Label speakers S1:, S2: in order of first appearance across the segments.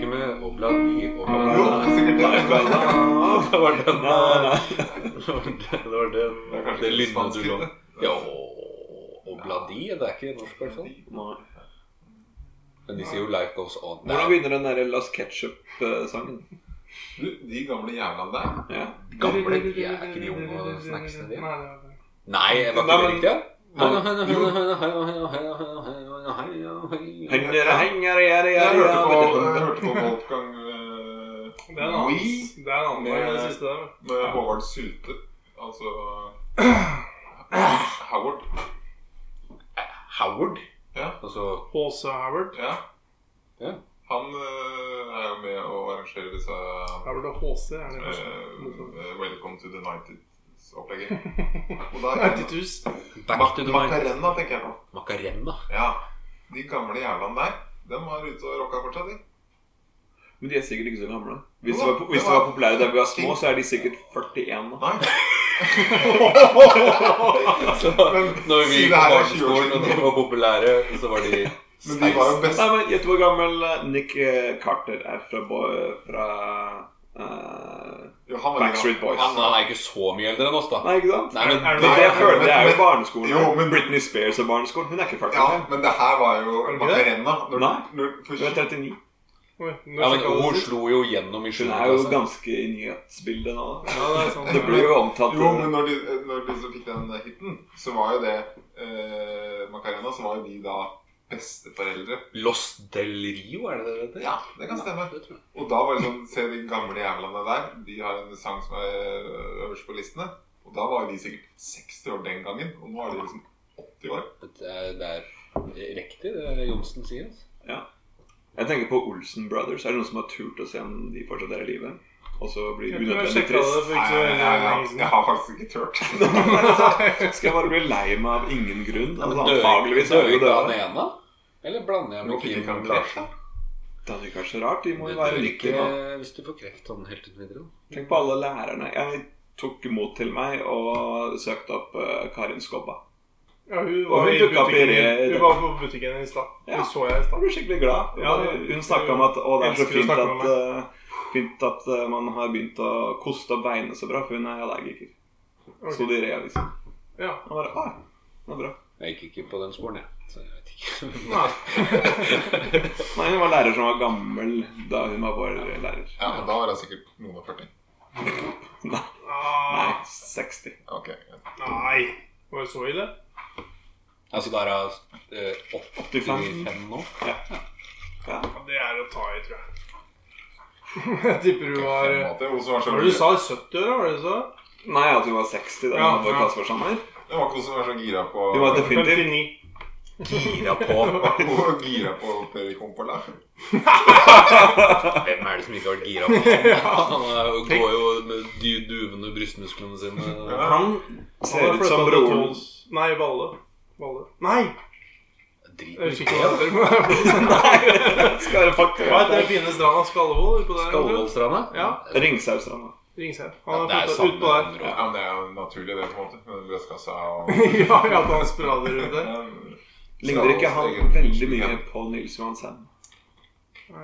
S1: La by og
S2: Jo, sikkert
S1: Nei,
S2: det.
S1: Bella. Det var den
S2: Nei, nei.
S1: Det var det, det, var den,
S2: Det er kanskje
S1: det
S2: ikke
S1: lynnet du
S2: spansk,
S1: lå
S2: det.
S1: Ja, og og Bladi, det er ikke norsk i hvert fall.
S3: Nei.
S1: Men de sier jo 'Life Goes On'.
S3: Hvordan begynner den der Las Ketchup-sangen?
S2: Du, de gamle jævlene der.
S3: Ja.
S1: Gamle de er ikke de unge og snacksene de.
S4: Nei, det er det.
S1: Nei, var ikke
S2: Nei,
S1: det
S2: men-
S1: riktig? ja?
S3: Henger, henger, henger,
S2: Jeg
S3: henger,
S2: hørte på, jeg
S3: henger.
S2: hørte på Wolfgang eh,
S4: Det er en annen,
S2: Wee
S4: det er en annen
S2: Med-
S4: enn det siste der. vel?
S2: med Håvard Sylte. Altså Howard.
S1: Howard.
S2: Ja.
S1: Altså
S4: Åse Howard.
S2: Ja.
S1: Ja.
S2: Han eh, er jo med å arrangere disse
S4: Howard og HC er det første.
S2: eh, Welcome to the Nighted-opplegget. Og da er det
S4: Ertetus.
S1: Back to the Mind.
S2: Macarena, tenker jeg på.
S1: Macarena.
S2: Ja. De gamle jævlene der, dem var ute og rocka fortsatt, de.
S3: Men de er sikkert ikke så gamle. Hvis de var, po- hvis de var populære da vi var små, så er de sikkert 41 nå.
S2: Nei.
S1: Så
S2: Men
S1: når vi
S2: si
S1: gikk
S2: det
S1: på
S2: her er 20 år
S1: barneskolen og de
S2: siden.
S1: var populære, så var de
S2: Men de var jo
S1: 16.
S2: best
S3: Nei, men Gjett hvor gammel eh, Nick eh, Carter er fra, Bo- fra eh,
S2: Jo, han var
S3: Backstreet Boys.
S1: Han han er ikke så mye eldre enn oss, da.
S3: Nei, ikke sant?
S1: Nei, men
S4: Er
S3: Det, er det, jeg
S2: Nei,
S3: føler,
S2: men-
S3: det er jo
S2: men-
S3: barneskolen.
S2: Jo, men-
S3: Britney Spears er barneskolen. Hun er ikke 40.
S2: Ja,
S3: Ja.
S2: men det her var jo
S4: det ikke
S2: Macarena. Når,
S3: Nei.
S2: når, for,
S3: Hun er 39.
S4: Oi, nå
S1: Ja, men
S4: sjekket
S1: Hun
S4: jeg det.
S1: slo jo gjennom i
S3: Hun
S1: sjuende
S3: er jo
S1: klasse.
S3: ganske i nyhetsbildet nå. da.
S4: Ja, det er sant.
S3: Det blir jo omtalt
S2: jo, men når de, når de som fikk den hiten, så var jo det eh, Macarena, så var jo de da besteforeldre.
S1: Los Del Rio, er det det heter?
S2: Ja, det kan stemme.
S1: det tror jeg.
S2: Og da var det sånn Se de gamle jævlene der. De har en sang som er eh, øverst på listene. Og da var jo de sikkert 60 år den gangen. Og nå er de liksom 80 år.
S1: Det er, det er riktig, det Johnsen sier. Altså.
S3: Jeg tenker på Olsen Brothers. Er det noen som har turt å se om de fortsatt er i live? Og så blir
S4: Jeg
S3: det
S4: tror jeg
S3: unødvendig
S4: sjekket det
S3: trist.
S4: for
S2: Nei,
S4: ikke så
S2: jeg, jeg,
S4: lenge
S2: jeg,
S4: siden.
S2: har faktisk ikke turt.
S3: Skal jeg bare bli lei meg av ingen grunn?
S1: Ja, men
S3: Altså,
S1: dør-
S3: Antageligvis er
S1: dør
S3: det jo
S1: ikke han
S3: det.
S1: ene? Eller blander jeg
S2: Men
S1: med
S2: fikk
S1: Kim
S2: ikke han kreft,
S1: Larsen?
S3: Det er jo kanskje rart. De må
S1: Det
S3: jo være
S1: dør ikke
S3: 90 nå.
S1: hvis du får kreft sånn helt uten videre. da.
S3: Tenk på alle lærerne. Jeg tok mot til meg og søkte opp eh, Karin Skobba.
S4: Ja, hun
S3: Og
S4: var,
S3: hun
S4: i
S3: dukket opp i
S4: butikken,
S3: det-
S4: hun var på butikken i stad.
S3: Ja.
S4: Det så jeg i
S3: Jeg
S4: stad.
S3: ble skikkelig glad. Hun
S4: Ja,
S3: bare-
S4: det-
S3: hun snakka om at å, det er så
S4: Elsker å
S3: fint
S4: snakke
S3: at,
S4: med
S3: eh, fint at eh, man har begynt å koste opp beinet så bra, for hun er allergiker.
S4: Ok.
S3: Så de rev liksom.
S4: Ja.
S3: Og bare, ah, det var bra.
S1: Jeg gikk ikke på den sporen, jeg. Så jeg vet ikke.
S4: Nei.
S3: Nei, hun var lærer som var gammel da hun var vår lærer.
S2: Ja, men da var jeg sikkert noen og 40.
S3: Nei,
S4: Ah,
S3: 60.
S2: Ok.
S4: Nei. Var det så ille?
S1: Altså, der er eh, 85
S3: 85
S1: nå.
S3: Ja.
S4: Ja, det er å ta i, tror jeg. Jeg tipper hun var
S2: Hun som var så
S4: Hva var det du sa? 70-åra, var det du sa?
S3: Nei, at hun var 60 da hun
S4: Ja,
S3: var vår
S4: ja.
S3: klasseforsamler.
S2: Det var ikke hun som var så gira på
S3: Hun var definitivt
S4: 59.
S1: Gira på.
S2: Hun var gira på Per Kompola.
S1: Hvem er det som ikke har vært gira på han? Han er jo- går jo med de duvende brystmusklene sine.
S3: Han
S4: Han
S3: ser
S4: har
S3: ut som
S4: flyttet til
S3: broren
S4: Tons- Nei, Valle. Valle. Nei!
S1: Drit
S4: Jeg
S1: i
S4: husker
S1: det.
S4: ikke hva det heter.
S3: Skal være
S4: Hva heter den
S3: fakturert.
S4: fine stranda Skallevold? utpå der, eller?
S1: Skallvollstranda?
S4: Ja.
S3: Ringsausstranda.
S4: Ringsheim.
S1: Ja,
S4: Han
S1: det
S4: har
S1: er
S4: flytta
S1: samme
S4: utpå der.
S1: område.
S2: Ja, men det er jo naturlig, det, på en måte. Med brystkassa og
S4: ja, ja, at han sprader rundt der.
S3: Ligner ikke han veldig mye på Nils Johan Sand?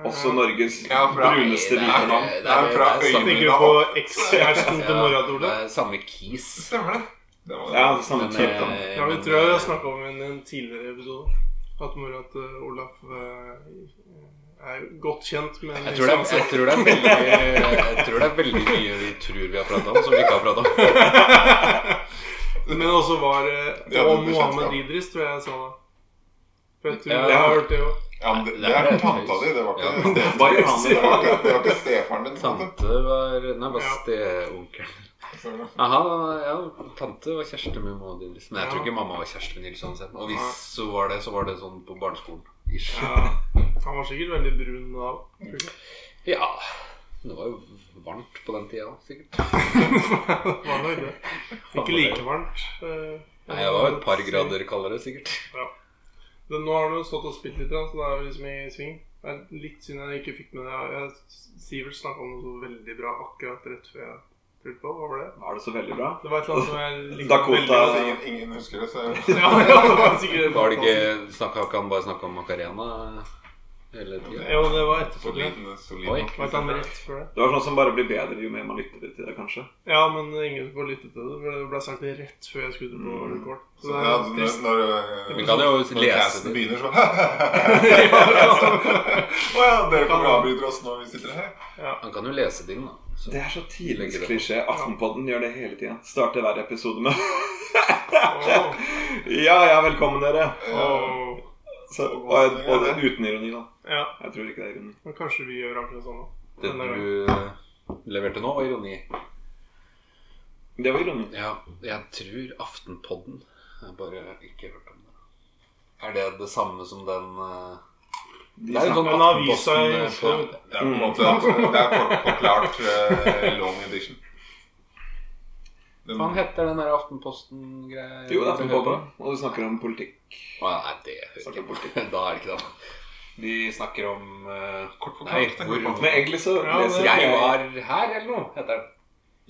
S3: Også Norges
S2: Ja, for det er-
S3: bruneste
S1: det er-
S3: hvite
S1: det er-
S2: Det er fra
S1: det er samme-
S2: øynene
S4: Tenker du
S2: da.
S4: på ekskjæresten til mora til
S1: det
S4: Ole?
S1: er samme kis.
S2: Stemmer det. det var det.
S3: Ja, samme
S1: Men,
S3: type. da.
S1: eh,
S4: Ja, vi
S1: men,
S4: tror jeg
S1: eh,
S4: har snakka om en, en tidligere episode. At mora til Olaf eh, er godt kjent med
S1: Jeg tror, det er, jeg, tror det er veldig, jeg tror det er veldig mye vi tror vi har prata om, som vi ikke har prata om.
S4: Men også var eh,
S2: Ja,
S4: Og
S2: det er
S4: Mohammed
S2: bekjentskap.
S4: Idris, tror jeg jeg sa da. For jeg tror
S1: Ja.
S4: jeg har hørt det òg.
S2: Ja, men det,
S1: Nei,
S2: det er
S1: det er
S2: tanta di, det var
S1: Ja.
S2: ikke det,
S3: Hva gjør han i
S2: var
S3: dag?
S2: ikke, det var ikke stefaren din. på en måte.
S1: Tante var Nei, bare
S4: Ja.
S1: steonkelen.
S2: Så-
S1: Aha, ja, tante var kjæreste med Maud Idris. Men jeg tror
S4: Ja.
S1: ikke mamma var kjæreste med Nils Hansen. Og hvis så var det, så var det sånn på barneskolen. Ish.
S4: Ja. Han var sikkert veldig brun da. tror jeg.
S1: Ja. Det var jo varmt på den tida, sikkert.
S4: Var nok det. Ikke like varmt. eh,
S1: Nei, jeg var et par grader kaldere, sikkert.
S4: Men nå har du stått og spilt litt, så da er vi liksom i sving. Det er litt synd jeg ikke fikk med det. Jeg- Sivert snakka om noe så veldig bra akkurat rett før jeg trodde på. Hva var det?
S3: Var det så veldig bra?
S4: Det var et eller annet som jeg likte
S3: Dakota.
S4: veldig godt.
S2: Altså, ingen, ingen husker det, så
S4: Ja, ja, det var sikkert
S1: Var det ikke, snakka, Kan bare snakke om Macarena? hele tida.
S4: Jo, det var etterpå. tror jeg.
S2: Solid, solid
S1: Oi.
S2: nok. liksom.
S4: Var ikke han rett før det?
S3: Det var sånn som bare blir bedre jo mer man lytter til det, kanskje.
S4: Ja, men ingen får lytte til det. For det ble sagt rett før jeg skulle på
S3: Mm.
S4: record.
S2: Så det er når,
S4: trist.
S2: når, eh,
S1: Vi kan jo
S2: når
S1: lese det.
S2: casten begynner, så
S4: Ja,
S2: Å ja, dere kommer og avbryter oss når vi sitter her.
S1: Han kan jo lese ting, da. Så.
S3: Det er så tidligklisjé. Aftenpodden gjør det hele tida. Starter hver episode med
S4: ja.
S3: Ja, ja, velkommen, dere.
S4: Åh, åh.
S3: Så, og, og, og uten ironi, da.
S4: Ja,
S3: Jeg tror ikke det er ironi.
S4: men kanskje vi gjør akkurat sånn nå.
S1: Det
S4: Denne gangen.
S1: du eh, leverte nå, var ironi.
S3: Det var ironi.
S1: Ja, jeg tror Aftenpodden Jeg har bare ikke hørt om det. Er det det samme som den eh,
S3: De
S1: Det er jo
S3: snakker-
S1: sånn
S4: Men avisa i
S1: Aftenposten, eh,
S4: Oslo-
S1: på-
S2: Det er på en måte eh, Det er kort forklart eh, long edition. Den,
S1: Hva heter den der Aftenposten-greia?
S3: Jo, det er Aftenpodden. Og de snakker om politikk.
S1: Å, nei, det hører
S3: Snakker om
S1: ikke
S3: politikk.
S1: Da er det ikke det. De snakker om eh,
S2: kort
S1: Nei,
S2: forklart,
S1: hvor
S2: hvor,
S3: Men egentlig så
S4: Ja,
S3: leser
S4: det-
S1: Jeg var her, eller noe, heter den.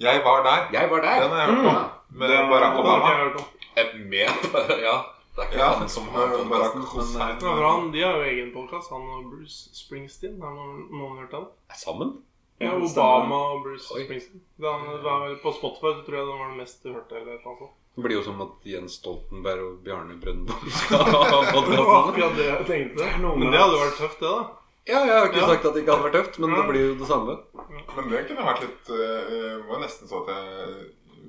S2: Jeg var der.
S1: Jeg var der.
S2: Den har jeg hørt om.
S1: Ja.
S2: Med Barack
S4: Mm. Det har ikke
S2: Obama.
S4: jeg hørt om.
S1: Eh, Med Ja. Det er ikke
S2: Ja,
S1: han som har
S2: med Barack
S1: podcasten, men,
S2: Hussein.
S4: Ja, for eh, han, de har jo egen podkast, han og Bruce Springsteen. Har noen, noen hørt han?
S1: eh, Sammen?
S4: Ja,
S3: Ja, det stemmer.
S4: Obama og Bruce
S1: Oi.
S4: Springsteen. Da, da, på Spotify så tror jeg den var den mest hørte. eller noe sånt.
S1: Det blir jo som at Jens Stoltenberg og Bjarne Brøndbo skal ha
S4: Det var
S1: podkast.
S4: akkurat det jeg tenkte.
S3: noe med
S4: Men det hadde vært tøft, det, da.
S1: Ja, jeg har ikke
S4: Ja.
S1: sagt at det ikke hadde vært tøft, men det
S4: Ja.
S1: blir jo det samme.
S2: Men det kunne vært litt eh, var nesten så at jeg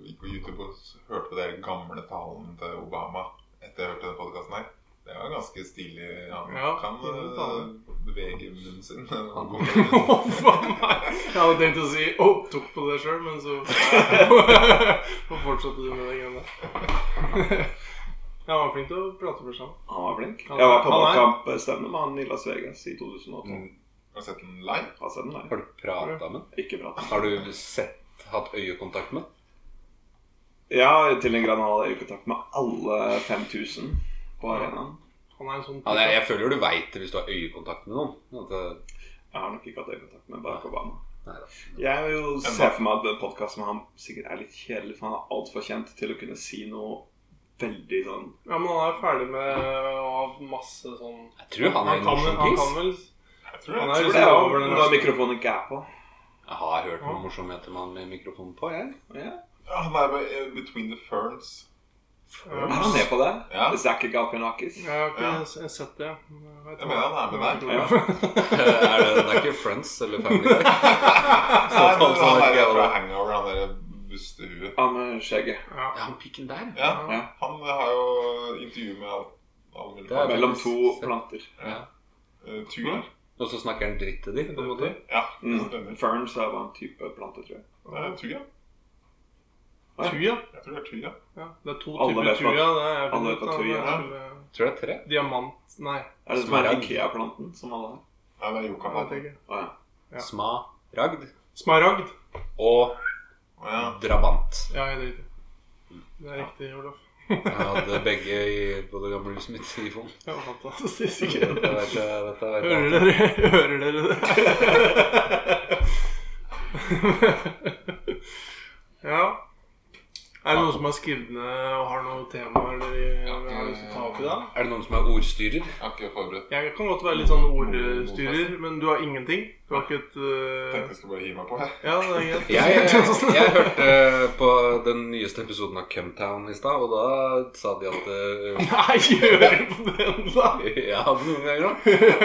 S2: gikk på YouTube og s- hørte på den gamle talen til Obama etter jeg hørte den podkasten her. Det var ganske stilig. Han
S4: Ja,
S2: kan
S4: fin tale.
S2: eh, bevege munnen sin. eh,
S1: Han-
S2: kommer-
S4: Å, faen meg. Jeg hadde tenkt å si 'Å, tok på det sjøl', men så Så fortsatte du med det greiene der. Ja, Han var flink til å prate for seg.
S3: Han var flink.
S4: Han-
S3: Jeg var på
S4: han er-
S3: valgkampstevne med han i Las Vegas i 2008.
S2: Mm. Har du sett den live?
S3: Har sett den der.
S1: Har du prata med den?
S3: Ikke bra.
S1: Har du sett, hatt øyekontakt med den?
S3: Ja, til en grad han hadde øyekontakt med alle 5000 på arenaen.
S4: Han er en sånn
S1: Ja, det- jeg føler du veit det hvis du har øyekontakt med noen. At eh, det,
S3: Jeg har nok ikke hatt øyekontakt med Barack Obama.
S1: nei da.
S3: Jeg vil jo se for meg at podkasten med ham sikkert er litt kjedelig, for han er altfor kjent til å kunne si noe veldig sånn
S4: Ja, men han er ferdig med å ha masse sånn
S1: Jeg tror han er en
S4: kan, vel- han kan
S1: morsom kiss.
S4: vel
S2: Jeg tror det.
S4: Han
S2: Jeg
S4: er
S2: tror
S3: Tror
S2: det.
S3: det
S4: liksom
S3: er
S4: over den
S3: når mikrofonen ikke er på.
S1: Jeg har hørt noen morsomheter med han med mikrofonen på, jeg.
S3: Ja.
S2: Ja, Han er med, eh, Between the Ferns.
S3: Er sånn han med på det?
S2: Ja.
S3: Zaki Galkanakis?
S4: Jeg har ikke
S2: Ja.
S4: s- sett det. men Jeg, vet
S2: Jeg mener han er med der.
S3: Ja.
S1: Er det, det er ikke Friends eller Family Guy?
S2: Nei, men
S1: sånn
S2: han
S1: er
S2: er
S1: ikke
S2: fra
S1: alle.
S2: Hangover, han derre bustehuet.
S3: Han med skjegget.
S4: Ja.
S1: Ja, han pikken der.
S2: Ja,
S3: Ja.
S2: han har jo intervju med all- alle mulige
S1: Det er
S2: folk.
S3: Mellom to planter.
S1: Ja.
S2: Eh, Tyr.
S1: Og så snakker han dritt til de, på en måte.
S2: Ja, det
S3: Mm.
S2: stemmer.
S3: Ferns er bare en type plante, tror jeg.
S2: Det er Tyr, ja.
S4: Tuja.
S2: Jeg tror det er Tyr, ja.
S4: Ja. Det er to
S3: Alle
S4: typer
S3: vet hva-
S4: tuja. Det er
S3: alle vet hva
S4: da,
S3: tuja
S4: det
S2: er.
S4: vel,
S1: Tror det er tre.
S4: eh, Diamant Nei,
S3: Er det som er Ikea-planten som alle har?
S2: Nei, det er altså. Joka
S4: hva heter det
S2: Palme.
S4: ikke?
S3: Å, ja.
S4: Ja.
S1: Smaragd
S4: Smaragd.
S1: og
S2: Å ja.
S1: drabant.
S4: Ja, det er riktig. Det er riktig, Olaf.
S1: Jeg hadde begge i, på det gamle huset mitt i fond.
S4: Det var
S1: Jeg
S4: fantastisk.
S1: vet, jeg vet, jeg vet, jeg vet.
S4: Hører dere, hører dere det? ja. Er det noen som har skrevet ned og har noen temaer dere har lyst til å ta opp i dag?
S1: Er det noen som er ordstyrer?
S2: Jeg har ikke forberedt.
S4: Jeg kan godt være litt sånn ordstyrer, men du har ingenting. Du har ikke et
S2: Jeg
S4: øh,
S2: tenkte jeg skulle bare hive meg på her.
S4: Ja, det er greit.
S1: Jeg, jeg, jeg hørte eh, på den nyeste episoden av Cumtown i stad, og da sa de at eh,
S4: Nei, gjør på den, da!
S1: Ja, noen ganger, da.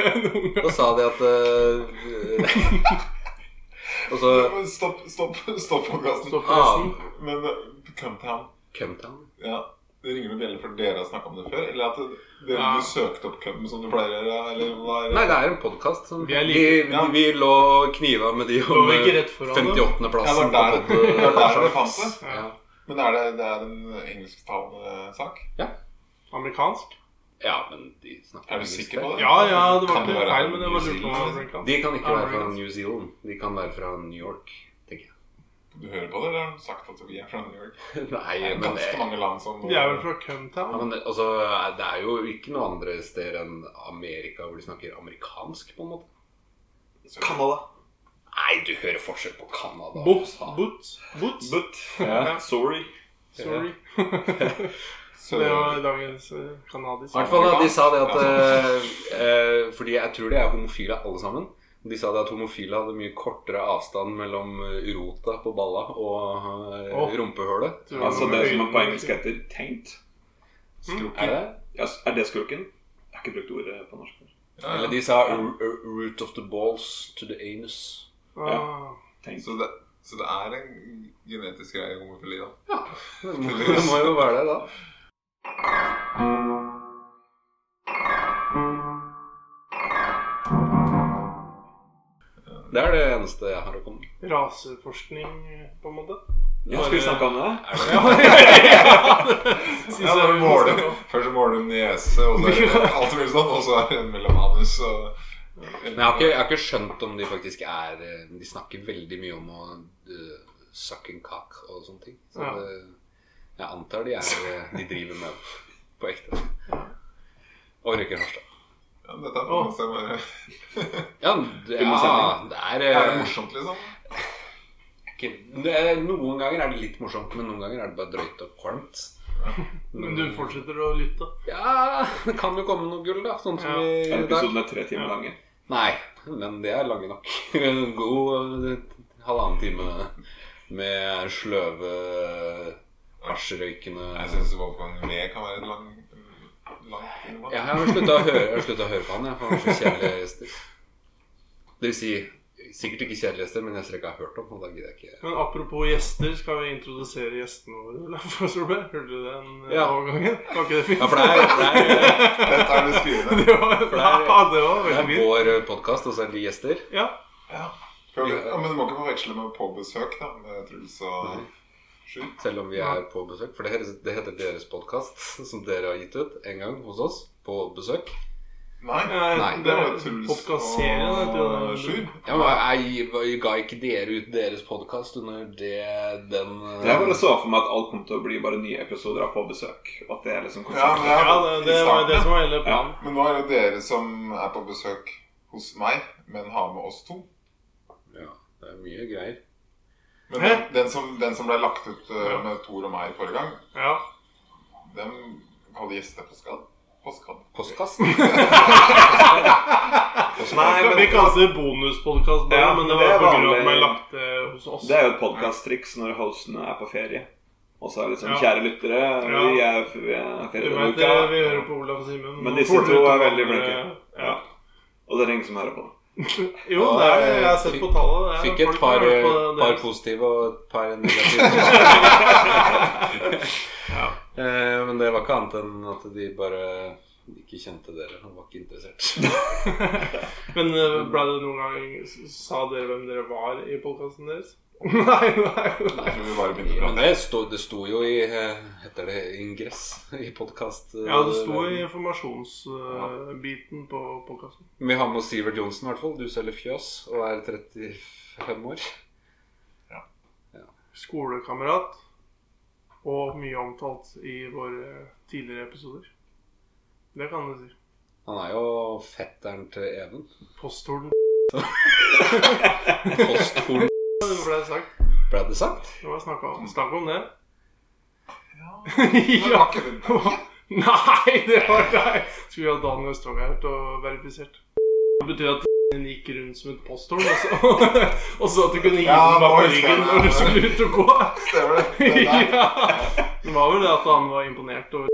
S1: Da sa de at eh, Og så
S2: Men Stopp, stopp, stopp podkasten.
S4: Stopp
S1: ah,
S4: resten.
S2: Men eh, Cumtown
S1: Cumtown?
S2: ja. Det ringer noen bjeller for dere har snakka om det før? Eller at det- dere
S4: Ja.
S2: du søkte opp Cum som du pleier å gjøre? Eller hva er
S1: Nei, det er en podkast. Som...
S4: Vi er
S1: Vi,
S4: like-
S1: vi,
S2: ja.
S1: vi lå og kniva med de
S4: Lå
S1: om
S4: vi ikke
S1: eh,
S4: rett foran dem?
S1: 58.
S2: Ja,
S1: plassen.
S2: det var der-
S1: på pod-
S2: det var der det fant det.
S1: Ja.
S2: Men er det, det er en engelsktalende sak?
S4: Amerikansk?
S1: ja, men de snakker
S2: Er du
S1: engelsk
S2: sikker
S1: der.
S2: på det?
S4: Ja, ja, det var
S2: Kan
S4: ikke
S2: være
S4: feil, men det var lurt
S2: New
S4: på om det var
S2: Zealand?
S4: amerikansk.
S1: De kan ikke være fra
S4: Amerikansk.
S1: New Zealand. De kan være fra New York, tenker jeg.
S2: Du hører på det, eller har de sagt at vi er fra New York?
S1: Nei,
S2: Det er
S1: men det
S2: ganske mange land som
S4: De er vel fra
S1: ja,
S4: Cumtown?
S1: men det- altså, det er jo ikke noe andre steder enn Amerika hvor de snakker amerikansk, på en måte.
S2: eh,
S3: Canada.
S1: Nei, du hører forskjell på Canada og
S4: Boots.
S1: USA.
S4: Boots. Boots.
S3: But
S4: Ja.
S3: sorry.
S4: Sorry.
S2: Så,
S4: Så det var dagens eh, kanadisk.
S1: I hvert fall da, De sa det at eh, eh, Fordi jeg tror de er homofile alle sammen. De sa det at homofile hadde mye kortere avstand mellom eh, rota på balla og eh,
S4: Åh.
S1: rumpehølet.
S4: Tror du
S3: Altså det som
S4: øynene-
S3: er på engelsk heter taint.
S1: Er det?
S3: Ja, s- er det skurken? Jeg har ikke brukt ordet på norsk. før.
S2: ja,
S1: Eller
S2: ja.
S1: de sa "Ru- ru- 'root of the balls to the anus'.
S4: Ah,
S3: Taint.
S2: Så, det, så det er en genetisk greie i homofili, da.
S1: Det må, det må jo være det, da. Det er det eneste jeg har å komme med.
S4: raseforskning, eh, på en måte.
S3: Ja, skal vi snakke om det?
S4: Synes
S2: Ja,
S4: jeg
S2: da
S4: vi må
S2: måler,
S4: snakke om.
S2: først så måler du nese, og så er det alt mulig sånn, og så er det en mellom anus og
S1: Men jeg har, ikke, jeg har ikke skjønt om de faktisk er eh, De snakker veldig mye om å uh, suck and cock og sånne ting. Så
S4: Ja.
S1: det, jeg antar de er eh, De driver med det på ekte. Og røyker hasj, da.
S2: ja, Dette er på en måte bare
S1: Ja, det,
S3: Film og
S1: ja,
S3: sending.
S1: det er,
S2: Er det
S1: eh,
S2: morsomt, liksom?
S1: ikke- det er Noen ganger er det litt morsomt, men noen ganger er det bare drøyt og kvalmt.
S4: Men du fortsetter å lytte.
S1: Ja, det kan jo komme noe gull, da. Sånn som
S4: Ja.
S1: vi i
S3: Er
S1: dag.
S3: episoden er tre timer lange?
S1: Nei, men det er lange nok. En god eh, halvannen time med sløve,
S2: Jeg
S1: hasjrøykende
S2: syns Wolfgang Mee kan være et lang, langt innhold.
S1: Ja, Jeg har slutta å høre jeg har sluttet å høre på han, jeg, for han er så kjedelig gjester. Det vil si sikkert ikke kjedelige gjester, men gjester jeg ikke har hørt om. Og da gidder jeg ikke
S4: Men apropos gjester, skal vi introdusere gjestene våre? eller? For Solberg, Hørte du den eh,
S1: Ja.
S4: overgangen? Var ikke det fint?
S1: Ja, for det er, det er,
S2: Dette er det skrivende.
S4: det var,
S1: det er-
S4: ja, det var
S1: det
S4: veldig
S1: er
S4: fint.
S1: vår podkast, og så er det gjester.
S4: Ja.
S2: Ja. Prøv- ja, men du må ikke forveksle med på besøk, da, med Truls og Sjur.
S1: Selv om vi er på besøk. For det heter, det heter deres podkast, som dere har gitt ut en gang hos oss, på besøk.
S2: Nei.
S1: Nei,
S2: Det var jo Truls
S4: Podkastserien,
S2: og
S4: vet
S2: Sjur.
S4: du.
S1: Ja, men jeg, jeg ga ikke dere ut deres podkast under det, den
S3: Jeg bare så for meg at alt kom til å bli bare nye episoder av På besøk. og At det er
S2: Ja,
S3: liksom konseptet.
S2: men
S4: Ja, det, det var jo det som var hele planen.
S3: Ja.
S2: Men nå er det dere som er på besøk hos meg, men har med oss to.
S1: Ja, det er mye greier.
S2: Men
S4: Hæ?
S2: den, den, som, den som ble lagt ut eh, med Tor og meg forrige gang,
S4: Ja.
S2: den kaller gjester på skad. På skad.
S1: Postkast?
S3: Nei, men-
S4: vi kalte det bonuspodkast, bare,
S3: Ja,
S4: men det
S3: men
S4: var
S3: det
S4: på
S3: var
S4: grunn av at
S3: vanlig.
S4: den ble lagt eh, hos oss.
S3: Det er jo et podkast-triks når hostene er på ferie. Og så er det liksom
S4: Ja.
S3: Kjære lyttere, vi
S4: Ja.
S3: er f- vi er
S4: Du
S3: ferie denne
S4: vet, eh, vi hører
S3: uka.
S4: på Olav og Simen.
S3: Men
S4: nå
S3: disse
S4: får du
S3: to
S4: ut
S3: er
S4: av
S3: veldig
S4: andre-
S3: flinke.
S4: Ja.
S3: Ja. Og det er ingen som hører på.
S4: Jo, det er, jeg har sett på tallet. det er
S1: Fikk et
S4: folk som
S1: par, eh,
S4: hører på det-
S1: par positive og et par negative.
S4: Ja.
S1: Eh, Men det var ikke annet enn at de bare ikke kjente dere. Han var ikke interessert.
S4: Men eh, ble det noen gang Sa dere hvem dere var i podkasten deres? nei, nei, nei.
S2: Jeg tror vi bare begynte å
S1: Men
S2: prate.
S1: det sto, det sto jo i eh, Heter det ingress i eh, podkast?
S4: Ja, det sto i informasjonsbiten på podkasten.
S1: Vi har med oss Sivert Johnsen, i hvert fall. Du selger fjøs og er 35 år.
S4: Skolekamerat. Og mye omtalt i våre tidligere episoder. Det kan du si.
S1: Han er jo fetteren til Even.
S4: Posthorden
S1: Posthorn,
S4: det ble sagt.
S1: ble det sagt?
S4: Det var snakka om. Snakk om det.
S2: Men det var ikke det.
S4: Nei, det var deg! Skulle vi ha Daniel Stang her til å verifisert. Det betyr at den gikk rundt som et posthorn, og så, og så at du kunne gi
S2: Ja,
S4: den
S2: nå
S4: bak på
S2: husker jeg
S4: ryggen
S2: det.
S4: når du skulle ut og gå.
S2: Stemmer det? det der.
S4: ja. Det var vel det at han var imponert over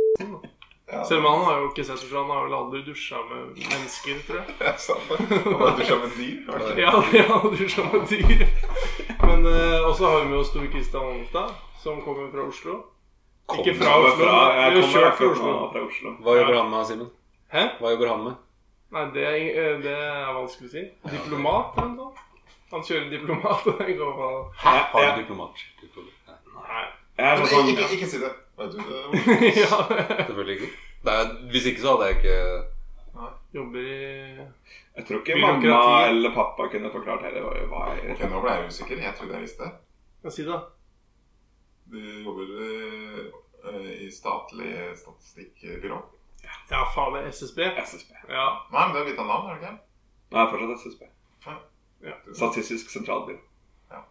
S2: Ja,
S4: Selv om han har jo ikke sett det, for han har vel aldri dusja med mennesker, tror jeg.
S2: jeg sa det. Det var at du som et dyr. var det ikke?
S4: Ja, han dusja med dyr. Men eh, også har vi med oss Tor Kristian Almstad, som kommer fra Oslo. Ikke fra
S3: Jeg kommer fra- Jeg
S4: Oslo, men vi har
S3: kommer
S4: kjørt fra
S3: akkurat
S4: Oslo.
S3: nå fra Oslo.
S1: Hva jobber han med, Simen?
S4: Hæ?
S1: Hva jobber han med?
S4: Nei, det er, ing- eh, det er vanskelig å si. Diplomat, eller noe sånt. Han kjører diplomat. og det går bra.
S3: Jeg,
S1: Har du
S3: jeg,
S1: diplomat?
S4: Nei.
S3: jeg er
S2: Men
S3: sånn
S2: Ikke,
S3: sånn
S2: ikke, ikke si det. Vet du eh, det?
S4: ja.
S1: Selvfølgelig ikke. Det er, hvis ikke så hadde jeg ikke
S4: Jobber i
S3: Jeg tror ikke
S4: Byråkrati.
S3: mamma eller pappa kunne forklart heller hva hva jeg
S2: Ok, nå ble jeg usikker. Jeg trodde jeg visste.
S4: Hva si det?
S2: Du jobber eh, eh, i statlig statistikkbyrå.
S4: Ja, faen, det er SSB.
S3: SSB.
S4: Ja.
S2: Nei, men det er litt av navn, er det ikke?
S3: Nei, fortsatt SSB.
S2: det?
S3: Statistisk sentralbyrå.
S1: eh,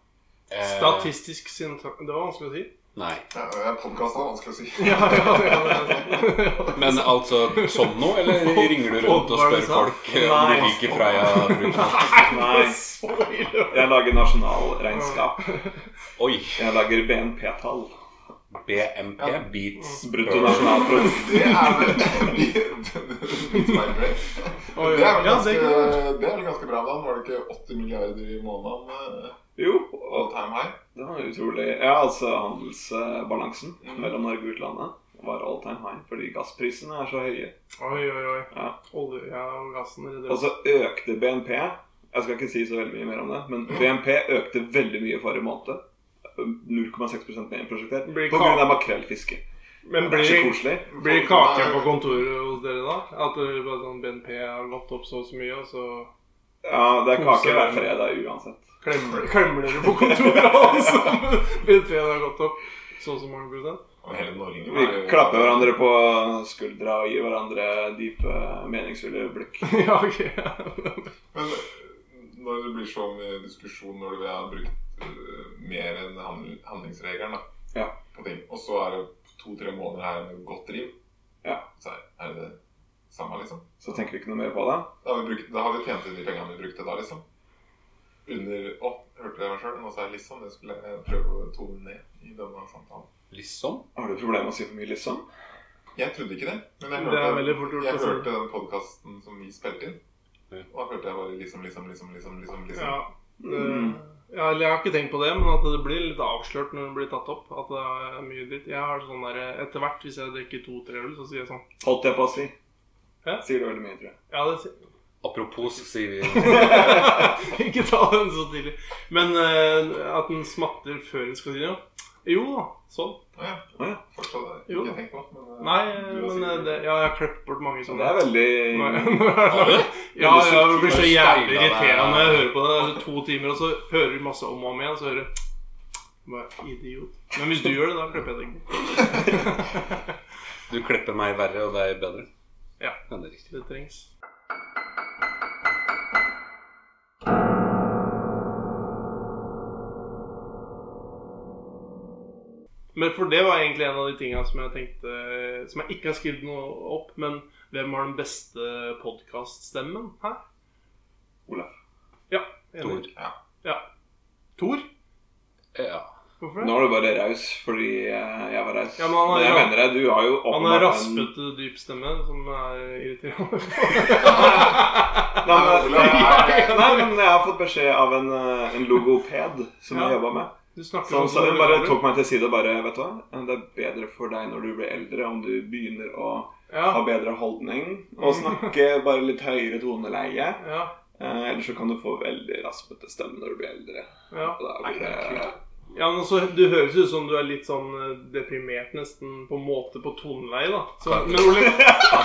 S4: Eh. Statistisk sentra... Det var vanskelig å si.
S1: Nei.
S2: Ja, Podkast er vanskelig å si.
S4: Ja, ja, ja, det er sant.
S1: Men altså som nå, eller ringer du rundt og spør folk eh, om de liker Freia? brun?
S3: Nei.
S4: Så ille.
S3: Jeg lager nasjonalregnskap.
S1: Oi.
S3: Jeg lager BNP-tall.
S1: BMP. Beats
S4: Mm.
S3: Brutto nasjonalprodukt.
S2: Det er vel Mitt feilgrep.
S4: Oi,
S2: Det er vel
S4: ja,
S2: ganske,
S4: det er kult.
S2: det er vel ganske bra, da. Var det ikke 80 milliarder i måneden? eh,
S3: Jo,
S2: All
S3: og
S2: time high?
S3: det var utrolig Ja, altså handelsbalansen
S4: Mm.
S3: mellom Norge og utlandet var all time high fordi gassprisene er så høye.
S4: Oi, oi, oi.
S3: Ja.
S4: Olja og gassen redder
S3: Og
S4: oss.
S3: så økte BNP. Jeg skal ikke si så veldig mye mer om det, men
S4: Mm.
S3: BNP økte veldig mye forrige måned. 0,6 mer enn prosjektert
S4: Blir
S3: på grunn av makrellfiske.
S4: Men
S3: Det er så
S4: blir,
S3: koselig.
S4: blir kaken på kontoret hos dere da? At det bare sånn BNP har gått opp så og så mye, og så
S3: Ja, det er kake
S4: Kose-
S3: hver fredag uansett.
S4: klemmer, klemmer dere på kontoret alle sammen? BNP har gått opp så og så mange prosent?
S2: Og hele Norge
S3: Vi
S2: var jo-
S3: klapper hverandre på skuldra og gir hverandre dype, meningsfulle blikk.
S4: Ja, ok. Ja.
S2: Men eh, når det blir så mye diskusjon når vi har brukt eh, mer enn handl- handlingsregelen da,
S3: Ja.
S2: på ting, og så er det to-tre måneder her med godt driv,
S3: Ja.
S2: så er- er det det samme, liksom.
S3: Så tenker vi ikke noe mer på det.
S2: Da har vi, brukt, da har vi tjent inn de pengene vi brukte da, liksom. Under Å, hørte jeg meg sjøl? Nå sa jeg liksom. Det skulle jeg prøve å tone ned i denne samtalen.
S1: Liksom.
S3: Har du problemer med å si for mye, liksom?
S2: Jeg trodde ikke det, men jeg
S4: Det er
S2: hørte,
S4: veldig fort gjort altså.
S2: jeg
S4: å si.
S2: hørte den podkasten som vi spilte inn.
S1: Ja.
S2: Og da hørte jeg bare liksom, liksom, liksom, liksom. liksom, liksom.
S4: Ja. Det,
S3: Mm.
S4: ja, eller jeg har ikke tenkt på det, men at det blir litt avslørt når det blir tatt opp. At det er mye dritt. Jeg har sånn der, Etter hvert, hvis jeg drikker to-tre øl, så sier jeg sånn
S3: Eh, Holdt jeg på å si.
S4: Hæ?
S3: Sier du veldig mye, tror jeg.
S4: Ja, det sier
S1: Apropos, sier vi.
S4: Ikke ta den så tidlig. Men eh, at den smatter før den skal si noe. Jo da, sånn.
S2: Å ja.
S3: Å ja.
S2: Fortsatt har jeg
S4: Jo.
S2: ikke tenkt på. Men, eh,
S4: Nei,
S2: du har
S4: men eh,
S2: sikkert-
S4: det, ja, jeg har klippet bort mange
S3: Så
S4: sånne.
S3: det er veldig
S1: Har du?
S4: ja, ja, det blir så jævlig
S1: Steila deg.
S4: irriterende når jeg hører på det. Det er to timer, og så hører du masse om og om igjen, så hører du Bare idiot. Men hvis du gjør det, da klipper jeg det ikke.
S1: Du klipper meg verre og deg bedre.
S4: Ja.
S1: det er riktig.
S4: Det trengs. Men for det var egentlig en av de tinga som jeg tenkte Som jeg ikke har skrevet noe opp, men hvem har den beste podkaststemmen her?
S3: Olaf.
S4: Ja.
S1: Tor.
S4: Enig. Ja. Tor?
S1: Ja.
S4: Hvorfor det?
S3: Nå er du bare raus fordi eh, jeg var raus.
S4: Ja, men han er-
S3: Men jeg mener det. Du har jo
S4: Han har
S3: åpenbart en-
S4: raspete dyp stemme, som er irriterende.
S3: Nei,
S2: Olav,
S3: men, nei, nei, men jeg har fått beskjed av en, eh, en logoped som
S4: Ja.
S3: jeg jobba med.
S4: Du snakker
S3: Så
S4: sånn
S3: han sa-
S4: som
S3: hun
S4: du
S3: bare
S4: gjør.
S3: tok meg til side og bare Vet du hva, Eh, det er bedre for deg når du blir eldre om du begynner å
S4: Ja.
S3: ha bedre holdning og
S4: Mm.
S3: snakke bare litt høyere toneleie.
S4: Ja.
S3: Eh, ellers så kan du få veldig raspete stemme når du blir eldre.
S4: ja.
S3: Og da blir det
S4: Ja, men også, Du høres ut som du er litt sånn eh, deprimert, nesten på en måte på toneleie, da. Så, men Ole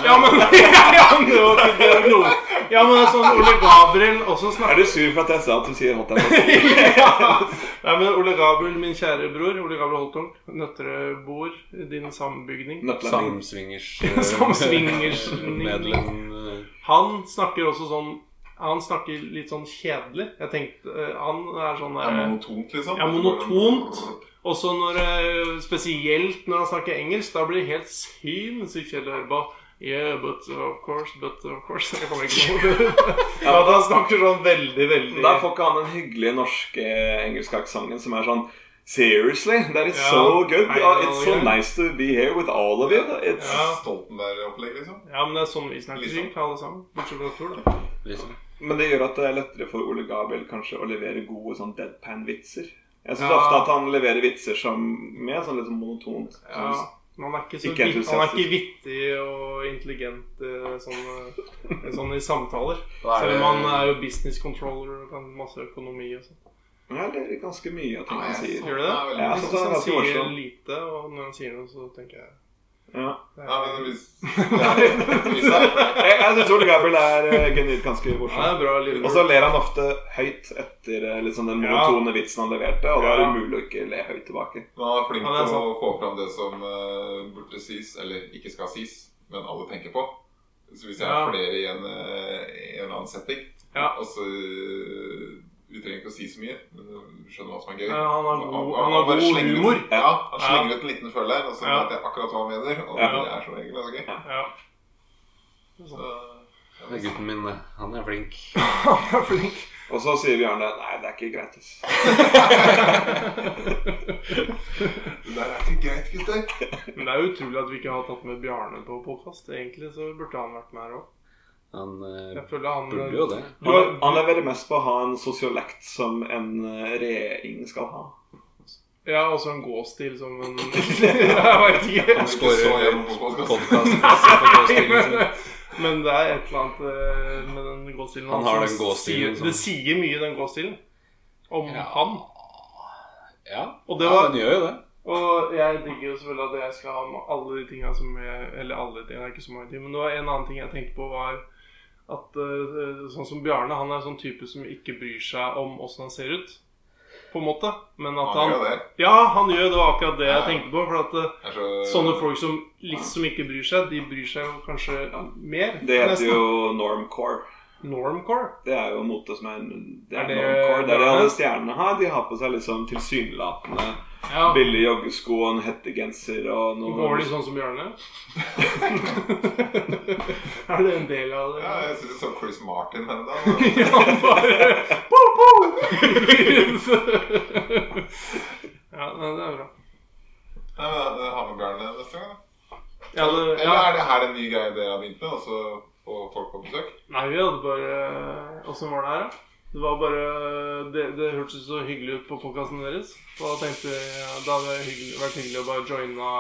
S4: Ja, men Ja, men det var ikke det noe. Ja, men sånn Ole Gabriel også
S3: Er
S4: snakker
S3: du sur for at jeg sa at du sier hot ass?
S4: ja. Nei, men Ole Gabriel, min kjære bror, Ole Gabriel Holtung, Nøtterøy bor i din sambygning.
S3: Nøttelen.
S1: Samsvingers eh,
S4: Samsvingers-
S1: medlem. eh,
S4: Han snakker også sånn Han snakker litt sånn kjedelig. Jeg tenkte eh, Han er sånn
S2: Det er
S4: der,
S2: monotont, liksom.
S4: Ja, monotont. Også når, eh, spesielt når han snakker engelsk, da blir det helt sinnssykt kjedelig å høre på. Yeah, but of course, but of course Jeg kommer ikke på det. Ja, da snakker sånn veldig, veldig
S3: Der får ikke han den hyggelige norske engelske aksenten som er sånn Seriously, that is
S4: Ja.
S3: so good. Uh,
S4: I know,
S3: It's so
S4: yeah."
S3: nice to be here with all of you. It's
S4: Ja.
S2: Stoltenberg-opplegg, liksom.
S4: Ja, men det er sånn vi snakker
S2: Liksom.
S4: sikkert, alle sammen. Bortsett fra Tor, da.
S1: Liksom.
S3: Men det gjør at det er lettere for Ole Gabriel kanskje å levere gode sånn deadpan-vitser. Jeg syns
S4: Ja.
S3: ofte at han leverer vitser som med sånn litt sånn monotont.
S4: Ja. Men han er ikke så
S3: Ikke
S4: vit- Han er
S3: entusiastisk.
S4: ikke vittig og intelligent eh, sånn, eh, sånn i samtaler.
S1: Da er
S4: Selv
S1: det-
S4: om han er jo business controller og kan masse økonomi og sånn.
S3: Ja, det er ganske mye av ting han sier.
S4: Gjør det det?
S2: sånn. veldig
S3: Ja,
S2: mye.
S3: så-
S4: Jeg
S3: det er
S4: syns han
S3: ganske
S4: sier
S3: morsomt.
S4: lite, og når han sier noe, så tenker jeg
S3: Ja.
S4: det
S2: Ja, men
S4: er-
S2: hvis, ja, hvis det er,
S3: Jeg, jeg syns Ole Gabriel er eh, genuint ganske
S4: Ja, det
S3: morsom.
S4: er bra lyd.
S3: Og så ler han ofte høyt etter eh, liksom den
S4: Ja.
S3: monotone vitsen han leverte, og da er det
S4: Ja.
S3: umulig å ikke le høyt tilbake.
S2: man er flink
S4: Ja, det er
S2: til å få fram det som eh, burde sies, eller ikke skal sies, men alle tenker på. Så hvis jeg
S4: Ja.
S2: har flere i en, eh, i en eller annen setting,
S4: Ja.
S2: og så Vi trenger ikke å si så mye. men Du skjønner hva som er gøy.
S4: Ja, han har god- han har
S2: bare
S4: god
S2: slenger ut-
S4: humor.
S2: Ja, Han
S4: Ja.
S2: slenger ut en liten følge her, og så
S4: Ja.
S2: vet jeg akkurat hva han mener. Og
S3: Ja.
S2: det er som regel ganske gøy.
S4: Ja.
S2: Så, ja,
S1: Det er gutten min, det. han er flink.
S4: Han er flink.
S3: Og så sier Bjarne Nei, det er ikke greit. ass».
S2: Det der er ikke greit, gutter.
S4: Men det er jo utrolig at vi ikke har tatt med Bjarne på podkast. Egentlig så burde han vært med her òg.
S1: Han eh,
S4: Jeg føler han
S1: burde jo det.
S4: Du har,
S3: Han, han leverer mest på å ha en sosiolekt som en eh, regjering skal ha.
S4: ja, også en gåstil som en Jeg veit ikke.
S3: liksom.
S1: Han
S2: ikke så
S1: scorer
S2: gjennom podcast.
S1: podkast.
S4: Men, men det er et eller annet eh, med den gåstilen
S1: Han
S4: hans
S1: har
S4: som
S1: den gåstilen
S4: sier,
S1: som-
S4: Det sier mye, den gåstilen, om
S1: Ja.
S4: han.
S1: Ja,
S4: Og det
S1: ja,
S4: var
S1: den gjør jo det.
S4: Og jeg digger jo selvfølgelig at jeg skal ha med alle de tinga som jeg Eller alle de tingene, det er ikke så mange ting. Men det var en annen ting jeg tenkte på, var at eh, sånn som Bjarne, han er sånn type som ikke bryr seg om åssen han ser ut. På en måte. Men at
S2: Han
S4: han,
S2: gjør jo det.
S4: Ja, han gjør det. var akkurat det jeg
S2: Ja.
S4: tenkte på. For at eh,
S2: Det er så,
S4: sånne folk som liksom ikke bryr seg, de bryr seg jo kanskje mer.
S3: Det heter
S4: nesten.
S3: jo normcore.
S4: normcore.
S3: Det er jo mote som er Det
S4: Er
S3: er,
S4: det-
S3: normcore. Det er det alle stjernene har. De har på seg liksom tilsynelatende
S4: Ja.
S3: billige joggesko og en hettegenser og
S4: Nå
S3: noe
S4: Går de sånn som Bjarne? er det en del av det?
S2: Ja, jeg synes det er så Chris Martin henne, da.
S4: Ja, bare po, po. Ja, nei, det er bra.
S2: Nei, men eh, Ha med Bjarne neste gang, da.
S4: Ja, det, ja.
S2: Eller er det her en ny greie dere har begynt med? Altså få folk på besøk?
S4: Nei, vi hadde bare Åssen var det her, da? Det var bare Det, det hørtes så hyggelig ut på podkasten deres. Og da tenkte vi ja, Det hadde hyggelig, vært hyggelig å bare joine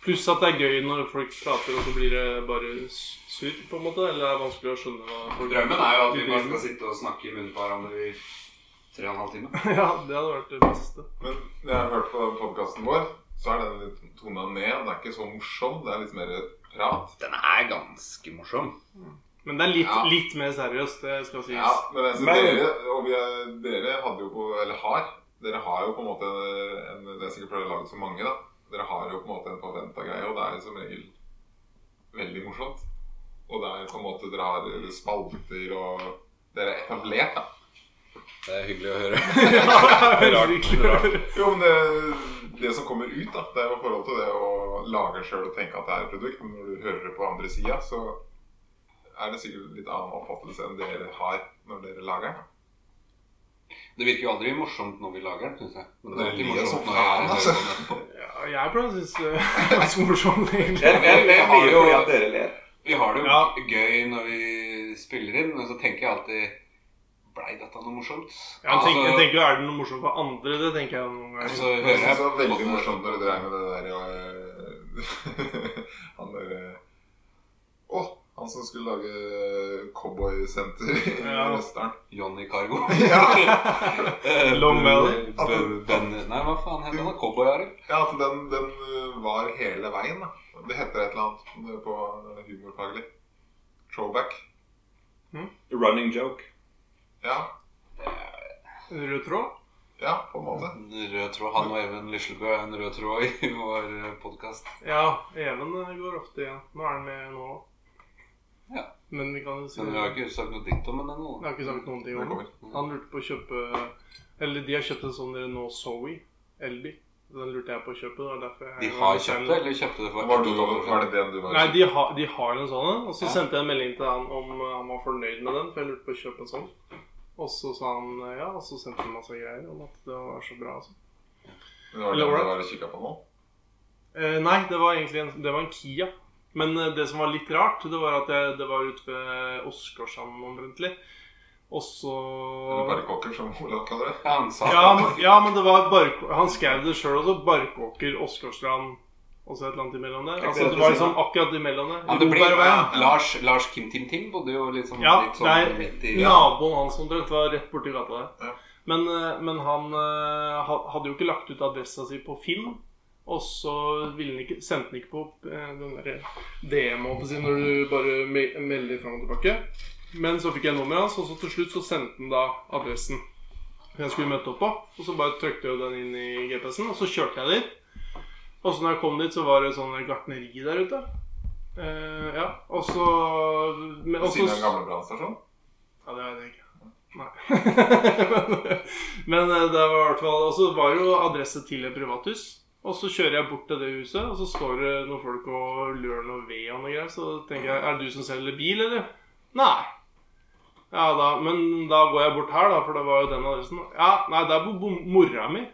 S4: Pluss at det er gøy når folk prater, og så blir det bare surr, på en måte. Eller det er vanskelig å skjønne hva folk
S1: Drømmen er jo at vi bare
S4: driver med.
S1: skal sitte og snakke i munnen på hverandre i tre og en halv time.
S4: Ja, det hadde vært det beste.
S2: Men når jeg har hørt på podkasten vår, så er den litt tona ned. Den er ikke så morsom. Det er litt mer prat.
S1: Den er ganske morsom.
S4: Men det er litt,
S2: Ja.
S4: litt mer seriøst, det skal sies.
S2: Ja, men jeg synes
S3: Men-
S2: dere, og vi er, dere hadde jo på Eller har. Dere har jo på en måte en Det er sikkert fordi dere har laget så mange, da. Dere har jo på en måte en forventa greie, og det er jo som regel veldig morsomt. Og det er på en måte Dere har spalter og Dere er etablert, da.
S1: Det er hyggelig å høre.
S4: Rart.
S1: Rart.
S2: Jo, men det, det som kommer ut, da, det er jo i forhold til det å lage sjøl og tenke at det er et produkt. Men når du hører det på andre sida, så er det sikkert litt annen oppfattelse enn dere har når dere lager den.
S1: Det virker jo aldri morsomt når vi lager den, syns jeg. Men det er alltid
S2: Dere ler som
S1: morsomt når
S2: faen,
S1: jeg
S2: altså.
S1: hører på den.
S4: Ja, jeg pleier å synes eh, det er ganske morsomt, egentlig.
S3: Jeg, jeg ler
S1: har
S3: mye
S1: jo-
S3: fordi at dere ler.
S1: Vi har det jo
S4: Ja.
S1: gøy når vi spiller inn, men så tenker jeg alltid Blei dette noe morsomt?
S4: Ja, Jeg tenker, jeg
S1: Altså,
S4: tenker jo, er det noe morsomt for andre? Det tenker jeg noen
S1: og
S4: ganger.
S1: Altså, så
S2: Jeg
S1: hører
S2: synes
S1: jeg
S2: det var veldig
S1: både-
S2: morsomt når dere drev med det der øh, Han derre Å, han som skulle lage cowboysenter i
S4: Ja.
S2: Røsteren.
S1: Johnny Cargo.
S2: Ja.
S1: Eh,
S4: Long Valley.
S1: Ben- Ben- Ben- Nei, hva faen heter han? Cowboy-Arild?
S2: Ja, at den, den øh, var hele veien, da. Det heter et eller annet på humorfaglig. Throwback.
S3: Running joke.
S2: Ja.
S4: Rød tråd?
S2: Ja, på en måte.
S1: En Rød tråd. Han og Even Lyslebø er en rød tråd i vår eh, podkast.
S4: Ja, Even eh, går ofte igjen. Nå er han med nå òg.
S1: Ja.
S4: Men vi kan jo si
S1: Men vi har ikke sagt noe dritt om den ennå.
S4: Jeg har ikke sagt noen ting
S2: Det
S4: om
S2: kommer.
S4: det. Han lurte på å kjøpe Eller de har kjøpt en sånn dere nå Zoe Elbil. Den lurte jeg på å kjøpe. Det var derfor jeg
S1: De har kjøpt det, eller kjøpte det for
S2: Var, du,
S1: ett år
S2: var
S1: siden?
S2: det den du var
S4: Nei, de, har- de har en sånn en. Og så
S1: Ja.
S4: sendte jeg en melding til han om eh, han var fornøyd med den, for jeg lurte på å kjøpe en sånn. Og så sa han eh, ja, og så sendte han masse greier om at det var så bra. Altså.
S2: Men var det
S4: Eller
S2: den
S4: var det?
S2: du var og kikka på nå?
S4: Eh, nei, det var egentlig en, det var en Kia. Men eh, det som var litt rart, det var at jeg, det var ute ved Åsgårdstrand omtrentlig. Og så
S2: Eller Barkokker, som Olav kaller det.
S1: Ja, han sa
S4: ja,
S1: det.
S4: men- ja, men det var bark, Han skrev det sjøl også. Barkåker, Åsgårdstrand og så et eller annet imellom der.
S3: ikke
S4: Altså,
S3: det
S4: det var
S3: jeg
S4: liksom akkurat imellom der.
S1: Ja, det blir,
S4: Robergveien.
S1: Lars, Lars Kim Tim Tim bodde jo litt sånn,
S4: Ja,
S1: litt
S4: det
S1: sånn
S4: er
S1: midt i
S4: naboen hans omtrent var rett borti gata der.
S2: Ja.
S4: Men, eh, men han eh, ha- hadde jo ikke lagt ut adressa si på Finn. Og så ville han ikke, sendte han ikke på eh, den der DM-en sin når du bare me melder fram og tilbake. Men så fikk jeg nummeret hans, og så til slutt så sendte han da adressen jeg skulle møte opp på. Og så bare trykte jeg den inn i GPS-en, og så kjørte jeg dit. Og så når jeg kom dit, så var det sånn gartneri der ute. Eh, ja, og så men- og
S2: Ved
S4: så-
S2: siden av den gamle brannstasjonen.
S4: ja, det vet jeg ikke. Nei. Men eh, det var i hvert fall Og så var det jo adresse til et privathus. Og så kjører jeg bort til det huset, og så står det noen folk og lurer noe ved og noe greier. Så tenker jeg Er det du som selger bil, eller? Nei. Ja da, men da går jeg bort her, da, for det var jo den adressen. Ja, nei, der bor bor mora mi.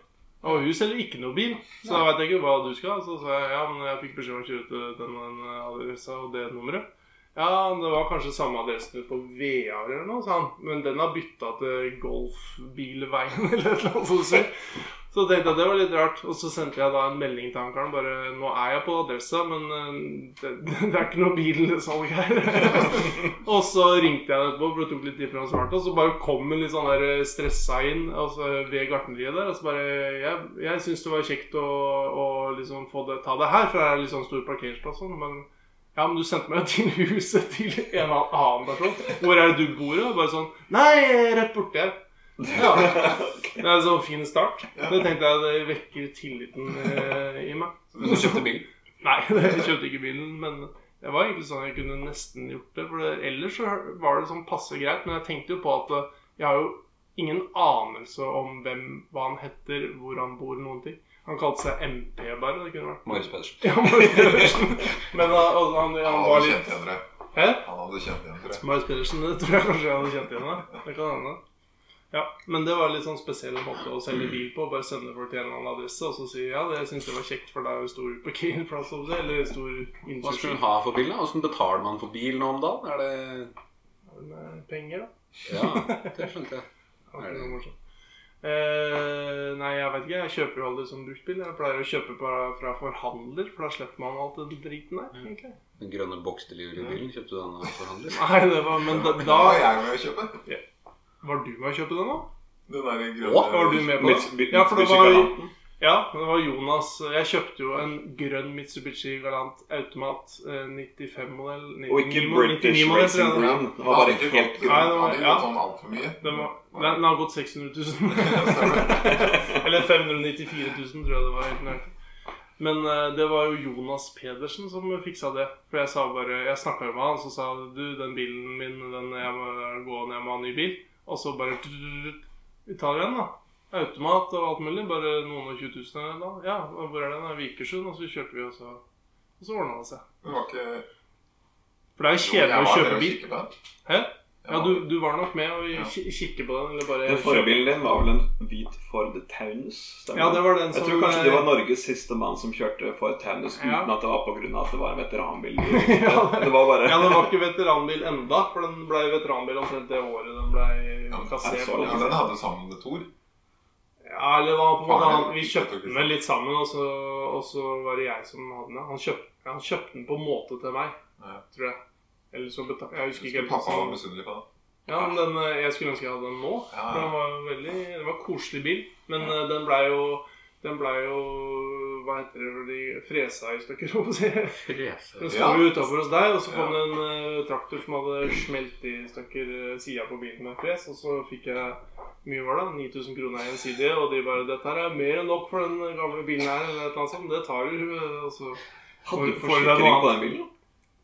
S4: Og hun selger ikke noe bil, så da veit jeg ikke hva du skal. Så sa jeg ja, men jeg fikk beskjed om å kjøre ut til den og den adressa og det nummeret. Ja, det var kanskje samme adressen ute på VR eller noe sånt, men den har bytta til golfbilveien eller et eller annet sånt. sur. Så tenkte jeg det var litt rart, og så sendte jeg da en melding til han karen. Bare 'Nå er jeg på adressa, men eh, det, det er ikke noe bilsalg her'. Og så ringte jeg etterpå, for det tok litt tid før han svarte. Og så bare kom han litt sånn der stressa inn altså, ved gartneriet der. Og så bare Jeg, jeg syns det var kjekt å, å liksom få det, ta det her, for det er litt sånn stor parkeringsplass og sånn. Men ja, men du sendte meg jo til huset til en annen person. Hvor er det du bor, da? Bare sånn Nei, rett borte her. Ja. Det er en sånn fin start. Det tenkte jeg det vekker tilliten eh, i meg.
S1: Men du kjøpte bil?
S4: Nei, jeg kjøpte ikke bilen, men det var egentlig sånn jeg kunne nesten gjort det. For det, ellers så var det sånn passe greit, men jeg tenkte jo på at eh, jeg har jo ingen anelse om hvem, hva han heter, hvor han bor, noen ting. Han kalte seg MP bare, det kunne vært.
S1: Marius Pedersen.
S4: Ja, Marius Pedersen. Men da- og han, han
S2: Han
S4: var
S2: hadde
S4: litt
S2: kjent igjen dere.
S4: Hæ?
S2: Han hadde kjent igjen dere.
S4: Marius Pedersen, det tror jeg kanskje jeg hadde kjent igjen. da. Det kan hende. Ja, Men det var litt sånn spesiell måte å selge bil på. Bare sende folk til en eller annen adresse og så si ja, det jeg synes det var kjekt, for det er jo stor parkeringsplass hos deg. Eller stor
S1: Hva skulle
S4: innkjørsel
S1: hun ha for bil? da? Hvordan betaler man for bil nå om dagen? Er det
S4: med penger, da.
S1: Ja, det skjønte jeg.
S4: Det var ikke noe morsomt. Eh, nei, jeg vet ikke. Jeg kjøper jo aldri sånn bruktbil. Jeg pleier å kjøpe fra, fra forhandler, for da slipper man alt den driten der. egentlig.
S1: Den grønne boksteljulebilen, kjøpte du den av forhandler?
S4: Nei, det var, men da, da
S2: Da var jeg med å kjøpe.
S4: Var du med å kjøpe den, da?
S2: Den der
S1: Å,
S4: Var du
S2: grønne
S4: med på
S3: Mits-
S4: det?
S3: bi-
S4: Ja, for det
S3: Mitsubishi
S4: var,
S3: Galanten.
S4: ja, det var Jonas Jeg kjøpte jo en grønn Mitsubishi Galant automat. eh, 95-modell.
S3: Og ikke British Racing Brown.
S2: Han hadde
S3: Det var bare
S2: ikke
S3: helt
S2: gått
S4: Nei, det var-
S2: han hadde ikke
S4: ja.
S2: gått sånn altfor mye.
S4: Den, var, den, den har gått 600 000. Eller 594 000, tror jeg det var. helt nøyaktig. Men eh, det var jo Jonas Pedersen som fiksa det. For jeg sa bare Jeg snakka med han, så sa jeg, du, den bilen min, den jeg må gå ned med, ha ny bil. Og så bare tut-tut-tut. Vi tar den, da. Automat og alt mulig. Bare noen og 20 000 her da. Ja, og hvor er den? da? Vikersund. Og så kjørte vi, og så, og så ordna det seg.
S2: Det var ikke
S4: For det er
S2: Jo,
S4: jo
S2: jeg
S4: kjedelig
S2: var
S4: å
S2: med
S4: kjøpe bil.
S2: kikke på den.
S4: Hæ?
S2: Jeg
S4: Ja,
S2: var-
S4: du, du var nok med og
S2: Ja.
S4: ki- kikke på den, eller bare
S3: Den forrige bilen din var vel en hvit Ford Taunus? stemmer
S4: Ja, det var den
S3: Jeg
S4: som
S3: tror kanskje det var Norges siste mann som kjørte Ford Taunus
S4: Ja.
S3: uten at det var pga. at det var en veteranbil.
S4: Ja, det-
S3: det var bare
S4: Ja, den var ikke veteranbil enda, for den ble veteranbil omtrent det året den ble
S2: men
S4: kassert.
S2: Ja,
S3: så
S4: Ja,
S2: for den hadde sammen med Thor.
S4: eller det var på en måte
S2: Faen,
S4: han, Vi
S2: jeg
S4: kjøpte
S2: vet ikke.
S4: den vel litt sammen, og så, og så var det jeg som hadde den. Han kjøpte, han kjøpte den på en måte til meg,
S2: Ja.
S4: tror jeg. Eller så beta- Jeg husker
S2: Husker
S4: ikke helt.
S2: pappa var
S4: hvordan-
S2: misunnelig på den.
S4: Ja, men den, eh, Jeg skulle ønske jeg hadde den nå.
S2: Ja, ja.
S4: For den var jo veldig, det var en koselig bil, men eh, den blei jo, den ble jo Hva heter det når de fresa i stykker, holdt jeg på å si. Den
S1: Frese.
S4: sto
S2: Ja.
S4: jo utafor hos deg, og så kom det en eh, traktor som hadde smelt i stykker sida på bilen med fres, og så fikk jeg mye var det, 9000 kroner gjensidige, og de bare 'Dette her er mer enn nok for den gamle bilen her', eller et eller annet sånt. Det tar du, eh, og så
S3: Hadde du
S4: For- for deg
S3: forsikring
S4: noe
S3: på den bilen?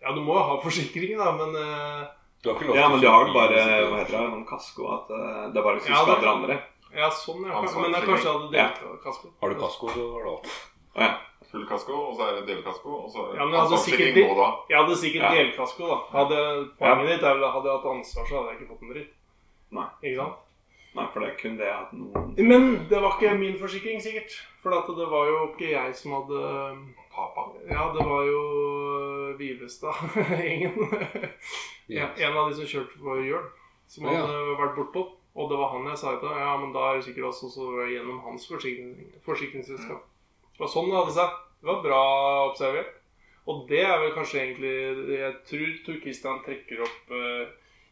S4: Ja, du må jo ha forsikring, da, men eh,
S1: Du har ikke lov
S3: Ja, men du har vel bare
S1: kjøpe bil,
S3: hva heter det, noen kasko at eh, det er bare hvis du
S4: Ja, det-
S3: skader andre.
S4: Ja, sånn, ja.
S2: Ansvar-
S4: Men jeg kanskje jeg hadde delt kasko.
S1: Har du kasko, så har du alt.
S3: Å, ja.
S2: Full kasko, og så er det delkasko, og så er det
S4: Ja, men altså,
S2: ansvarsforsikring
S4: sikkert-
S2: nå da.
S4: Jeg hadde sikkert
S3: Ja.
S4: delkasko, da. Hadde, poenget ditt er vel at hadde jeg hatt ansvar, så hadde jeg ikke fått en dritt.
S3: Nei.
S4: Ikke sant?
S3: Nei, for det er kun det at noen
S4: Men det var ikke min forsikring, sikkert. For at det var jo ikke jeg som hadde
S2: Pappa.
S4: Ja, det var jo øh, Vivestad-gjengen.
S1: Ja.
S4: En av de som kjørte på hjul, som
S1: Ja.
S4: hadde vært bortpå. Og det var han jeg sa til. Ja, men da er det sikkert også så gjennom hans forsikring, forsikringsselskap. Det var sånn det hadde seg. Det var bra observert. Og det er vel kanskje egentlig Jeg tror Tor Christian trekker opp eh,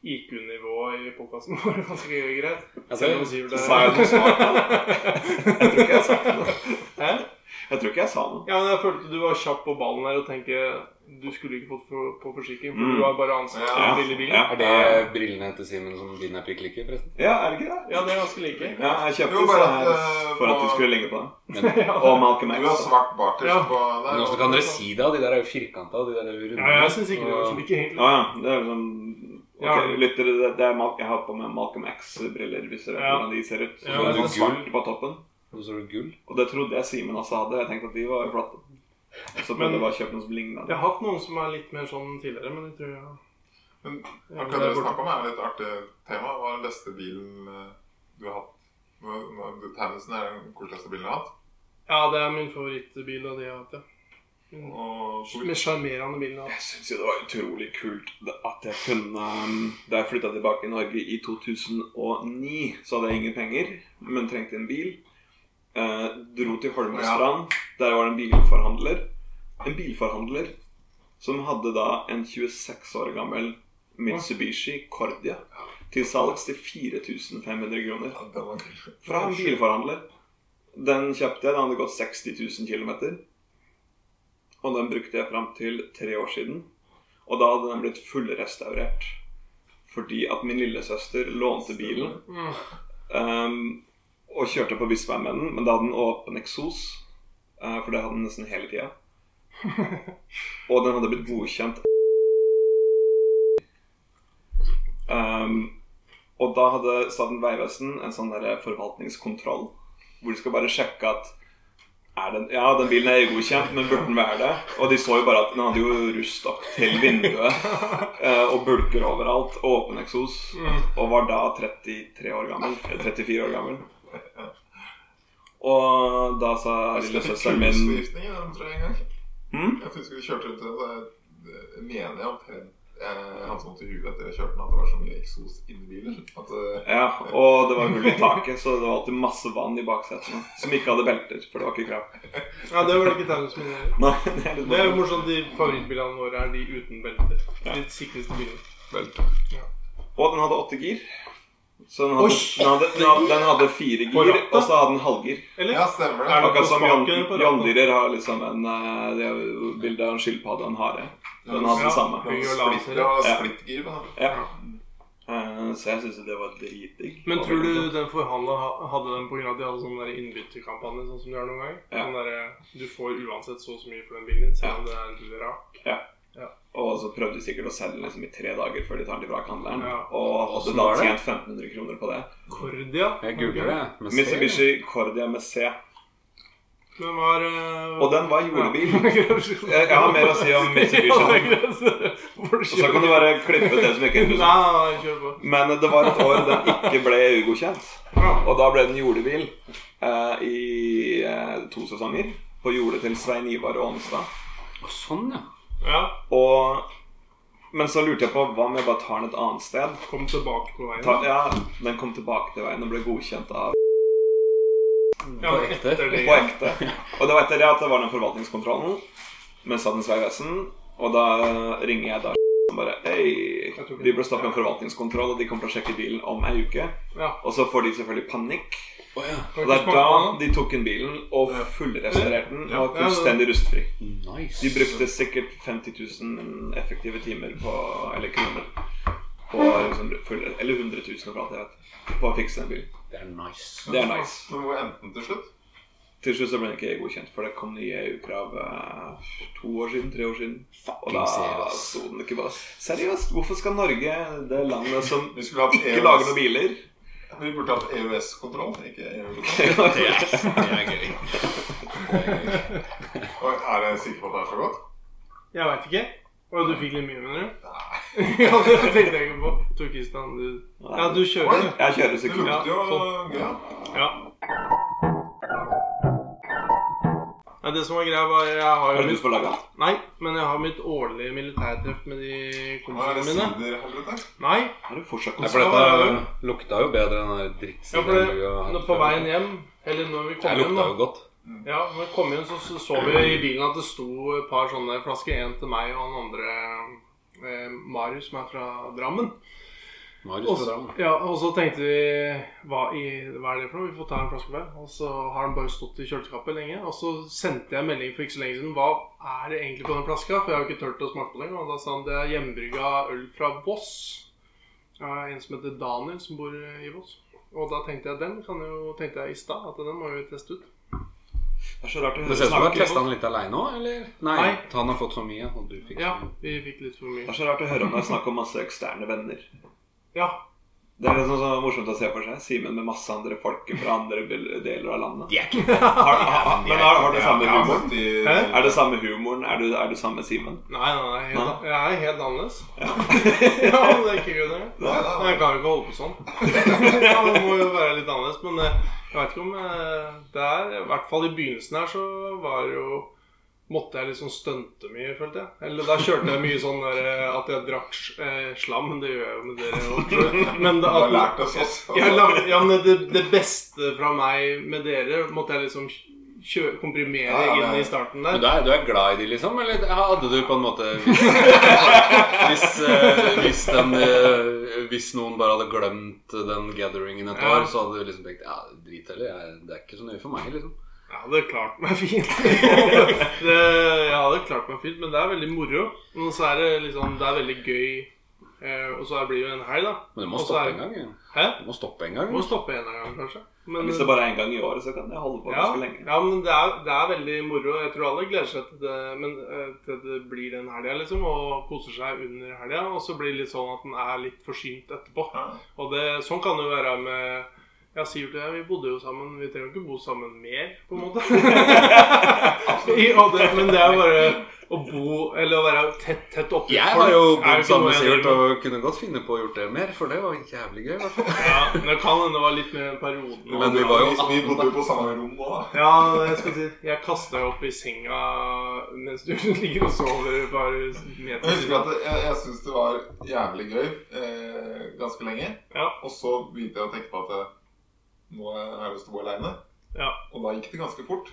S4: IQ-nivået i podkasten vår ganske greit.
S1: Altså,
S4: Selv om Sivert er-
S3: Sa jeg noe smart? Jeg tror ikke jeg sa noe.
S4: Hæ?
S3: Jeg tror ikke jeg sa noe.
S4: Ja, men jeg følte du var kjapp på ballen her og tenkte du skulle ikke fått for, på forsikring, for
S3: Mm.
S4: du har bare ansatt
S2: Ja.
S4: den lille bilen. Ja.
S1: er det brillene til Simen som din er prikk like, forresten?
S3: Ja, er det ikke det?
S4: det er ganske like.
S3: Ja, jeg kjøpte
S2: Jo,
S3: så
S2: bare at,
S3: her
S2: eh,
S3: for at
S2: på-
S3: du skulle ligge på den.
S4: Ja,
S3: Og Malcolm
S2: Du
S3: X.
S2: har
S3: da.
S2: svart bakerst
S4: Ja.
S2: på der.
S1: Men åssen kan dere si det? da? De der er jo firkanta. De der er jo runde.
S4: ja jeg syns ikke det var så like, egentlig.
S3: Ja, ja. Det Ah, er liksom Ok,
S4: Ja.
S3: lyttere, det, det er, Mal- jeg har på meg Malcolm X-briller, hvis dere vet
S4: Ja.
S3: hvordan de ser ut. Så
S4: Ja,
S3: det er
S1: men
S3: sånn
S1: gull.
S3: svart på toppen.
S1: Og så er det gull.
S3: Og det trodde jeg Simen også hadde. Jeg tenkte at de var flate. Og så
S4: Men-
S3: prøvde jeg bare å kjøpe noe som lignet.
S4: Jeg har hatt noen som er litt mer sånn tidligere, men jeg tror jeg
S2: Men
S4: Ja,
S2: akkurat
S4: det er
S2: det du
S4: borte.
S2: snakker om, er et litt artig tema. Hva er den beste bilen eh, du har hatt? Nå- nå- du- Taunusen er den koseligste bilen jeg har hatt.
S4: Ja, det er min favorittbil av de jeg har hatt, ja. Mm.
S2: Og
S4: Mest sjarmerende bilen jeg har hatt.
S3: Jeg syns jo det var utrolig kult at jeg kunne um, Da jeg flytta tilbake i Norge i 2009, så hadde jeg ingen penger, men trengte en bil. Eh, dro til Holmestrand. Der var det en bilforhandler. En bilforhandler som hadde da en 26 år gammel Mitsubishi Cordia til salgs til 4500 kroner.
S2: Ja, den var kul.
S3: Fra en bilforhandler. Den kjøpte jeg da den hadde gått 60 000 km. Og den brukte jeg fram til tre år siden. Og da hadde den blitt fullrestaurert. Fordi at min lillesøster lånte bilen
S4: Mm.
S3: ehm, og kjørte på Bispheim med den. Men da hadde den åpen eksos, eh, for det hadde den nesten hele tida. Og den hadde blitt godkjent Ehm, og da hadde Statens vegvesen en sånn der forvaltningskontroll. Hvor de skal bare sjekke at er den, Ja, den bilen er godkjent, men burde den være det? Og de så jo bare at den hadde jo rustokk til vinduet. eh, og bulker overalt. Og åpen eksos. Og var da 33 år gammel. eh, 34 år gammel. Og da sa lillesøsteren min
S2: Cruiseforgiftning, ja, tror jeg en gang.
S3: hm?
S2: Jeg husker vi kjørte rundt i den, så jeg eh, mener jeg omtrent eh, han som måtte huet etter jeg kjørte den, at det var så mye eksos inni bilen. At, eh,
S3: Ja, og det var hull i taket, så det var alltid masse vann i baksetene. Som ikke hadde belter, for det var ikke krav.
S4: Ja, det var det ikke Taunus min gjorde.
S3: Nei, det er litt
S4: Det er jo
S3: morsomt.
S4: morsomt. De favorittbilene våre er de uten belter. De sikreste bilene.
S3: Og den hadde åtte gir. Så den hadde,
S4: Oi!
S3: den hadde, den hadde, den hadde fire
S4: På
S3: gir,
S4: rattet?
S3: og så hadde den halvgir.
S4: Eller?
S2: ja, stemmer det.
S4: Er det-
S3: Akkurat som
S4: på
S3: John-
S4: spaken på rattet?
S3: Jondyrer har liksom en eh, Det er jo bilde av en skilpadde og en hare. Den hadde
S4: Ja.
S3: det samme.
S4: Høy og lav, ser
S2: Splitter
S4: jeg.
S2: og
S3: Ja.
S2: splittgir. da.
S3: Ja. Eh, Så jeg syns jo det var dritdigg.
S4: Men tror du den forhandla ha- hadde den pga. at de hadde sånn der innbytterkampanje, sånn som de har noen ganger?
S3: Ja.
S4: Sånn der, du får uansett så og så mye for den bilen din, selv om det er en rak.
S3: Og så prøvde de sikkert å selge den liksom i tre dager før de tar den til vrakhandleren.
S4: Ja.
S3: Og hadde
S1: Hvordan
S3: da
S1: var det?
S3: tjent 1500 kroner på det.
S4: Cordia.
S1: Jeg googler det. men ser-
S3: Mitsubishi Cordia med C.
S4: Den var eh,
S3: Og den var julebil. Jeg jeg
S4: Ja.
S3: har mer å si om
S4: Ja, det er
S3: Mitsubishi.
S4: greit. Får du
S3: Og så kan du
S4: kjøre?
S3: bare klippe ut det som ikke er
S4: Nei,
S3: interessant.
S4: nei, kjør på.
S3: Men det var et år den ikke ble EU-godkjent.
S4: Ja.
S3: Og da ble den jordebil eh, i eh, to sesonger. På jordet til Svein Ivar Aanestad.
S1: Å, Sånn, ja.
S4: ja.
S3: Og Men så lurte jeg på hva om jeg bare tar den et annet sted?
S4: Kom tilbake på veien.
S3: Ta, ja, Den kom tilbake til veien og ble godkjent av
S4: Ja, men
S1: ekte.
S4: etter det.
S3: på ekte. Og det var etter det at det var den forvaltningskontrollen med Statens vegvesen. Og da eh, ringer jeg da og bare Hei, vi bør stoppe en forvaltningskontroll, og de kommer til å sjekke bilen om ei uke.
S4: Ja.
S3: Og så får de selvfølgelig panikk.
S1: Å, ja.
S3: Og
S4: Kan du
S3: det
S4: ikke
S3: er
S4: smake
S3: da
S4: på den, da?
S3: de tok inn bilen og fullrestaurerte den.
S2: Ja.
S3: Og var fullstendig rustfri.
S1: Nice.
S3: De brukte sikkert 50 000 effektive timer på Eller kroner. På liksom full, eller 100 000 for alt jeg vet. På å fikse den bilen.
S1: Det er nice.
S3: Det er nice.
S2: Men hvor endte den til slutt?
S3: Til slutt så ble den ikke godkjent, for det kom nye EU-krav eh, to år siden, tre år siden. Og da
S1: seriøst.
S3: sto den ikke bare Seriøst, hvorfor skal Norge, det landet som
S2: Vi skulle hatt
S3: ikke
S2: EØS
S3: lager noen biler
S2: Vi burde hatt EØS-kontroll, ikke E EU-kontroll.
S1: Det er, det er gøy.
S2: Og Er jeg sikker på at det er så godt?
S4: Jeg veit ikke. Og du fikk litt mye, mener du? ja, det tenkte jeg ikke på. Tor Kristian, du Ja, du kjører, du.
S3: Jeg kjører
S2: Det
S3: sykkel.
S4: Ja,
S2: lukter jo
S4: sånn.
S2: ja.
S4: Ja. Nei, det som var greia, var Jeg har
S3: Har
S4: jo
S3: du lyst
S4: mitt,
S3: på å lage den?
S4: nei, men jeg har mitt årlige militærtreff med de
S2: Hva er det
S4: kompisene mine.
S2: siderhelvete?
S4: Nei.
S3: Har du fortsatt
S1: Nei, for dette lukta jo bedre enn den
S4: Ja, for det, nå på veien hjem, eller når vi
S1: Det
S4: kom hjem,
S1: lukta jo
S4: da
S1: godt.
S4: Ja, når vi kom hjem, så, så så vi i bilen at det sto et par sånne flasker. En til meg og han andre eh, Marius, som er fra Drammen.
S1: Marius
S4: Og
S1: fra
S4: så,
S1: Drammen.
S4: ja, og så tenkte vi hva, i, hva er det for noe? Vi får ta en flaske hver. Og så har den bare stått i kjøleskapet lenge. Og så sendte jeg en melding for ikke så lenge siden. Hva er det egentlig på den flaska? For jeg har jo ikke turt å smake på den. Og da sa han det er hjemmebrygga øl fra Voss. Ja, en som heter Daniel, som bor i Voss. Og da tenkte jeg den kan jo, tenkte jeg i stad at den må vi teste ut.
S3: Det er så rart å
S1: Det
S3: høre
S1: ser ut som du har
S3: snakke
S1: testa
S3: folk.
S1: den litt aleine òg, eller? Nei,
S4: Nei.
S1: han har fått så mye, og du fikk
S4: Ja,
S1: så mye.
S4: vi fikk litt for
S3: Det er
S4: mye.
S3: så rart å høre om det er snakk om masse eksterne venner.
S4: Ja,
S3: Det er liksom så morsomt å se for seg. Simen med masse andre folk fra andre bil- deler av landet.
S1: De er ikke
S3: Har, har, men har, har du samme
S2: Ja,
S3: humoren?
S2: men de,
S4: Hæ?
S3: Er det samme humoren? Er du, er du samme Simen?
S4: Nei, nei, nei helt,
S3: Nei.
S4: jeg er helt annerledes. Ja, men det er ikke gøy, det.
S2: Nei, nei,
S4: Jeg kan jo ikke holde på sånn. Ja, det må jo være litt annerledes. Men eh, jeg vet ikke om eh, det er I hvert fall i begynnelsen her så var det jo Måtte jeg liksom stunte mye, følte jeg. Eller da kjørte jeg mye sånn der, eh, at jeg drakk s- eh, slam. Det gjør jeg jo med dere òg.
S2: Du
S4: Men det,
S2: har
S4: at,
S2: lært oss oss.
S4: Jeg lagde, ja, men det, det beste fra meg med dere måtte jeg liksom kjø, komprimere
S2: Ja, ja, men-
S4: inn i starten
S1: Men
S4: der.
S1: du er, du er glad i de, liksom? Eller hadde du på en måte Hvis, hvis, eh, hvis, den, eh, hvis noen bare hadde glemt den gatheringen et
S4: Ja.
S1: år, så hadde du liksom tenkt Ja, drit heller. jeg- Det er ikke så nøye for meg, liksom.
S4: Jeg hadde klart meg fint. det, jeg hadde klart meg fint, men det er veldig moro. Og så er det liksom Det er veldig gøy. Eh, og så blir det jo en helg, da.
S1: Men du må
S4: Og så
S1: stoppe
S4: er-
S1: en gang. ja.
S4: Hæ?
S1: Du må stoppe en gang.
S4: Må stoppe en gang, kanskje. Men,
S3: Hvis det bare er en gang i året, så kan jeg holde på
S4: ja,
S3: ganske lenge.
S4: ja, men det er, det er veldig moro. Jeg tror alle gleder seg til det, men, eh, til det blir den helga, liksom. Og koser seg under helga. Og så blir det litt sånn at den er litt forsynt etterpå.
S2: Ja.
S4: Og det, sånn kan det jo være med Ja, Sivert og jeg, vi bodde jo sammen. Vi trenger jo ikke bo sammen mer, på en måte. I, og det, men det er jo bare å bo Eller å være tett, tett oppi
S1: Jeg har jo
S4: er
S1: bodd
S4: ikke
S1: sammen med
S4: noe jeg
S1: Sivert
S4: driver med.
S1: og kunne godt finne på å gjort det mer, for det var jævlig gøy. i hvert fall.
S4: Ja, men det kan hende det var litt mer den perioden.
S1: Men vi var jo
S2: vi, vi
S1: 18
S2: bodde jo
S1: da.
S2: på samme rom nå, da.
S4: Ja, jeg skal si Jeg kasta jo opp i senga mens du ligger og sover et par
S2: Jeg husker
S4: meter.
S2: at jeg, jeg syntes det var jævlig gøy eh, ganske lenge.
S4: Ja.
S2: Og så begynte jeg å tenke på at eh, nå har jeg lyst til å bo aleine.
S4: Ja.
S2: Og da gikk det ganske fort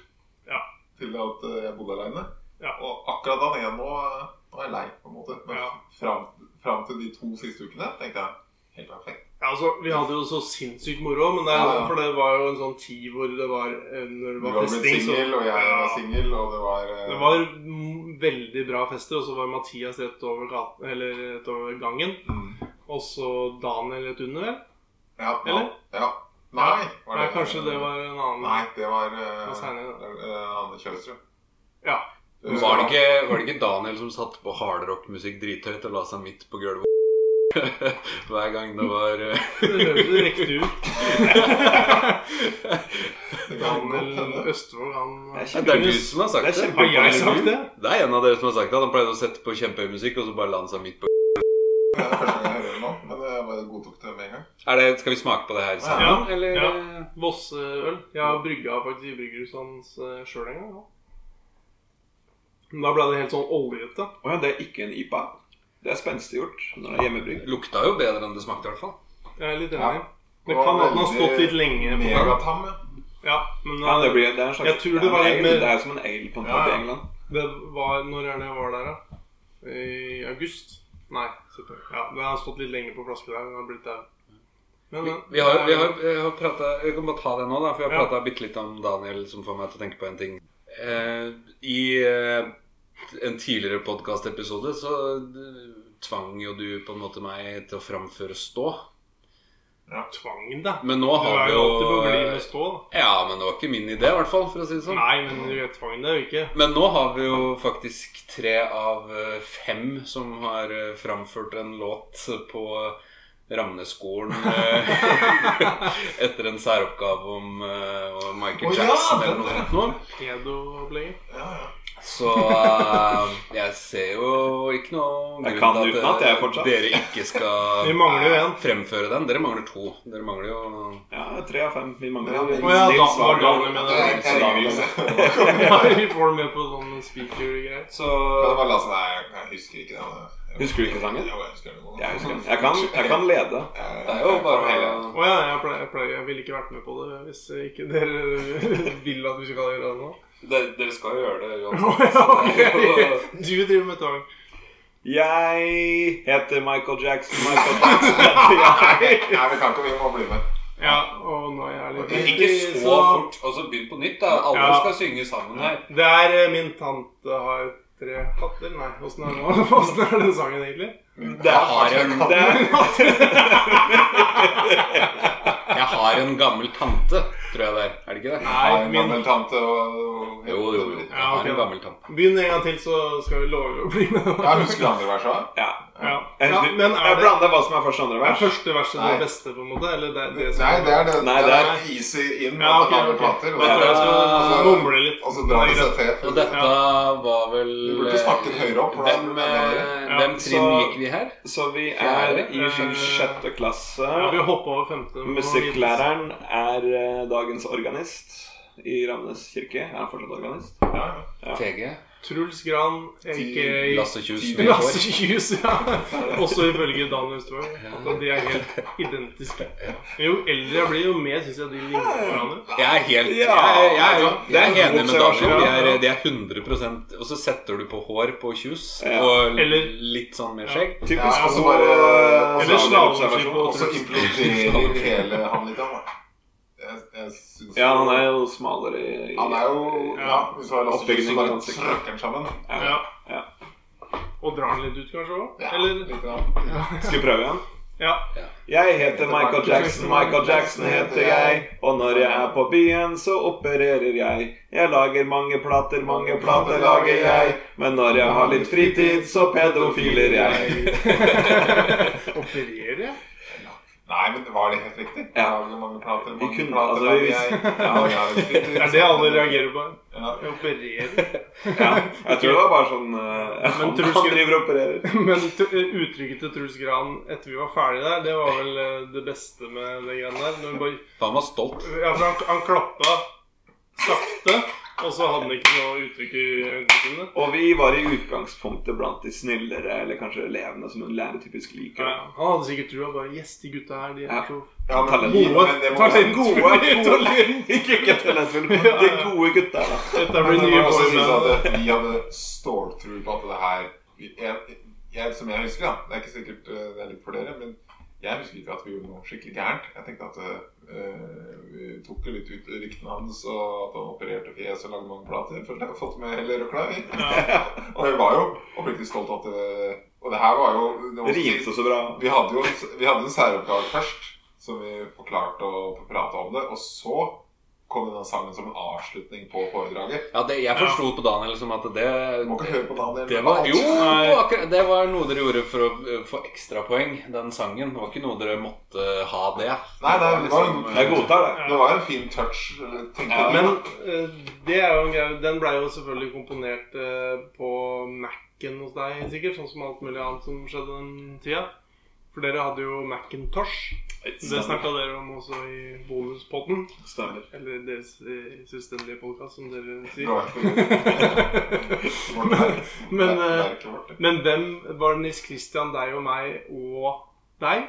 S4: Ja.
S2: til at eh, jeg bodde aleine.
S4: Ja.
S2: Og akkurat da tenkte jeg nå, eh, nå er jeg lei, på en måte. Men
S4: Ja.
S2: fram, fram til de to siste ukene tenkte jeg helt perfekt.
S4: Ja, altså, Vi hadde jo så sinnssykt moro, men det, er-
S2: Ja, ja.
S4: for det var jo en sånn tid hvor det var eh, Når
S2: Du
S4: det var
S2: var blitt
S4: festing, så
S2: singel, og jeg
S4: Ja.
S2: var singel, og det var, eh,
S4: Det var mm, veldig bra fester, og så var Mathias rett over, gaten, eller rett over gangen.
S2: mm,
S4: Og så Daniel rett under, vel?
S2: ja, nå-
S4: Eller?
S2: Ja. Nei, var
S4: Nei, kanskje det var en annen
S2: Nei, det var
S4: Det var
S2: uh,
S4: senere,
S2: Anne Kjølsrud.
S4: Ja.
S1: Men Var det, ikke, var det ikke Daniel som satte på hardrockmusikk drithøyt og la seg midt på gulvet? Hver gang det var eh,
S4: Det høres direkte ut.
S2: Det kan godt hende.
S4: Daniel Østfold, han
S3: Jeg
S1: Nei, Det er du som har sagt
S3: Det er
S1: det.
S3: kjempe-
S4: Har jeg sagt det?
S1: Det er en av dere som har sagt det. at Han pleide å sette på kjempehøy musikk, og så bare la han seg midt på
S2: Det er første gang jeg hører det nå, men jeg bare godtok det med en gang.
S1: er det, Skal vi smake på det her sammen,
S4: Ja,
S1: eller? eh?
S4: ja. Vosseøl. Jeg har brygga faktisk i bryggerhuset hans eh, sjøl en gang. Ja. Men da ble det helt sånn oljete.
S3: Å ja, det er ikke en IPA. Det er spenstiggjort når det er hjemmebrygg.
S1: Lukta jo bedre enn det smakte, i hvert fall.
S4: Jeg er litt
S2: Ja.
S4: enig. Det kan hende den har
S2: Veldig
S4: stått litt lenge. på gang.
S2: Megatam, ja.
S4: Ja, men eh,
S3: Ja, det, blir, det er en slags
S4: Jeg tror det var
S3: Ja,
S4: litt
S3: men
S4: mer-
S3: ale. Det er jo som en ale på en
S2: Ja,
S3: pub i
S2: ja.
S3: England.
S4: Det var Når er det jeg var der, da? I august? Nei. september. Ja, Den har stått litt lenge på flaske der. Den har blitt der. Men, eh,
S1: Vi,
S4: men,
S1: vi har, vi har, jeg har pratet, Jeg kan bare ta det nå, da, for jeg har
S4: Ja.
S1: prata bitte litt om Daniel, som får meg til å tenke på en ting. Eh, I eh, en tidligere podkastepisode så eh, tvang jo du på en måte meg til å framføre stå.
S4: Tvang, da.
S1: Men nå
S4: Du
S1: har
S4: er
S1: vi
S4: jo
S1: jo eh,
S4: alltid på glid med stå. da.
S1: Ja, men det var ikke min idé, i hvert fall, for å si det sånn.
S4: Nei, men du er tvang det er jo ikke.
S1: Men nå har vi jo faktisk tre av eh, fem som har eh, framført en låt på Ramneskolen eh, etter en særoppgave om eh, om Michael
S2: Å, ja,
S1: Jackson
S2: den
S1: eller noe sånt noe.
S4: Pedo-opplegget.
S2: ja, ja.
S1: Så eh, jeg ser jo ikke noe
S3: Jeg kan
S1: grunn til
S3: utenat, jeg,
S1: at
S3: fortsatt.
S1: eh, dere ikke skal
S4: Vi mangler jo en.
S1: fremføre den. Dere mangler to. Dere mangler jo
S3: Ja, tre av fem. Vi mangler
S2: Ja, men-
S4: Å ja, da
S3: Nils
S4: var
S3: Vagdal.
S4: Daniel med
S2: Det er- det er
S3: Nils Vagdal.
S2: ingen vits.
S4: Ja, vi får den med på sånn speaker-greier.
S1: Så
S2: Men det var Lasse, nei, jeg- jeg husker ikke den. Jeg-
S3: Husker du ikke sangen?
S2: Jo, jeg husker den. godt.
S3: Jeg, er jo sånn. jeg, kan, jeg kan lede.
S2: Jeg-
S1: det er jo
S2: jeg-
S1: bare
S2: hele-
S4: Å ja, jeg, pleier, jeg, pleier, jeg ville ikke vært med på det hvis ikke dere vil at vi skal gjøre det nå.
S1: Dere dere skal jo gjøre det
S4: Å
S1: uansett.
S4: ja,
S1: så det er jo-
S4: ok. Du driver med tvang.
S3: Jeg heter Michael Jackson. Michael Jackson heter jeg.
S2: Nei, vi kan ikke, vi må bli med.
S4: Ja, og nå er jeg litt
S1: Men ikke så fort. Og så begynn på nytt, da. Alle
S4: Ja.
S1: skal synge sammen her.
S4: Det er eh, min tante har tre katter. Nei, åssen er, det nå? Hvordan er den sangen egentlig?
S3: Det er-
S1: har jeg
S2: Kan-
S3: Det er
S1: Jeg har en gammel tante. tror jeg det er. Er det ikke det?
S2: Har
S4: Nei,
S2: en
S4: min
S2: gammel tante og, og
S1: Jo, jo, jo. Jeg
S4: Ja, ok,
S1: har en
S4: da.
S1: gammel tante.
S4: Begynn en gang til, så skal vi love å bli med.
S2: Ja, husker du andre verset? også?
S3: Ja.
S4: Ja.
S3: Jeg,
S4: ja, men
S3: jeg
S4: er det
S3: blanda hva som er første og andre
S4: er
S3: vers.
S4: første verset
S2: Nei.
S4: det beste, på en måte? Eller det, det som
S2: Nei, det er det.
S3: Nei,
S2: det
S3: det
S2: er
S4: er-
S2: easy in
S4: Ja,
S2: at
S4: ok,
S2: han har
S4: ok.
S2: plater.
S4: Da tror jeg jeg skal
S2: Og så-
S4: mumle litt.
S2: Og så drar det seg til.
S1: Og
S2: for-
S1: dette var vel
S2: Du burde snakket høyere opp. for da
S1: Hvem,
S2: blir det bedre.
S1: eh,
S4: Ja,
S1: hvem
S3: så-
S1: trinn gikk vi her?
S3: Så vi er
S1: Fjerde.
S3: i
S4: Eh,
S3: sjette
S4: Ja, vi
S3: klasse.
S4: har hoppet over femte. men nå
S3: Musikklæreren er eh, dagens organist i Ramnes kirke. Er han fortsatt organist?
S2: Ja, ja.
S1: TG?
S4: videre. Truls Gran, aka
S1: Lasse Kjus?
S2: Ti-
S4: Lasse Kjus, ja. Også ifølge Daniel Strøm. At de er helt identiske. Men jo eldre jeg blir, jo mer syns jeg de ligner på hverandre.
S1: Jeg er helt
S3: Ja,
S1: jeg, jeg, jeg,
S3: det er
S1: er
S3: en
S1: enig
S3: god
S1: med Daniel.
S3: observasjon,
S1: De
S4: ja.
S1: er, de er 100 Og så setter du på hår på tjus,
S3: Ja.
S1: og
S4: Eller-
S1: litt sånn mer skjegg.
S3: Typisk
S2: Ja, altså
S3: god
S2: bare-
S3: eh,
S2: Eller
S3: observasjon.
S4: slalåmski
S2: Og så imploderer hele han litt. da. Jeg, jeg syns
S3: Ja, han er jo smalere i
S2: Han er jo Ja, hvis du har Lasse Kjus, så
S3: Oppbygging av
S2: bare
S3: ansiktet.
S2: trøkker han sammen.
S3: Ja.
S4: Ja.
S3: Ja.
S4: Og drar den litt ut, kanskje òg?
S2: Ja,
S4: Eller
S2: litt grann.
S3: Skal vi prøve igjen?
S4: Ja.
S3: Jeg heter Michael Jackson, Michael Jackson heter jeg. Og når jeg er på byen, så opererer jeg. Jeg lager mange plater, mange plater lager jeg. Men når jeg har litt fritid, så pedofiler jeg.
S4: Opererer jeg?
S2: Nei, men var det helt riktig?
S3: Ja.
S2: Lager mange plater, mange
S3: kunne-
S2: plater
S3: altså,
S2: lager
S3: vi-
S2: jeg.
S3: Ja.
S2: Ja,
S4: Det er det alle reagerer på.
S2: Ja.
S4: Jeg opererer.
S3: Ja, jeg tror det var bare sånn eh,
S4: Men
S3: Han
S4: tror du
S3: han
S4: skulle-
S3: driver og opererer.
S4: Men t- eh, uttrykket til Truls Gran etter vi var ferdige der, det var vel eh, det beste med det greiene der. Når vi bare
S1: Han var stolt.
S4: Ja, for han, han klappa sakte, og så hadde han ikke noe uttrykk i øynene sine.
S3: Og vi var i utgangspunktet blant de snillere, eller kanskje elevene, som en lærer typisk liker.
S4: Ja, han hadde sikkert trua bare Yes, de gutta her, de er
S3: Ja.
S4: så
S2: Ja, men,
S3: Talent.
S2: men,
S4: gode.
S2: det må
S4: Ta
S2: være-
S4: litt
S3: Gode,
S4: gode
S3: gode.
S4: talent.
S3: Ikke ikke talentfulle, men de gode gutta, da.
S4: Dette
S2: Men
S4: blir
S2: det
S4: nye
S2: må også sies
S4: boyband.
S2: sånn at Vi hadde ståltro på at det her vi- jeg, jeg, Som jeg husker, da. Det er ikke sikkert eh, det er litt for dere, men jeg husker ikke at vi gjorde noe skikkelig gærent. Jeg tenkte at eh, vi tok jo litt ut ryktene hans, og at han opererte fjes og lagde mange plater. Følte jeg har fått med hele røkla. vi. og jeg var jo oppriktig stolt av at det Og det her var jo det må
S3: Det
S2: sies-
S3: rimte så bra.
S2: vi hadde jo vi hadde en særoppgave først, som vi forklarte og prata om det. Og så kom denne sangen som en avslutning på foredraget.
S1: Ja, det, jeg forsto på Daniel som at det
S2: Du må ikke høre på Daniel.
S1: det var, jo,
S4: Nei.
S1: akkurat, det var noe dere gjorde for å eh, få ekstrapoeng, den sangen. Det var ikke noe dere måtte ha det.
S2: Nei, nei, det var en,
S3: Jeg godtar det.
S2: det var en fin touch, tenkte
S3: Ja,
S2: jeg.
S4: Men eh, det er jo en greie Den blei jo selvfølgelig komponert eh, på Mac-en hos deg, sikkert. Sånn som alt mulig annet som skjedde den tida. For dere hadde jo Macintosh. Det snakka dere om også i bonuspodden.
S3: Stemmer.
S4: Eller deres eh, selvstendige podkast, som dere sier.
S2: Bra.
S4: Men,
S2: Det er
S4: eh,
S2: ikke vårt, det.
S4: Men hvem var Nils Christian, deg og meg og deg?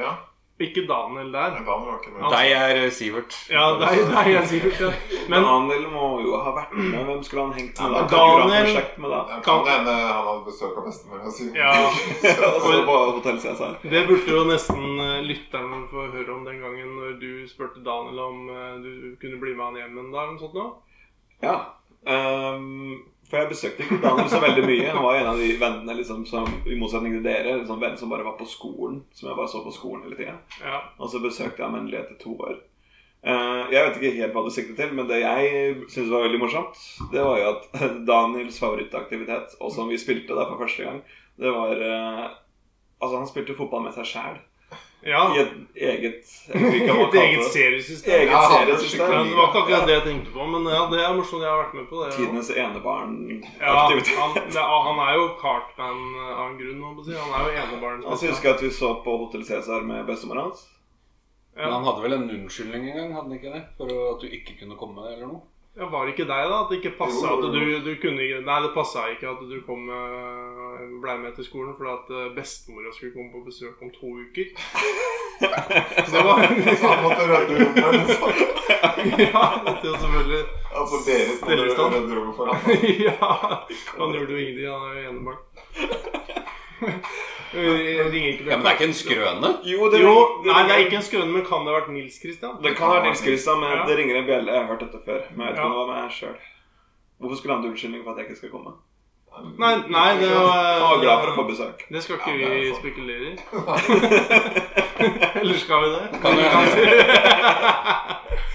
S2: Ja,
S4: Ikke Daniel
S2: men
S4: der.
S2: Daniel var ikke med.
S1: Deg er eh, Sivert.
S4: Ja, deg, deg er sikkert det. Men
S3: Daniel må jo ha vært med. Hvem skulle han hengt
S2: Ja,
S3: med? da?
S2: men
S3: Kan du
S4: Daniel-
S3: ha prosjekt med da?
S2: Ja, Kan det hende han hadde besøk av bestemora si.
S4: Ja.
S3: Og så på Hotel Cæsar.
S4: det burde jo nesten eh, lytterne få høre om den gangen når du spurte Daniel om eh, du kunne bli med han hjem en dag eller noe sånt nå.
S3: Ja. ehm, for jeg besøkte ikke Daniel så veldig mye. Han var en av de vennene liksom, som i motsetning til dere, liksom, venn som bare var på skolen. Som jeg bare så på skolen hele tida.
S4: Ja.
S3: Og så besøkte jeg Mendelig etter to år. Eh, jeg vet ikke helt hva du sikter til, men det jeg syntes var veldig morsomt, det var jo at Daniels favorittaktivitet, og som vi spilte der for første gang, det var eh, Altså, han spilte fotball med seg sjæl.
S4: ja.
S3: I et eget jeg husker ikke hva man
S4: Et
S3: kalte
S4: eget
S3: det.
S4: seriesystem.
S3: Eget
S2: Ja, han hadde
S3: seriesystem.
S4: Men det var ikke akkurat det jeg tenkte på, men ja, det er morsomt. Jeg har vært med på det. ja.
S3: Tidenes
S4: Ja,
S3: enebarnaktivitet.
S4: han, det, er- han er jo kartman av en grunn, må jeg si. Han er jo
S3: Og så
S4: enebarn.
S3: husker Altså, jeg at vi så på Hotell Cæsar med bestemor hans.
S1: Men
S4: Ja.
S1: han hadde vel en unnskyldning en gang, hadde han ikke det? For å- at du ikke kunne komme, eller noe?
S4: Ja, var det ikke deg, da? At det ikke passa
S2: Jo,
S4: at
S2: jo,
S4: du,
S2: jo.
S4: du kunne ikke Nei, det passa ikke at du kom eh, ble med til skolen fordi at eh, bestemora skulle komme på besøk om to uker. Så det var
S2: Så han måtte rydde rommet. liksom.
S4: Ja, det var selvfølgelig
S2: Altså deres måtte
S4: Stillestand.
S2: rydde rommet for han.
S4: Ja. Han gjorde jo ingenting, han er jo enebarn. Jeg Ringer ikke
S1: Ja, Men det er ikke en skrøne?
S3: Jo,
S4: Jo, nei, det er ikke en skrøne, men kan det ha vært Nils Christian?
S3: Det kan være Nils Christian, men
S4: Ja.
S3: det ringer en bjelle. Jeg har hørt dette før. Men jeg vet ikke
S4: Ja.
S3: om det var meg sjøl. Hvorfor skulle han ha en unnskyldning for at jeg ikke skal komme?
S4: Nei, nei, det
S3: Han var glad for å få
S4: var
S3: besøk.
S4: Det skal
S2: Ja,
S4: ikke
S2: det er
S4: vi
S2: sant.
S4: spekulere i. Eller skal vi det?
S1: Kan hende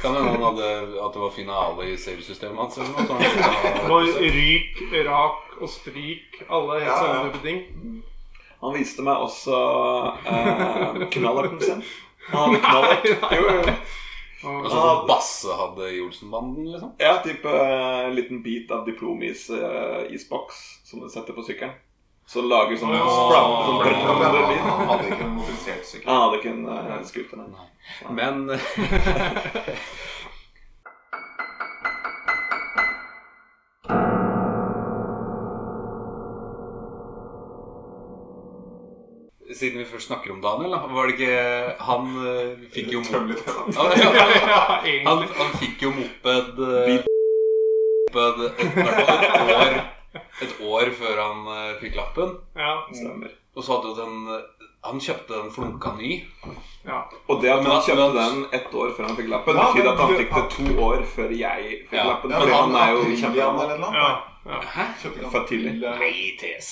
S1: kan hende han hadde at det var finale i seriesystemet hans. eller noe sånt. Ja,
S4: Bare ryk, rak og stryk. Alle
S3: Ja,
S4: helt
S3: ja.
S4: samme type ting.
S3: Han viste meg også eh, knallerten sin. Han hadde knallert. Jo, jo, jo.
S4: Og-
S1: Altså som Basse hadde i Olsenbanden, liksom.
S3: Ja, type eh, en liten bit av diplomis eh, isboks som du setter på sykkelen. Så lager sånn
S4: Åh.
S3: splat, sånn
S2: Han
S3: brennende lyd.
S2: hadde ikke en motorisert sykkel.
S3: Han hadde ikke en uh, skutt den.
S1: Men Siden vi først snakker om Daniel, da, var det ikke Han eh, fikk jo moped
S2: Tøm litt da.
S1: Ja, ja,
S4: Ja,
S1: han,
S4: egentlig.
S1: han fikk jo moped eh, Moped et, i hvert fall et år Et år før han eh, fikk lappen.
S4: Ja,
S3: Stemmer.
S1: Og så hadde jo den eh, Han kjøpte den flunka ny.
S4: ja.
S3: Og det at
S1: Men-
S3: han kjøpte
S1: men-
S3: den ett år før han fikk lappen,
S2: Ja,
S3: betydde
S2: men
S3: at han
S2: du-
S3: fikk det to år før jeg fikk
S1: Ja.
S3: lappen.
S2: Ja,
S3: Fordi
S2: men
S3: han er jo
S2: Attiljan eller
S3: kjempegammel.
S2: noe?
S4: ja, ja.
S1: Hæ?
S2: Kjøpte
S3: For tidlig.
S2: gammel- eh,
S1: Nei, tes.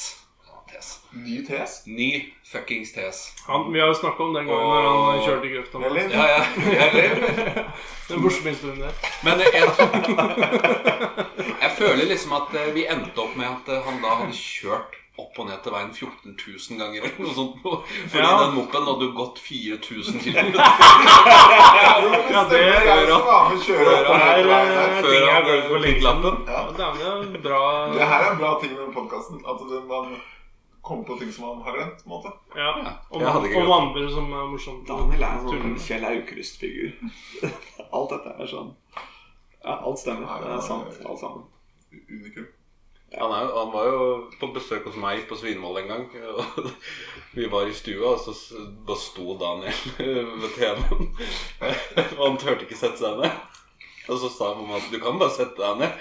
S1: tes.
S2: Ny tes.
S1: Ny fuckings tes.
S4: Han, vi har jo snakka om den gangen når han kjørte i grøfta.
S2: Eller?
S1: Ja, ja. Jeg ler.
S4: Den morsomste historien der.
S1: Men jeg, jeg føler liksom at eh, vi endte opp med at eh, han da hadde kjørt opp og ned til veien 14 000 ganger eller noe sånt. nå. Fordi
S4: Ja.
S1: den mopeden hadde jo gått 4000 km
S4: Ja, det
S2: Stemmer, jeg
S4: gjør
S2: som var med å kjøre opp og
S4: Det
S2: ned
S4: er
S2: til veien
S4: eh,
S2: her.
S1: Før
S4: ting jeg har
S1: han,
S4: glemt
S1: eh,
S4: for lenge
S1: fikk
S4: siden.
S1: lappen.
S4: Ja,
S2: Ja.
S4: det er jo en bra
S2: Det her er en bra ting med podkasten. At det- man kommer på ting som man har glemt. på en måte
S4: ja. Om,
S1: Jeg hadde ikke
S4: om andre som er morsomt.
S3: Daniel er en sånn
S4: Tull.
S3: Kjell Aukrust-figur. Alt dette er sånn Ja, alt stemmer. Det er sant, alt sammen.
S2: Unikum.
S1: Han, er, jo- han var jo på besøk hos meg på Svinvoll en gang. og Vi var i stua, og så s- da sto Daniel ved TV-en. Og han turte ikke sette seg ned. Og så sa mamma at 'du kan bare sette deg ned'.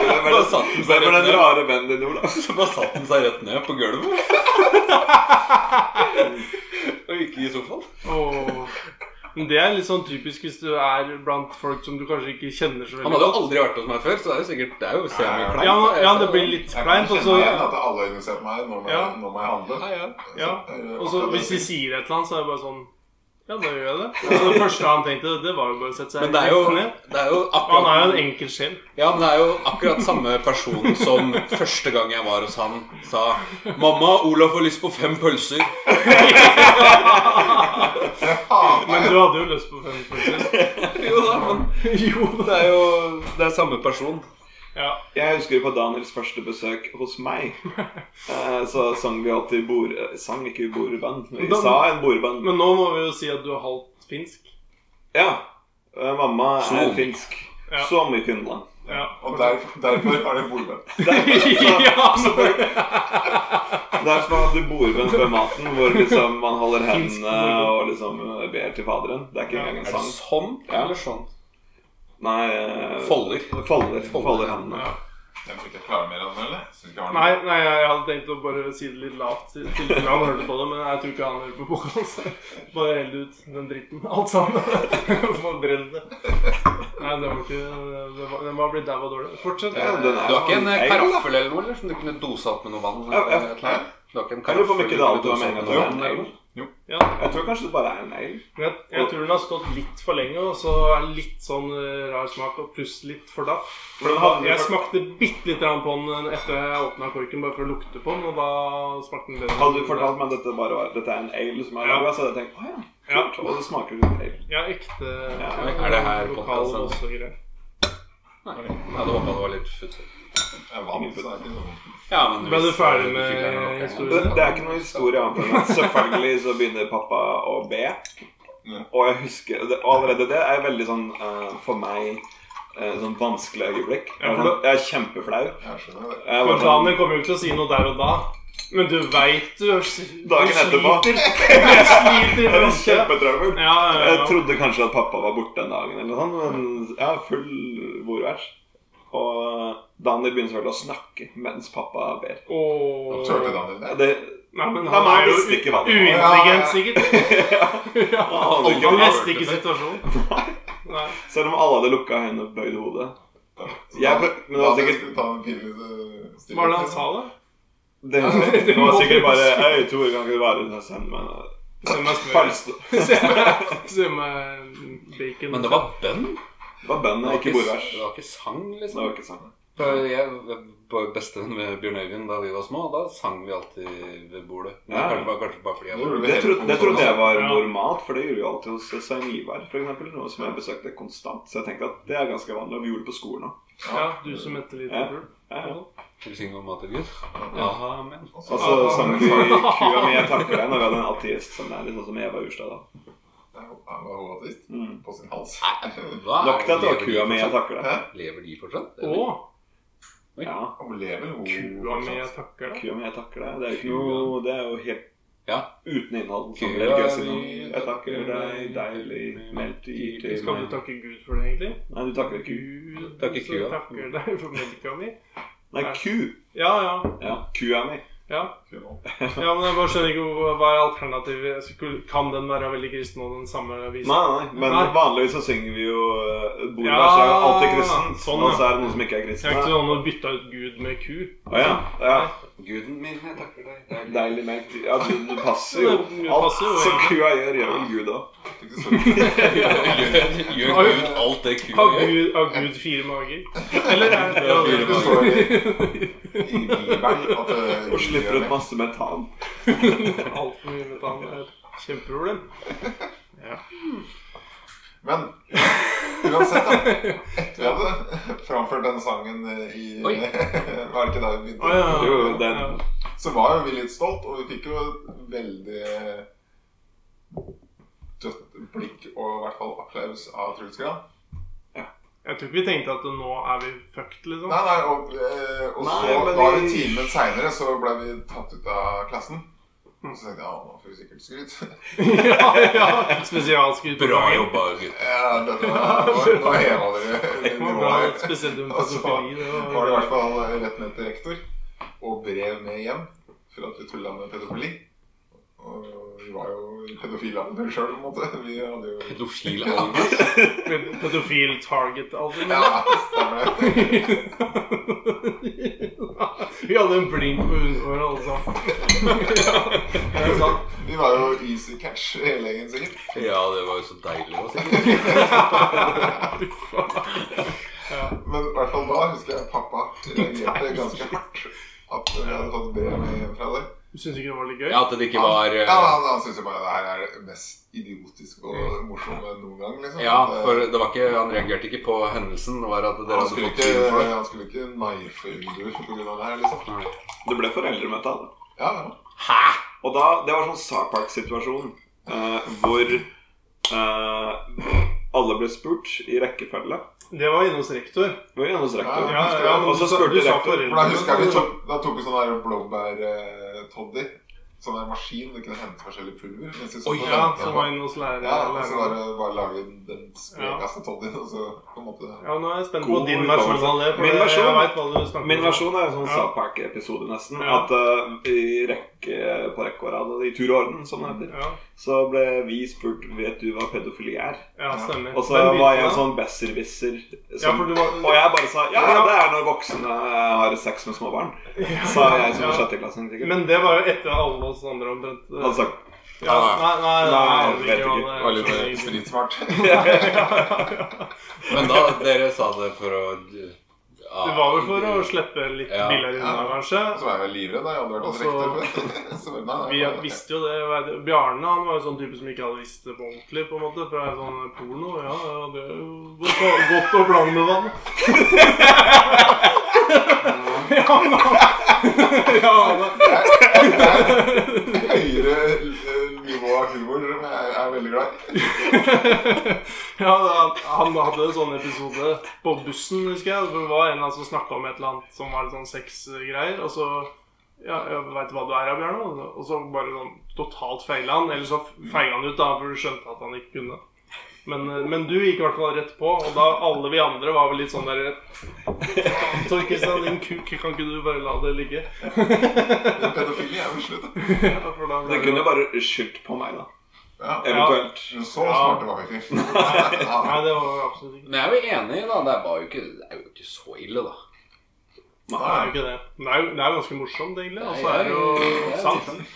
S3: Hvem
S1: Bare satt den seg
S3: Hvem er
S1: rett
S3: den
S1: ned.
S3: rare vennen din, Olav?
S1: Så bare satt han seg rett ned på gulvet. Og ikke i sofaen.
S4: Åh. Men det er litt sånn typisk hvis du er blant folk som du kanskje ikke kjenner så
S1: Han
S4: veldig
S1: hadde jo aldri vært hos meg før, så det er jo sikkert Det er jo semikleint.
S4: Ja, men- ja, det blir litt
S2: Jeg kan
S4: kleint. Og
S2: kjenne igjen
S4: så,
S2: at alle øyne ser på meg. Nå må jeg,
S4: Ja.
S2: nå må jeg handle.
S1: Ja, ja.
S4: ja.
S2: Eh,
S4: og så
S2: akkurat
S4: hvis
S2: det.
S4: de sier et eller annet, så er det bare sånn Ja, da gjør jeg det. Så det første han tenkte, det var jo bare å sette seg
S1: Men det er jo,
S4: rett ned.
S1: det er jo
S4: Og Han er jo
S1: akkurat
S4: en enkel sjel.
S1: Ja, men det er jo akkurat samme person som første gang jeg var hos han, sa 'Mamma, Olaf har lyst på fem pølser'.
S2: Jeg hater
S4: Men du hadde jo lyst på fem pølser.
S1: Jo da, men jo, det er jo Det er samme person.
S4: Ja.
S3: Jeg husker på Daniels første besøk hos meg. Eh, Så sang vi alltid bord... eh, Sang ikke bordband. Vi
S4: Da-
S3: sa en bordband.
S4: Men nå må vi jo si at du er halvt finsk.
S3: Ja. eh, Mamma er
S1: Som.
S3: finsk.
S4: Ja.
S3: Som i Finland.
S4: Ja.
S2: Og derfor, derfor har det bordvenn.
S4: ja, men-
S3: Derfor man hadde bordband før maten, hvor liksom man holder
S4: Finsk
S3: hendene
S4: bordband.
S3: og liksom eh, ber til Faderen. Det er ikke
S4: Ja.
S3: engang
S1: Er
S3: en
S1: det
S3: sang.
S1: sånn
S3: Ja.
S1: eller sånn?
S3: Nei eh,
S1: Folder.
S3: Folder, folder hendene.
S4: ja.
S2: Jeg tror ikke jeg klarer mer enn det, eller? Synes ikke jeg har noe.
S4: Nei, nei, jeg hadde tenkt å bare si det litt lavt, i tilfelle han hørte på det, men jeg tror ikke han hører på podkast. Bare hell ut den dritten. Alt sammen. Forbrenn det. Nei, det var ikke det var, Den var blitt dæva dårlig. Fortsett.
S3: Ja,
S1: Du
S3: den er
S1: har ikke en eh,
S3: feil, da.
S1: karaffel eller noe eller, som du kunne dosa opp med noe vann?
S3: Ja, ja.
S1: eller et eller annet? Du har ikke en
S3: Jeg lurer på
S1: karaffel
S3: om ikke det
S1: du kunne
S3: alltid var
S1: dosa opp
S3: meningen
S1: med
S3: at det
S1: noe
S3: var en
S1: vann,
S3: negl.
S1: eller?
S4: Ja,
S3: Jeg tror kanskje det bare er en negl.
S4: men jeg, jeg tror den har stått litt for lenge, og så er det litt sånn eh, rar smak, og pluss litt for daff.
S3: For den hadde-
S4: Jeg smakte bitte litt grann på den eh, etter jeg åpna korken, bare for å lukte på den, og da smakte den bedre.
S3: Hadde du fortalt meg at dette bare var Dette er en ale som er
S4: Ja.
S3: laga, så hadde jeg tenkt Å ja,
S4: Ja.
S3: kult. Og det smaker som en ale.
S4: Ja, ekte
S3: Ja,
S1: er det her altså?
S4: lokal
S1: podcasten?
S4: rossegreier.
S1: Nei, jeg hadde håpet det var litt futt.
S2: Jeg vant, så det er ikke noe.
S1: Ja, men
S4: Ble
S1: hvis-
S4: du ferdig
S1: fikk
S4: med
S1: lære nok, ja.
S4: historien?
S3: Det, det er ikke noe historie annet enn at selvfølgelig så begynner pappa å be.
S2: Ja.
S3: Og jeg husker det, og Allerede det er veldig sånn eh, for meg eh, sånn vanskelig øyeblikk. Jeg
S4: Ja,
S3: er
S4: for
S3: sånn- jeg er kjempeflau.
S2: Jeg skjønner det.
S3: Jeg
S4: Men
S3: var sånn,
S4: Daniel kommer jo ikke til å si noe der og da. Men du veit du, s- du
S3: Dagen etterpå.
S4: sliter. Du sliter i
S3: jeg var
S4: brystet.
S3: kjempetrøbbel.
S4: Ja, ja,
S3: Jeg
S4: ja.
S3: trodde kanskje at pappa var borte den dagen, eller noe sånt, men ja, full bordvers. Og Daniel begynner selvfølgelig å snakke mens pappa ber.
S4: Åh.
S2: Turte Daniel
S3: Ja,
S2: det?
S3: Det,
S4: Nei, men
S3: Da
S4: han
S3: må
S4: er jo
S3: jeg visste ikke hva det var.
S2: Ja,
S4: uintelligent, sikkert. Ja,
S3: han hadde ikke
S4: Han
S3: hørt
S4: leste ikke situasjonen. Nei.
S3: selv om alle hadde lukka øynene og bøyd hodet. Jeg ble- men det var
S2: Daniel
S3: sikkert-
S2: skulle ta en pinlig eh, stillhet.
S4: Hva var det han sa, da?
S3: eh, Det, det var sikkert bare Øy, Tor, kan ikke du bare sende meg en
S4: Se meg smør.
S3: Pølse.
S4: Se meg, se meg bacon.
S1: Men det var bønn?
S3: Det var bandet, ikke bordvers.
S1: Det var ikke sang,
S3: Det
S1: liksom?
S3: var ikke sånn. sant.
S1: For jeg var bestevenn med Bjørn Øyvind da vi var små, og da sang vi alltid ved bordet. Men
S3: Ja.
S1: kanskje, bare, kanskje bare fordi jeg var
S2: Gjorde du
S3: Det trodde, det trodde jeg var
S4: Ja.
S3: normalt, for det gjorde vi alltid hos eh, Svein Ivar. For eksempel, noe som jeg besøkte konstant. Så jeg tenkte at det er ganske vanlig. Og vi gjorde det på skolen òg.
S4: Ja, du som heter
S3: Ja.
S4: Liverpool.
S3: Ja, ja.
S1: Vil du synge om mat og Gud? Amen.
S2: Også,
S3: Og så sang vi 'Kua mi, jeg takker deg' når vi hadde en ateist som er litt sånn som Eva Urstad. da
S2: Han var hovatist
S3: Mm.
S2: på sin hals.
S1: Hva?
S3: Nok til at det
S1: Lever de
S3: var 'Kua mi, jeg
S1: fortsatt?
S3: takker
S2: Hæ?
S3: deg'.
S1: Lever de fortsatt?
S4: Å!
S3: Ja,
S2: Hun lever jo
S4: Kua mi, jeg takker deg.
S3: kua mi, jeg takker deg. Det er jo, ikke noe, det er jo helt
S1: Ja.
S3: uten innhold. Sånn Som
S1: Kua
S3: religiøs
S1: mi,
S3: innhold. Jeg takker deg, deilig melk du gir til
S4: Skal du
S3: meg.
S4: takke Gud for det, egentlig?
S3: Nei, du takker ikke.
S4: Gud Mm.
S1: Takke
S4: som
S1: kua.
S4: takker deg for melka mi?
S3: Nei, ku.
S4: Ja, ja.
S3: Ja, kua mi.
S4: ja.
S2: Kua
S4: Ja, men jeg bare skjønner ikke hvor- hva er alternativet. Skulle- Kan den være veldig kristen og den samme visen?
S3: Nei, nei, men
S4: Nei.
S3: vanligvis så synger vi jo eh, Bordbæsj
S4: Ja,
S3: er jo alltid kristen,
S4: sånn,
S3: og
S4: ja.
S3: så er det noen som ikke er
S4: Det er
S3: kristne.
S4: ikke sånn å bytte ut Gud med ku.
S3: Å ja, ja.
S1: Guden min, jeg takker deg. Deilig.
S3: Deilig melk. Ja, du, du passer jo.
S4: Ja, det
S3: Alt
S4: passer jo, ja.
S3: som kua gjør, gjør vel Gud òg.
S1: Gjør, gjør Gud alt det kua
S4: Har
S1: gjør?
S4: Gud, har Gud fire mager? Eller er det
S1: Ja, fire
S2: Det står i Bibelen at eh,
S3: Og slipper ut masse metan.
S4: Altfor mye metan er et kjempeproblem.
S2: Men uansett, da. Etter vi hadde framført den sangen eh, i
S1: Oi.
S2: Var det ikke der vi begynte?
S4: Å, ja.
S3: Jo, jo, den.
S4: Ja.
S2: Så var jo vi litt stolt, og vi fikk jo et veldig dødt blikk og i hvert fall applaus av Truls Gran.
S4: Jeg tror ikke vi tenkte at nå er vi fucked, liksom.
S2: Nei, nei, og, eh, og
S3: Nei,
S2: så
S3: men
S2: bare
S3: vi-
S2: timen seinere så ble vi tatt ut av klassen. Og så tenkte jeg ja, nå får vi sikkert skryt.
S4: ja, ja. Spesialskudd. på
S1: Bra
S4: dagen.
S1: jobba, gutt.
S2: Ja, dette var, nå, nå heva dere
S4: Det var bra,
S2: nivået.
S4: spesielt om
S2: Og så var
S4: pedofili.
S2: Altså, det
S4: det
S2: i
S4: var-
S2: hvert fall rett ned til rektor, og brev med hjem for at vi tulla med pedofili. Og vi var jo pedofilalderen sjøl, på en måte. Vi hadde jo
S1: Pedofil alder.
S4: Pedofil target, altså.
S2: Ja, stemmer det.
S4: Vi hadde en blink på hundehåret, alle sammen. Ja, det er sant.
S2: Vi var jo easy catch hele gjengen, sikkert.
S1: Ja, det var jo så deilig å si.
S2: Men i hvert fall da husker jeg pappa reagerte ganske hardt. At vi hadde fått brev med hjem fra deg.
S4: Du syns ikke det var litt gøy?
S1: Ja, at det ikke var
S2: Ja,
S1: eh,
S2: han, han syntes jo bare det her er det mest idiotiske og morsomme noen gang, liksom.
S1: Ja,
S2: At, eh,
S1: for det var ikke, han reagerte ikke på hendelsen. Det var at dere
S2: han
S1: hadde
S2: skulle,
S1: fått
S2: ikke,
S1: tyn for det.
S2: han skulle ikke knife vinduer på grunn av det her, liksom.
S1: Nei.
S3: Det ble foreldremøte av det.
S2: Ja, ja.
S1: Hæ?!
S3: Og da, det var sånn South Park-situasjon eh, hvor eh, alle ble spurt i rekkefølge.
S4: Det var inne hos rektor.
S3: Det var gjennom rektor.
S2: Ja, ja, men
S3: og så
S4: du sa-
S3: spurte
S4: du sa
S3: rektor.
S4: foreldre.
S2: For da husker jeg vi tok, da tok vi sånn der blåbær-toddy. Sånn der maskin du kunne hente forskjellige pulver. Mens vi satt
S1: Oi,
S2: og
S4: Ja,
S2: ventet
S4: som
S2: på-
S4: var inne hos læreren.
S2: ja, og så
S4: læreren.
S2: bare, bare lage den sprekeste toddyen, og så på en måte
S4: Ja, nå er jeg spent på
S3: God
S4: din versjon
S3: hukommelse.
S4: av det. for
S3: Min
S4: jeg-
S3: versjon-
S4: jeg vet hva du snakker
S3: Min
S4: om.
S3: versjon er jo sånn
S4: Ja.
S3: South Park-episode, nesten.
S4: Ja.
S3: At eh, i rekke på rekke og rad, og i tur og orden, som det heter,
S4: Ja,
S3: så ble vi spurt Vet du hva pedofili er.
S4: ja stemmer.
S3: Og så
S4: Hvem begynte
S3: var jeg en
S4: da?
S3: sånn besserwisser.
S4: Ja, for
S3: Som,
S4: du var
S3: og jeg bare sa ja,
S4: Ja.
S3: det er når voksne har sex med små barn. Sa jeg som var sjetteklassing, sikkert.
S4: Men det var jo etter alle oss andre omtrent.
S3: Han sa
S4: ja, nei, nei, nei,
S3: Altså,
S4: sånn
S3: Nei,
S4: jeg
S3: vet
S4: aner
S3: ikke.
S4: hva det- eh,
S1: Var litt mer
S2: Stridsmart.
S1: Men da, dere sa det for å ja,
S4: Det var vel for å slippe litt
S1: Ja.
S4: billigere unna, kanskje.
S2: Så var jeg jo livredd. da, Jeg hadde vært hos
S4: Og
S2: rektor før. Så, nei, nei,
S4: Vi
S2: nei.
S4: visste jo det. hva er det- Bjarne han var jo sånn type som ikke hadde visst det på ordentlig. på en måte Fra sånn porno. Ja, ja, det er jo godt, å- godt å blande vann. ja, men han- ja, men-
S2: Høyere eh, nivå av humor som jeg er veldig glad i.
S4: Ja, han- han hadde en sånn episode på bussen, husker jeg. Det var en eller annen som snakka om et eller annet som var litt sånn sexgreier. Og så Ja, jeg veit hva du er, ja, Bjørn. Og så bare sånn totalt feila han. Eller så feiga han ut, da, for du skjønte at han ikke kunne. Men, eh, men du gikk i hvert fall rett på, og da alle vi andre var vel litt sånn der Tor Kristian, din kuk, kan ikke du bare la det ligge?
S2: Men Pedofili er vel slutt. da.
S4: Ja, for da
S3: Du
S4: ble det-
S3: kunne jo bare skyldt på meg, da.
S2: Ja.
S3: Eventuelt.
S2: Men Så smarte var vi ikke. Ja.
S4: Nei, det var absolutt ikke
S1: Men jeg er jo enig, da. Det var jo ikke, det er jo ikke så ille, da.
S4: Det er jo ikke det. Det er jo, det er jo ganske morsomt, egentlig. Og så er det
S1: Det
S4: jo
S1: er
S4: sant.
S1: morsomt.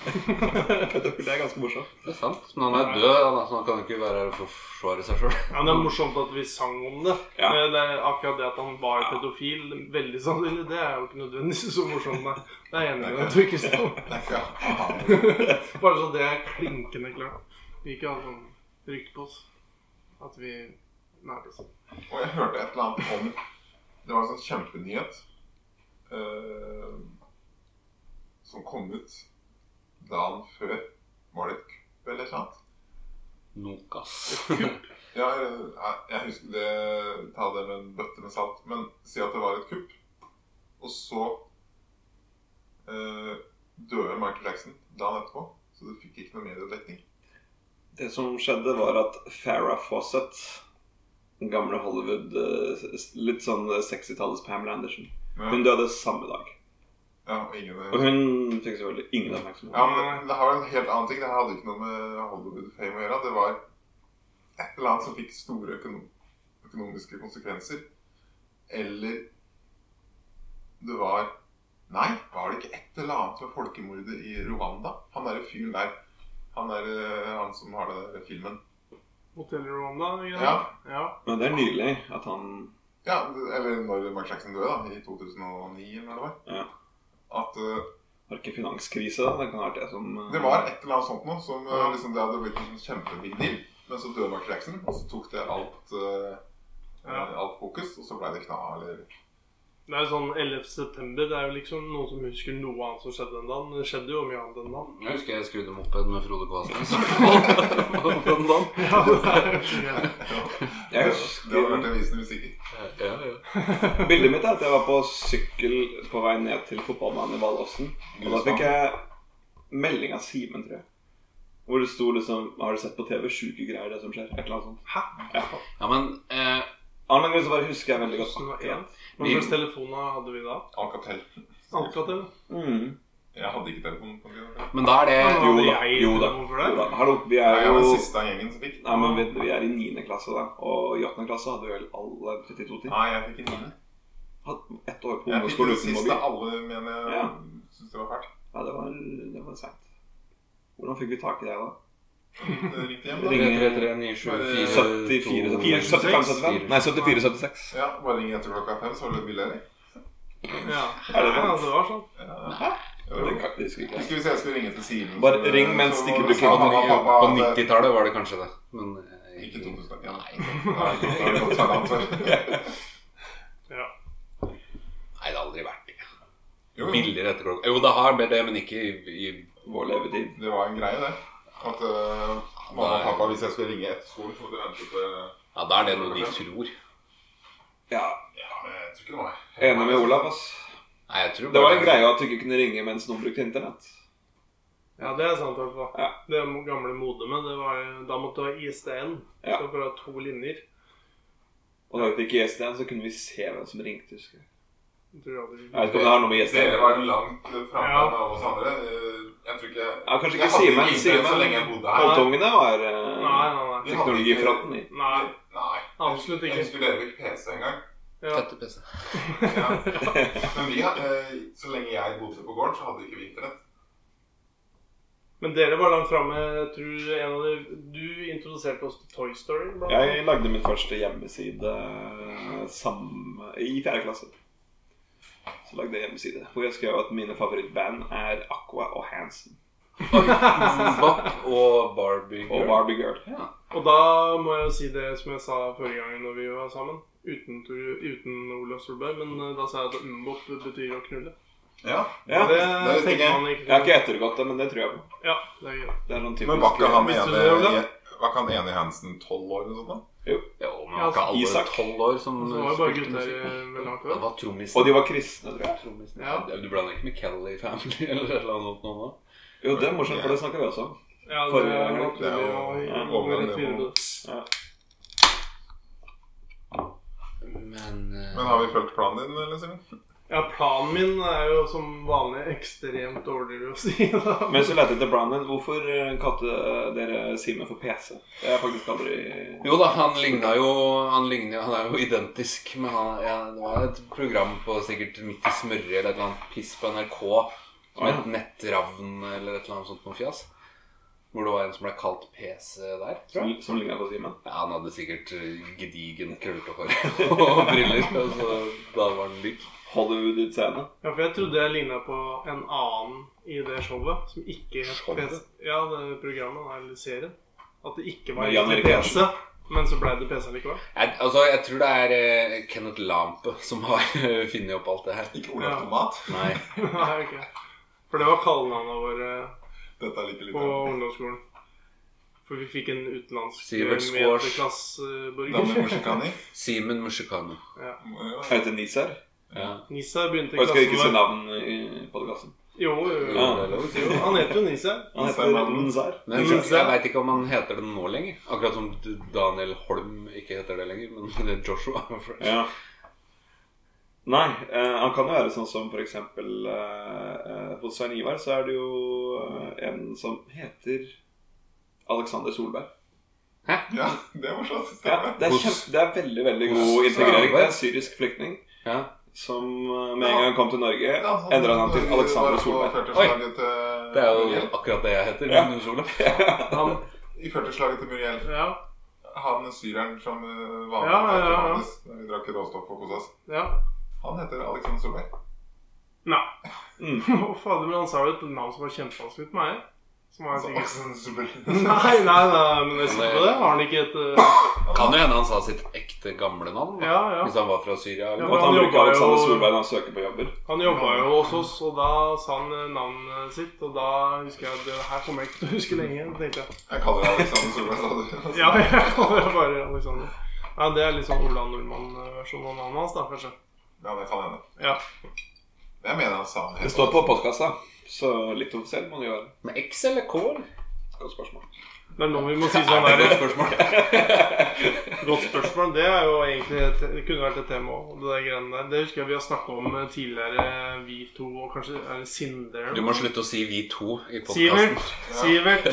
S3: Det er ganske morsomt.
S1: Det er sant. Men han er død, han, er- så han kan ikke være her og forsvare seg sjøl.
S4: Ja, men Det er morsomt at vi sang om det. Eh,
S3: Ja.
S4: Det, det er akkurat det at han var pedofil, veldig sannsynlig, det er jo ikke nødvendigvis så morsomt. Nei. Det er jeg enig med at du ikke sa.
S2: Det er ikke han.
S4: Bare så det er klinkende klart. Vi ikke har sånn rykte på oss at vi Nei, det er sånn.
S2: Og jeg hørte et eller annet om Det var en sånn kjempenyhet eh, som kom ut dagen før. Var det et kupp eller et eller annet?
S1: Nokas.
S2: Ja, jeg, jeg husker det Ta det med en bøtte med salt. Men si at det var et kupp. Og så eh, døde Michael Jackson dagen etterpå. Så du fikk ikke noe mediedekning.
S3: Det som skjedde, var at Farrah Fawcett, den gamle Hollywood eh, s- Litt sånn 60-tallets Pamela Anderson,
S2: Ja,
S3: hun døde samme dag.
S2: ja, og ingen,
S3: Og hun fikk selvfølgelig ingen oppmerksomhet.
S2: Ja, men det har jo en helt annen ting. Det hadde ikke noe med Hollywood Fame å gjøre. Det var et eller annet som fikk store økono- økonomiske konsekvenser. Eller det var Nei, var det ikke et eller annet med folkemordet i Rwanda? Han derre fyren der. Han er han som har den der filmen.
S4: Hotell Rwanda? ikke
S2: Ja.
S4: sant? ja.
S3: Men det er nylig at han
S2: ja, Eller når Mark Jackson døde, da. I 2009, eller hva det var.
S3: ja,
S2: At eh,
S3: Har ikke finanskrise, da? Det kan være det som eh,
S2: Det var et eller annet sånt noe som eh,
S4: Ja.
S2: liksom, det hadde blitt en sånn kjempebig deal. Men så døde Mark Jackson, og så tok det alt, eh,
S4: Ja.
S2: eh, alt fokus, og så ble det kna, eller
S4: Det er jo sånn 11. september. Det er jo liksom noen som husker noe annet som skjedde den dagen. men Det skjedde jo mye annet den dagen.
S1: Jeg husker jeg skrudde moped med Frode Kvasten. Så på den dagen.
S4: Ja, det er jo skjønt.
S3: Jeg
S2: Det hadde vært
S3: husker
S2: en visende musikk.
S1: Ja, ja.
S3: Bildet mitt er at jeg var på sykkel på vei ned til fotballbanen i Valåsen. Og da fikk jeg melding av Simen, tror jeg. Hvor det sto liksom Har du sett på TV? Sjuke greier, det som skjer. Et eller annet sånt.
S1: ja men eh,
S3: Av en eller annen grunn så bare husker jeg veldig godt.
S2: Sånn,
S4: 2001.
S3: akkurat.
S4: Hva slags telefoner hadde vi da?
S2: Alcatel.
S4: Alcatel?
S3: Mm.
S2: Jeg hadde ikke telefon på den tiden.
S1: Men Eh, da er det
S4: Ja.
S3: Jo da.
S4: jeg
S3: Jo da.
S4: telefon for det?
S3: Jo da. Hallo, vi
S2: Nei,
S3: er
S2: Jeg
S3: jo
S2: var den siste av gjengen som fikk.
S3: Nei, men vi, vi er i 9. klasse, da. Og i 8. klasse hadde vi vel alle 32 timer.
S2: Nei, jeg fikk en niende.
S3: Hatt Ett år
S2: Jeg
S3: på
S2: fikk
S3: ungdomsskolen
S2: den
S3: uten
S2: siste
S3: mobil.
S2: av alle, men jeg
S3: Ja.
S2: syntes det var fælt.
S3: Ja, det var, det var seint. Hvordan fikk vi tak i deg da?
S2: Det Eh, ringte hjem, da.
S3: Ring.
S1: 74
S3: 74, 75, 75?
S4: eh,
S3: Nei, 74, 76.
S2: Ja, bare ring etter klokka fem, så var det billigere.
S4: Ja.
S3: Er det sant?
S4: ja, det var sånn.
S2: Jo.
S3: Det kan- det husker jeg ikke.
S2: Hvis du- hvis jeg skulle ringe til Simen
S3: Bare
S2: så-
S3: ring mens
S2: så var
S3: ikke du
S2: det sånn,
S3: kan
S1: På
S2: mamma, pappa, det-
S1: 90-tallet var det kanskje det. Men eh,
S2: Ikke 2001.
S1: Nei,
S2: Nei, det er godt sagt, altså.
S4: Ja.
S1: nei, det har aldri vært det.
S2: Jo, jo.
S1: Billigere etter klokka Jo, det har det, men ikke i, i
S3: Vår levetid.
S2: Det var en greie, det. At eh, mamma og pappa, hvis jeg skulle ringe etter skolen, så måtte jeg vente til
S1: Ja, da er det noe de tror.
S3: Ja,
S2: Ja, men jeg tror ikke det var
S3: Enig med Olav, ass.
S1: Nei, jeg tror
S3: Det var
S1: bare-
S3: en greie at du ikke kunne ringe mens noen brukte internett.
S4: ja, det er sant. i hvert fall.
S3: Ja.
S4: Det gamle modemet, det var jo- Da måtte du ha ISDN.
S3: Ja.
S4: Så for å ha to linjer.
S3: Og da vi fikk ISD-en, så kunne vi se hvem som ringte. husker Jeg
S4: Jeg tror aldri
S3: Jeg vet ikke om det har noe med ISD
S2: Dere var langt framme
S4: Ja.
S2: av oss andre. Eh, Jeg tror ikke
S3: Ja,
S2: Jeg
S3: kanskje ikke
S2: hadde
S3: Simen.
S2: ikke internett så lenge jeg
S3: Simen.
S2: bodde her.
S3: Halvtungene var
S4: Nei,
S3: eh,
S4: nei, nei.
S2: Vi hadde
S3: teknologifronten. i.
S2: ikke-
S4: Nei,
S2: Nei.
S4: Absolutt
S2: Jeg
S4: ikke.
S2: husker dere fikk PC en gang.
S4: ja.
S1: Fette PC.
S2: Ja. Men vi, hadde- eh, så lenge jeg bodde på gården, så hadde ikke vi internett.
S4: Men dere var langt framme. Jeg tror en av de Du introduserte oss til Toy Story. blant annet.
S3: Jeg lagde min første hjemmeside eh, samme, i fjerde klasse. Så lagde jeg hjemmeside hvor jeg skrev at mine favorittband er Aqua og Hansen.
S1: Bop og Barbie
S3: Og
S1: Girl.
S3: Barbie Girl.
S1: Ja.
S4: Og da må jeg jo si det som jeg sa forrige gang når vi var sammen. Uten, Tor- uten Olav Solberg. Men eh, da sa jeg at umbop betyr å knulle.
S2: Ja.
S3: Ja,
S4: det,
S2: det er
S4: tenker
S2: ikke-
S4: man ikke.
S3: Jeg har ikke ettergått det, men det tror jeg på.
S4: Ja, det er gøy.
S3: Det er sånn
S2: Men
S3: typisk
S2: var ikke han
S4: Visste du
S2: ene,
S4: det, Ola?
S2: var ikke han ene i Hansen tolv år eller noe sånt?
S1: Jo, men
S4: Ja,
S1: var ikke alle
S3: Isak.
S1: tolv år som
S4: Så det var jo bare
S1: spilte
S4: gutter
S1: musikk?
S4: eh, med langt
S1: Det
S4: hår.
S1: var trommisen.
S3: Og de var kristne, tror jeg.
S1: Trommisen.
S4: Ja.
S1: Du blander ikke med Kelly Family eller noe sånt nå? da?
S3: Jo, det er morsomt, for det snakka vi også om.
S4: Ja, det
S3: Forrige gang,
S4: er
S2: det er
S4: naturlig
S2: jo-
S4: å gå
S2: overgangen
S4: rett
S2: er
S4: videre
S2: på-
S4: på det.
S1: Men, eh, eh,
S2: Men har vi fulgt planen din, eller? Simen?
S4: Ja, planen min er jo som vanlig ekstremt dårligere å si. Da.
S3: Mens vi leter etter Brandon, hvorfor eh, kalte dere Simen for PC? Det er faktisk aldri
S1: Jo da, han ligna jo Han, ligner, han er jo identisk, men han, ja, det var et program på sikkert Midt i smørje eller et eller annet piss på NRK som het Nettravn eller et eller annet sånt noe fjas. Hvor det var en som ble kalt PC der.
S3: som, som ligner på Simen.
S1: Ja, han hadde sikkert eh, gedigen krøllete hår og briller, og så da var han lik.
S3: Hollywood-utseende.
S4: Ja, for jeg trodde jeg ligna på en annen i det showet som ikke het
S1: Showet?
S4: PC. Ja, det programmet, eller serien. At det ikke var
S3: Med Jan
S4: egentlig
S3: Erik
S4: PC, men så ble det PC likevel.
S1: Jeg, altså, jeg tror det er eh, Kenneth Lampe som har eh, funnet opp alt det her.
S2: Ikke Ola
S4: Ja.
S2: Tomat.
S1: Nei.
S4: Nei, ok. For det var kallenavnet vårt eh,
S2: Dette er like litt
S4: på
S2: av
S4: ungdomsskolen. For vi fikk en utenlandsk
S1: Sivert Skårs.
S2: Dame
S4: meterklasseborger.
S2: Moshikani.
S1: Simen Mushikano.
S3: Jeg heter Nisar.
S4: Nisa begynte i
S3: Og jeg skal ikke si
S4: klassen med
S3: navn i podkasten.
S4: Jo, jo, jo.
S3: Ja.
S4: jo. Han heter jo Nisa.
S3: Han
S2: Nisar
S3: heter
S2: Madden.
S3: Nisar.
S1: Men jeg, jeg veit ikke om han heter det nå lenger. Akkurat som D- Daniel Holm ikke heter det lenger, men det er Joshua.
S3: Ja. Nei, eh, han kan jo være sånn som for eksempel eh, eh, Hos Svein Ivar så er det jo eh, en som heter Alexander Solberg.
S2: Ja, det er morsomt.
S3: Ja,
S2: Stemmer.
S3: det, er
S1: Hos-
S3: kjempe, det er veldig veldig
S2: Hos
S3: god integrering.
S1: Solberg?
S3: Det er en syrisk flyktning
S1: Ja.
S3: som eh, med en gang han kom til Norge, endra han til Alexander Solberg.
S1: Oi.
S2: Oi!
S1: Det er jo akkurat det jeg heter.
S3: Ja.
S1: Magnus Olav.
S4: Han,
S2: I førteslaget til Muriel.
S4: ja,
S2: Han syreren som eh, var med
S4: Ja, ja,
S2: på
S4: ja.
S2: Johannes, da vi drakk råstoff og kosa oss.
S4: ja.
S2: Han heter Alexander Solberg.
S4: Nei.
S3: Mm.
S4: Å, fader, men han sa jo et navn som var kjempevanskelig for meg. Som var
S2: Altså,
S4: sikkert...
S2: Alexander
S4: Nei,
S2: Solberg.
S4: nei, nei, men jeg sikker på det. Har han ikke et eh,
S1: Kan jo hende han sa sitt ekte gamle navn. Da.
S4: Ja, ja.
S1: Hvis han var fra Syria.
S4: Ja,
S1: Eller?
S3: Og
S1: noe.
S3: at han
S4: han
S3: bruker
S4: jobba jo-
S3: Alexander Solberg når han søker på jobber.
S4: Han jobba jo hos oss, og da sa han eh, navnet sitt. Og da husker jeg at det her kommer jeg ikke til å huske lenge, tenkte jeg.
S2: Jeg kaller deg Alexander Solberg, sa du.
S4: Ja, jeg kaller det bare Alexander. Ja, det er litt sånn Ola Nordmann-versjonen av navnet hans, da, kanskje.
S2: Ja, det kan hende.
S4: Ja.
S2: Jeg mener han sa han
S3: Det står på postkassa, så litt offisiell må det jo være.
S1: Med X eller K? eller?
S3: Godt spørsmål.
S4: Det er nå vi må si
S1: Det
S4: sånn
S1: er et godt
S4: der.
S1: spørsmål.
S4: Godt spørsmål. Det er jo egentlig et, det kunne vært et tema òg, det der greiene der. Det husker jeg vi har snakka om eh, tidligere, vi to, og kanskje er det Sindre?
S1: Du må slutte å si 'vi to' i podkasten.
S4: Sivert, Sivert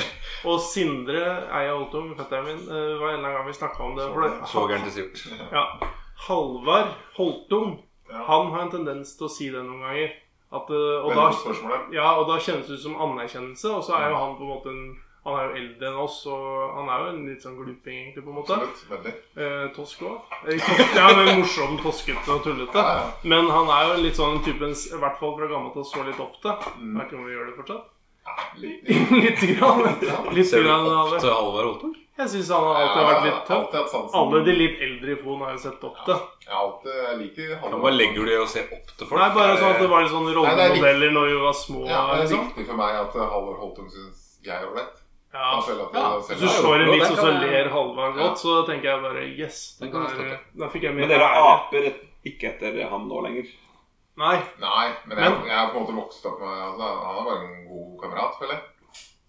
S4: og Sindre Eia Holtung, fetteren min, eh, var en eller annen gang vi snakka om det. For det
S1: Svogeren til Sivert.
S4: ja, Halvard Holtung,
S2: Ja.
S4: han har en tendens til å si det noen ganger. At, eh, og,
S2: Veldig godt
S4: da,
S2: spørsmål, ja.
S4: ja, og da kjennes det ut som anerkjennelse, og så er jo han på en måte en han er jo eldre enn oss, og han er jo en litt sånn gluping, egentlig, på en måte.
S2: Absolutt. Veldig.
S4: Eh, tosk òg. Ja, men morsom, toskete og tullete.
S2: Ja, ja.
S4: Men han er jo litt sånn typen, i hvert fall fra gammelt av, så litt opp til.
S2: Mm.
S4: Jeg vet ikke om vi gjør det fortsatt.
S2: Litt-
S4: Litt grann. Litt
S1: Ser du
S4: grann av
S1: opp
S4: det.
S1: til Halvard Holten?
S4: Jeg syns han har alltid vært litt
S2: Ja,
S4: tøff.
S2: alltid hatt sansen.
S4: Alle de litt eldre i Fon har jo sett opp til.
S2: Jeg har alltid jeg liker
S1: Ja,
S2: Halvor.
S1: Hva legger du i å se opp til folk?
S4: Nei, bare sånn at det var litt sånn
S2: Nei, det er litt-
S4: rollemodeller når vi var små.
S2: Ja, det er
S4: liksom.
S2: viktig for meg at Halvor Holtum syns jeg er ålreit.
S4: Ja.
S2: Han føler at
S1: Ja,
S2: jeg-
S1: så
S4: Hvis du
S2: selv-
S4: slår en
S1: Jo,
S4: vits,
S1: den
S4: og så
S1: kan jeg-
S4: ler Halvard godt, så tenker jeg bare Yes.
S1: Den kan jeg
S4: der-
S1: støtte.
S4: Der fikk jeg mer
S3: Men dere
S4: ære.
S3: aper et- ikke etter ham nå lenger.
S4: Nei.
S2: Nei, men jeg,
S4: Men-
S2: jeg er på en måte vokst opp med altså, Han er bare en god kamerat, føler jeg.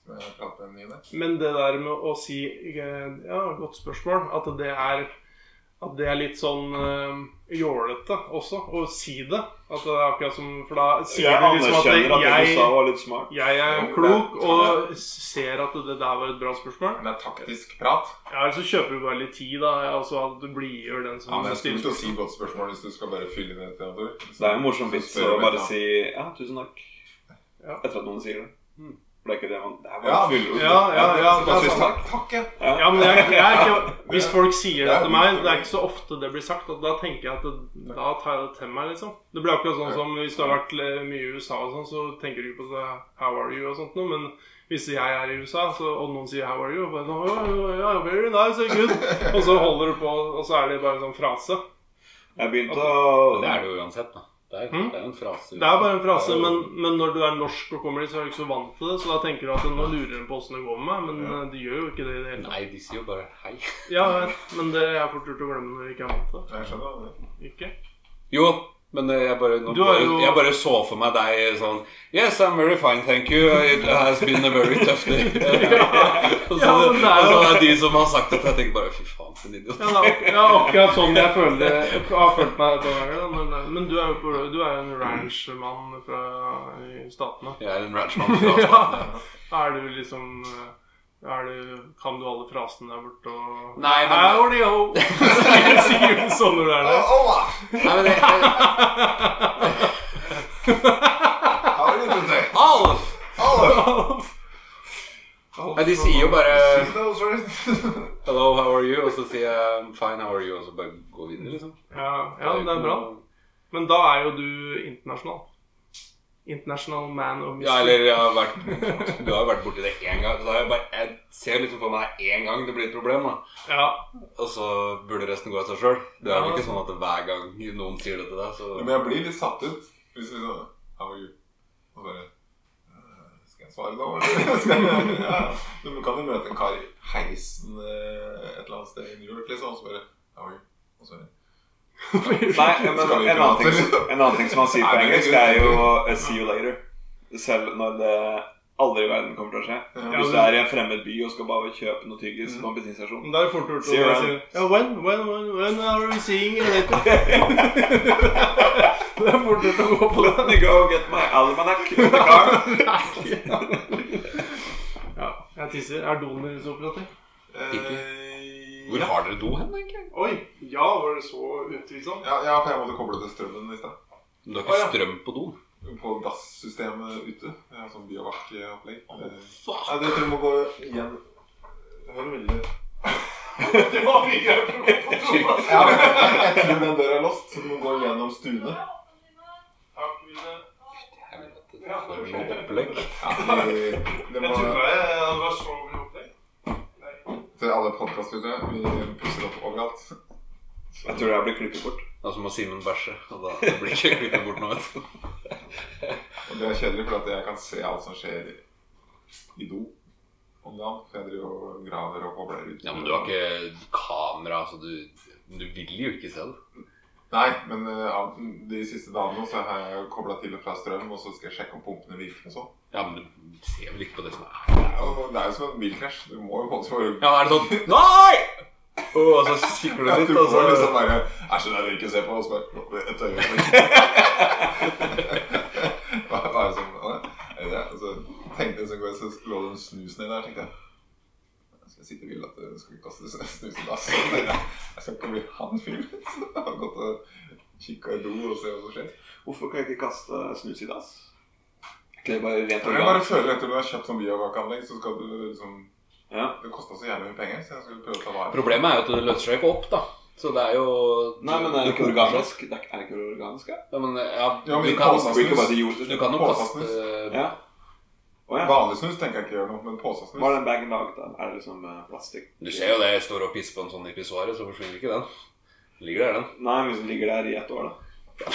S2: Som jeg prater med nylig.
S4: Men det der med å si eh, Ja, godt spørsmål. At det er At det er litt sånn eh, jålete også, å si det. At det er akkurat som For da sier
S3: Jeg
S4: du liksom at
S3: anerkjenner at det du
S4: jeg
S3: sa, var litt smart.
S4: jeg er
S2: Jo,
S4: klok
S2: det-
S4: og ser at det der var et bra spørsmål.
S2: Men det er taktisk prat.
S4: Ja, Eller så kjøper du bare litt tid, da. Altså at du blidgjør den som
S2: Ja, men det er
S4: stiller
S2: skummelt å si
S4: spørsmål.
S2: godt spørsmål hvis du skal bare fylle inn et eller annet ord.
S3: Det er jo en morsom vits
S2: spør
S3: å
S2: du
S3: bare
S2: litt,
S3: si ja, tusen takk.
S4: Ja. Mm.
S3: Etter at noen sier det. For det er ikke det man Det er bare
S2: Ja.
S3: fullord.
S4: Ja, ja,
S2: Ja,
S4: ja.
S2: så
S4: Det
S2: bare
S4: er
S2: si
S4: sant.
S2: takk, takk, ja.
S3: Ja.
S4: Ja, men jeg, jeg er ikke, Hvis folk sier det
S2: Det er
S4: til meg,
S2: litt-
S4: det er ikke så ofte det blir sagt. Og da tenker jeg at det, da tar jeg det til meg, liksom. Det blir akkurat sånn som hvis du har vært le- mye i USA og sånn, så tenker du ikke på det, 'how are you' og sånt noe. Men hvis jeg er i USA, så, og noen sier 'how are you', bare, oh, oh, yeah, very nice, very good. og så holder du på, og så er det bare en sånn frase.
S3: Jeg begynte å
S1: Det er det jo uansett, da. Det er,
S4: Mm.
S1: det er jo en frase.
S4: Det er bare en frase,
S1: Det er jo-
S4: men, men når du er norsk og kommer dit, så er du ikke så vant til det. Så da tenker du at nå lurer de på åssen det går med meg, men eh, de gjør jo ikke det i det hele tatt.
S1: Nei, de sier jo bare 'hei'.
S4: Ja, jeg vet, men det er fort gjort å glemme når du ikke er vant til det.
S2: Jeg skjønner det.
S4: Ikke?
S1: Jo, Men eh, jeg bare, nå,
S4: Du har jo-
S1: jeg bare så for meg deg sånn Yes, I'm very fine, thank you. It has been a very tough day. og så,
S4: Ja, men det er
S1: og
S4: jo-
S1: så er det de som har sagt dette, jeg tenker bare fy faen, for en idiot.
S4: Ja, det er ak- ja, akkurat sånn jeg føler det- jeg har følt meg et par ganger. da, Men, men du er jo på, du er jo en ranchmann fra i Statene.
S1: Jeg er en ranchman fra staten. ja.
S4: Er du liksom eh, er du, Kan du alle frasene der borte og
S1: Nei, men-
S4: Howdy-ho! Sier du sånn når du er der?
S2: Hola!
S1: Nei, men eh, jeg, jeg,
S2: How are you today?
S1: Alf!
S2: Hola!
S1: Nei, de sier jo bare
S2: See those words?
S1: Hello, how are you? Og så sier jeg fine, how are you? Og så bare gå videre, liksom.
S4: Ja, ja, det er bra. Men da er jo du internasjonal. International man of
S1: Ja, eller jeg har vært, du har jo vært borti det én gang. Så da har jeg, bare, jeg ser liksom for meg én gang det blir et problem, da.
S4: Ja.
S1: Og så burde resten gå av seg sjøl. Det er jo
S4: Ja.
S1: ikke sånn at hver gang noen sier det til deg, så
S2: Men jeg blir litt satt ut hvis vi sånn How are you? Og bare «Eh, Skal jeg svare da, eller? Skal jeg, ja. Du kan jo møte en kar i heisen eh, et eller annet sted i New York, liksom, og så bare How are you? Og så
S3: Nei, men en
S2: Skal vi
S3: annen, ting,
S2: prate?
S3: en annen ting som man sier på
S2: Nei, men det er
S3: engelsk,
S2: gøy.
S3: er jo eh, 'see you later'. Selv når det aldri i verden kommer til å skje.
S2: Ja.
S3: Hvis du er i en fremmed by og skal bare kjøpe noe tyggis
S2: Mm.
S3: på en bensinstasjon.
S4: Men Da er det fort gjort å
S3: Sier
S4: bare
S3: han.
S4: si ja, when, when, when, when are we seeing you later? det er fort gjort å gå på det.
S3: Let me go get my almanac in the car.
S4: Ja, jeg tisser. Er doen deres operativ?
S2: Eh,
S1: Hvor
S2: ja.
S1: har dere do hen, egentlig?
S4: Oi, ja, var det så utvilsomt?
S2: Ja, ja, for jeg måtte koble til strømmen i stad.
S1: Du har
S4: Å,
S1: ikke
S4: ja.
S1: strøm på doen?
S2: På gassystemet ute. Jeg har sånn biovac-opplegg. Eh,
S1: Faen!
S2: Nei, det tror jeg må gå igjen. Hører veldig
S4: Det var mye
S2: ja, men
S4: på
S2: Jeg tror den døra er låst, så du må gå gjennom stuene.
S1: Helvete, for noe opplegg.
S2: Ja, vi- det må-
S4: det var så mye opplegg.
S2: Til alle podkastlyttere, vi pusser opp overalt.
S3: Jeg tror det her blir klippet bort.
S1: Det er som å Simen bæsje. Og da det blir ikke klippet bort nå, vet du.
S2: Og det er kjedelig, for at jeg kan se alt som skjer i, i do om dagen. For jeg driver og graver og kobler ut.
S1: Ja, men du har ikke kamera, så du Du vil jo ikke se det.
S2: Nei, men eh, av- de siste dagene så har jeg kobla til og fra strøm, og så skal jeg sjekke om pumpene virker og sånn.
S1: Ja, men du ser vel ikke på det som er
S2: Og Det er jo som en bilkrasj. Du må jo holde for
S1: Ja, da er det sånn Nei! Å, og så kikker du
S2: Ja,
S1: litt,
S2: du
S1: og så
S2: får liksom bare Æsj, det er det ikke å se på. Og så bare Et øyeblikk. Hva hva er det som sånn, Å, er det det? Og så tenkte jeg så går jeg så lå den snusen i der, tenkte jeg. Jeg skal sitte vill at du skal ikke kaste snus i dass. Jeg skal ikke bli han fyren. Så jeg har gått og kikka i do og se hva som skjer.
S3: Hvorfor kan jeg ikke kaste snus i dass? Er ikke det bare rent
S2: Jeg bare
S3: organ?
S2: føler etter du har kjøpt sånn biovac-anlegg, så skal du liksom
S3: Ja.
S2: Det kosta så jævlig mye penger, så jeg skulle prøve å ta vare på
S1: Problemet er jo at det løser seg ikke opp, da. Så det er jo
S3: Nei, men er det ikke
S1: koker seg.
S3: organisk? Det Er er det ikke organisk, ja?
S1: Ja, men, ja,
S2: Ja,
S1: du,
S2: men i
S1: kan,
S2: påsen.
S3: Skulle ikke bare til jord
S1: du
S3: til slutt?
S1: kan jo kaste
S3: Ja. Å ja.
S2: Vanlig snus tenker jeg ikke gjør noe, men påsesnus
S3: Hva er den bagen laget av? Er det liksom eh, plastikk?
S1: Du ser jo det jeg står og pisser på en sånn i pissoaret, så forsvinner ikke den. Ligger der, den.
S3: Nei, men som ligger der i et år, da.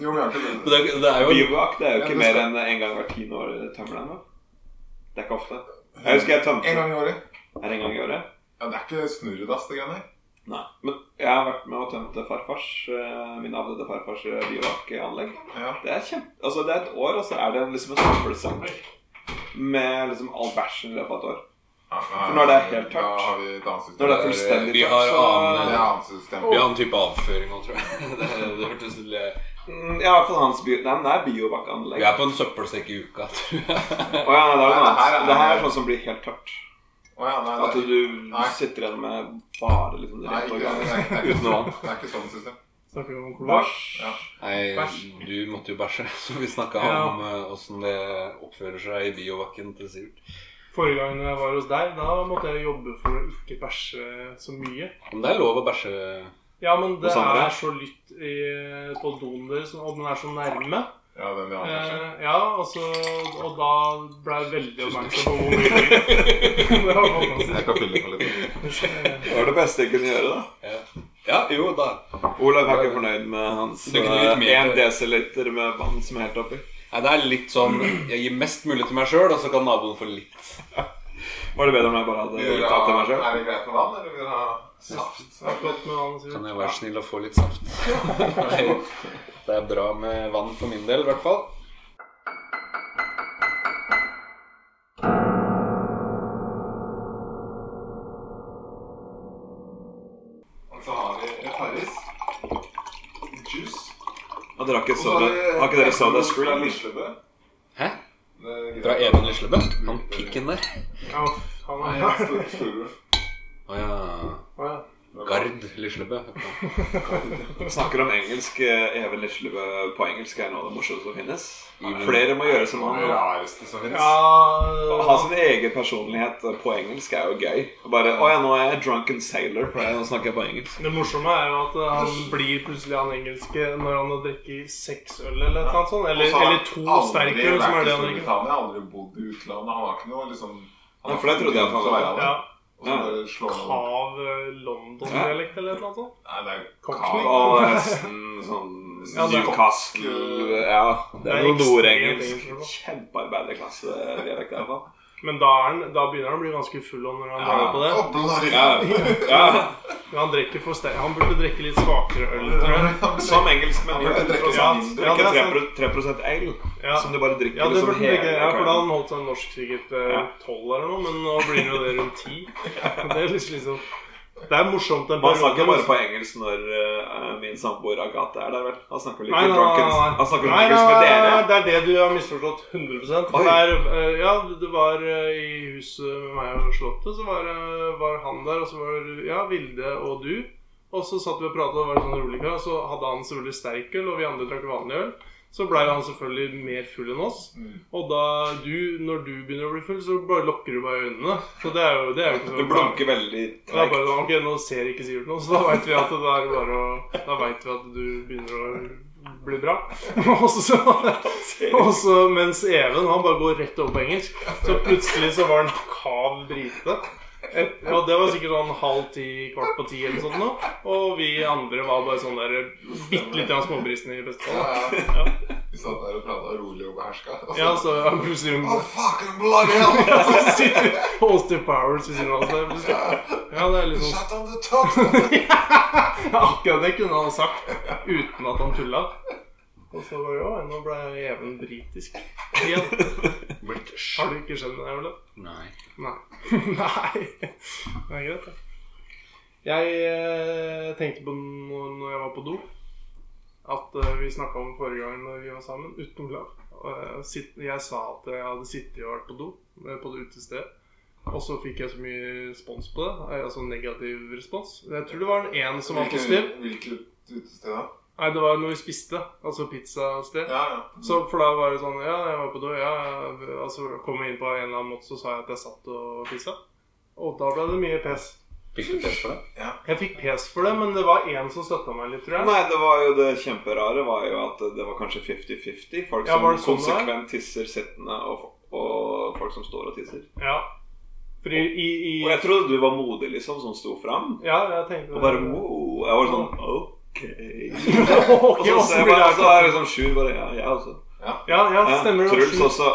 S2: Jo, men jeg har ikke det.
S1: Men Det, det er jo
S3: Bivak det er jo
S2: Ja,
S3: ikke
S2: det
S3: mer
S2: skal-
S3: enn eh, en gang hvert tiende år jeg tømmer den. da. Det er ikke ofte. Jeg husker jeg tømte
S2: En gang i året.
S3: Er det en gang i året.
S2: Ja, det er ikke snurredass, det greiene her.
S3: Nei. Men jeg har vært med og tømt farfars, eh, min avdøde farfars eh, bivakanlegg.
S2: Ja.
S3: Det er kjempe... Altså, det er et år, og så er det liksom en søppelsekk med liksom all bæsjen i løpet av et år. For når det er helt tørt.
S2: Ah, Da har vi et annet system.
S3: Når det er fullstendig
S1: Vi har
S2: Det
S1: annen
S2: er et annet system.
S1: Vi har en type avføring nå, tror jeg. Det, det hørtes litt
S3: Mm, Ja, i hvert fall hans bio... Nei, men det er biovakanlegg.
S1: Vi er på en søppelsekk i uka, tror jeg.
S3: Å ja, det
S2: Nei,
S3: er noe
S2: det her
S3: annet.
S2: er-
S3: Det her er sånn som blir helt tørt.
S2: Å ja, nei,
S3: At
S2: det,
S3: du
S2: Nei.
S3: sitter igjen med bare liksom det
S2: nei,
S3: rette
S2: ikke- det,
S3: organet.
S2: er, det, er
S3: Uten
S2: ikke,
S3: noe annet.
S2: det er ikke sånn system.
S4: Snakker vi om kolvasj?
S3: Bæsj.
S2: Ja.
S1: Nei, du måtte jo bæsje, så vi snakka
S4: Ja.
S1: om åssen det oppfører seg i biovakken til Sivert.
S4: Forrige gang jeg var hos deg, da måtte jeg jobbe for å ikke bæsje så mye.
S1: Men det er lov å bæsje
S4: Ja, men det
S3: Hos andre?
S4: er så lytt i, på doen deres, og den er så nærme.
S2: Ja, den vi har
S4: Eh, ja, og, så, og da ble jeg veldig oppmerksom på hvor mye Det var fantastisk.
S2: Jeg skal fylle på litt.
S3: Det var det beste jeg kunne gjøre, da.
S1: Ja, jo da.
S3: Olav er ikke fornøyd med hans
S1: Du kunne gitt mer til
S3: 1 desiliter med vann som er helt oppi.
S1: Nei, det er litt sånn Jeg gir mest mulig til meg sjøl, og så kan naboen få litt.
S3: Var det bedre om jeg bare hadde
S2: Vil du
S3: gitt alt til
S2: ha-
S3: meg selv?
S2: Er det greit med vann, eller vil du ha saft?
S4: Flott med han, sier.
S1: Kan jeg være snill og få litt saft? Nei. Det er bra med vann for min del, i hvert fall.
S2: Og så har vi Farris. Juice.
S3: Ja, dere har ikke
S2: Og så
S3: soda Har ikke dere soda
S2: Fra
S3: screen?
S2: Lislebø.
S1: Hæ?
S2: Det er greit.
S1: Fra Even Lislebø? Han pikken der?
S4: Ja, han
S2: Nei,
S4: er
S2: jeg står- står-
S1: Å ja.
S4: Å, ja.
S1: Gard Lislebø.
S3: Snakker om engelsk. eh, Even Lislebø på engelsk er noe av det morsomste som finnes.
S1: Mm.
S3: Flere må gjøre som
S2: Det
S3: han.
S2: rareste som finnes.
S3: Å ha
S4: Ja,
S3: sin egen personlighet eh, på engelsk er jo gøy. Bare 'Å ja, nå er jeg drunken sailor', for nå snakker jeg på engelsk.
S4: Det morsomme er jo at eh, han blir plutselig han engelske når han har drukket seks øl eller et eller annet sånt.
S2: Og
S4: Eller,
S2: så har
S4: eller
S2: han
S4: to
S2: aldri
S4: sterkøl, som
S2: vært
S4: er
S2: i
S4: det han drikker.
S2: Storbritannia, aldri bodd i utlandet. Han har ikke noe liksom
S3: Ja, for det trodde jeg at han var.
S4: Ja,
S2: Og så bare slår han opp.
S4: Kav eh, London-dialekt eller et eller annet sånt.
S2: Nei, det er jo
S4: Cockney.
S2: kav.
S3: Og nesten sånn
S4: Ja, det er-
S3: Newcastle Ja, det er
S4: Det er
S3: noe nordengelsk.
S4: ekstremt engelsk.
S3: Kjempearbeiderklassedialekt, i hvert fall.
S4: Men da, er han, da begynner han å bli ganske full om når han
S2: Ja,
S4: drar på det.
S2: og blåser.
S3: Ja, ja.
S4: Men han drikker for sterk. Han burde drikke litt svakere øl, tror jeg.
S3: Som engelskmenn
S2: Han burde
S3: gjør.
S2: drikke
S3: Ja,
S2: sånn.
S4: Ja, det er
S3: Drikke 3 ale,
S4: Ja.
S3: som du bare drikker
S4: Ja, det
S3: liksom
S4: burde han drikke.
S3: hele
S4: Ja, for da
S3: kvelden.
S4: han holdt seg norsk sikkert eh, tolv eller noe, men nå blir det jo det rundt ti. Det er liksom, liksom Det er morsomt en
S3: Man snakker bare
S4: men-
S3: på engelsk når eh, min samboer Agathe er der, vel? Han snakker vel
S4: Nei,
S3: ikke
S4: nei, nei,
S3: drunkens
S4: nei.
S3: Han snakker
S4: Nei,
S3: drunkens
S4: nei,
S3: med
S4: nei,
S3: dere.
S4: nei, Det er det du har misforstått 100 For
S3: Oi.
S4: det er, eh, Ja, det var eh, i huset med meg og Slottet, så var, eh, var han der, og så var det, ja, Vilde og du. Og så satt vi og pratet, og var det sånn rolig kveld, og så hadde han selvfølgelig sterkøl, og vi andre drakk vanlig øl. Så blei han selvfølgelig mer full enn oss.
S2: Mm.
S4: Og da du, når du begynner å bli full, så bare lukker du bare øynene. Så det er jo, det er jo ikke så
S3: Det
S4: bra.
S3: blunker veldig
S4: Det er
S3: treigt.
S4: bare sånn, ok, nå ser ikke Sivert noe, så da veit vi at det er bare å Da vet vi at du begynner å bli bra. og så, og så mens Even, han bare går rett over på engelsk, så plutselig så var han kav brite. Et, ja, det var sikkert sånn halv ti, kvart på ti eller sånt nå. Og vi andre var bare sånn der bitte litt av småbrisene i beste
S2: Ja,
S4: fall.
S2: ja.
S4: da. Ja.
S2: Vi satt der og prata rolig og beherska. Og
S4: ja,
S2: så
S4: så ja, plutselig
S2: Oh, fucking bloody hell!
S4: ja, så sitter Austin Powers ved siden av oss der plutselig. Ja, det er litt sånn
S2: Shut on the top!
S4: Ja, Akkurat det kunne han sagt uten at han tulla. Og så bare Å, nå ble jeg even britisk. Igjen.
S1: British.
S4: Har du ikke skjønt det, Ole?
S1: Nei.
S4: Nei. Nei. Det er greit, det. Jeg eh, tenkte på noe når jeg var på do, at eh, vi snakka om forrige gang når vi var sammen, utenom Lav. Eh, sitt- Jeg sa at jeg hadde sittet og vært på do eh, på det utestedet. Og så fikk jeg så mye respons på det. eh, Altså negativ respons. Jeg tror det var en en som var
S2: Hvilket-
S4: positiv.
S2: Hvilket utested da?
S4: Nei, det var når vi spiste. Altså pizzasted.
S2: Ja, ja.
S4: Så for da var det sånn Ja, jeg var på do. Ja, ja. altså kom jeg inn på en eller annen måte, så sa jeg at jeg satt og pissa. Og da ble det mye pes.
S1: Fikk du test for det?
S4: Jeg fikk pes for det, men det var én som støtta meg litt, tror jeg.
S3: Nei, det var jo det kjemperare var jo at det var kanskje 50-50. Folk
S4: Ja,
S3: som
S4: var det sånn det var?
S3: konsekvent tisser sittende, og, og folk som står og tisser.
S4: Ja. For i, i,
S3: Og
S4: i
S3: jeg trodde du var modig, liksom, som sto fram.
S4: Ja, jeg tenkte
S3: Og bare wow. Jeg var sånn OK. Og
S4: Ok,
S3: så
S4: åssen
S3: ser jeg
S4: blir
S3: bare,
S4: det
S3: og så
S4: her?
S3: er liksom Sjur bare Ja, jeg også.
S4: Ja, ja,
S3: Ja, altså.
S4: stemmer det.
S3: Truls
S4: var sjukt.
S3: også,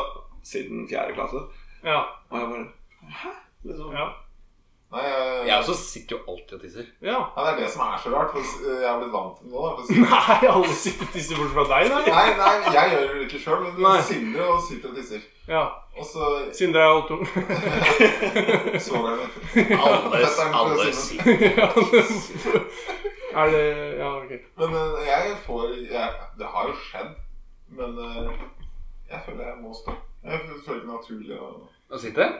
S3: siden fjerde klasse.
S4: Ja,
S3: Og jeg bare Hæ? Liksom.
S4: ja,
S2: Nei, jeg,
S1: Jeg også sitter jo alltid og tisser.
S4: ja.
S2: Ja, det er det som er så rart. For eh, jeg har blitt vant til det nå. da, for-
S4: Nei, alle sitter og tisser bort fra deg, nei.
S2: Nei, nei, jeg gjør det ikke sjøl,
S4: Nei.
S2: men Sindre og sitter og tisser.
S4: Ja.
S2: Og så
S4: Sindre er halvtung.
S2: sover han.
S1: Alle,
S2: Fetteren til
S1: alle
S2: Simen.
S1: sitter.
S4: Ja, er det Ja, ok.
S2: Men eh, jeg får jeg, Det har jo skjedd, men eh, jeg føler jeg må stå. Jeg føler det er naturlig å
S1: Og sitter?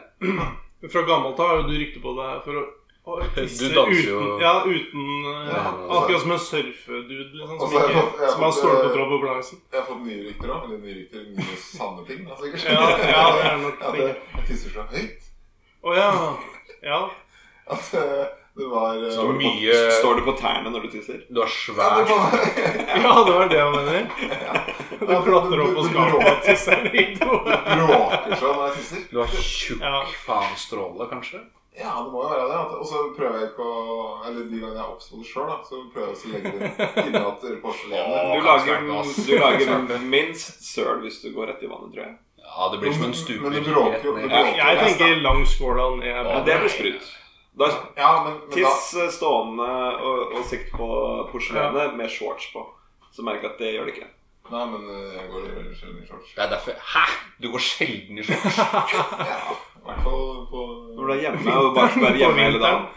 S4: Fra gammelt av har jo du rykte på deg for å å tisse
S1: Du danser jo.
S4: uten, ja, uten eh,
S2: Ja,
S4: Akkurat som en surfedude liksom, som,
S2: Altså, jeg
S4: ikke,
S2: får- jeg
S4: som har
S2: får-
S4: stålkontroll på balansen.
S2: Jeg har fått nye rykter òg, eller nye rykter nye sanne ting. da, sikkert.
S4: Ja, ja, det er nok
S2: At jeg, jeg tisser så høyt
S4: Å ja. ja.
S2: at eh, det var eh,
S1: Så mye
S3: Står du på tærne når du tisser?
S1: Du har
S2: ja, det
S1: svær
S2: var,
S4: Ja, det var det han mener. Du klatrer opp på skapet og tisser i do.
S2: Bråker så når jeg tisser.
S1: Du har tjukk
S4: Ja.
S1: faen stråle, kanskje?
S2: Ja, det må jo være det. at- Og så prøver jeg ikke å Eller de gangene jeg er oppspolert sjøl, så prøver jeg også å legge det innatter porselenet.
S1: Åh.
S3: Du lager,
S1: kan snakke, ass.
S3: du lager minst søl hvis du går rett i vannet, tror jeg.
S1: Ja, det blir som en stuper.
S2: Men det bråker jo-
S1: rett
S2: det
S1: ned.
S2: bråker.
S4: Jeg tenker langskåla ned.
S3: Ja, det blir sprut. Da er
S2: Ja, men, men da
S3: eh, tiss stående og, og sikt på porselenet med shorts på. Så merker jeg at det gjør det ikke.
S2: Nei, men eh, jeg går veldig sjelden i shorts.
S1: Det er derfor Hæ?! Du går sjelden i shorts.
S2: Ja, I hvert fall på
S3: Når du er hjemme og bare skal være hjemme hele dagen.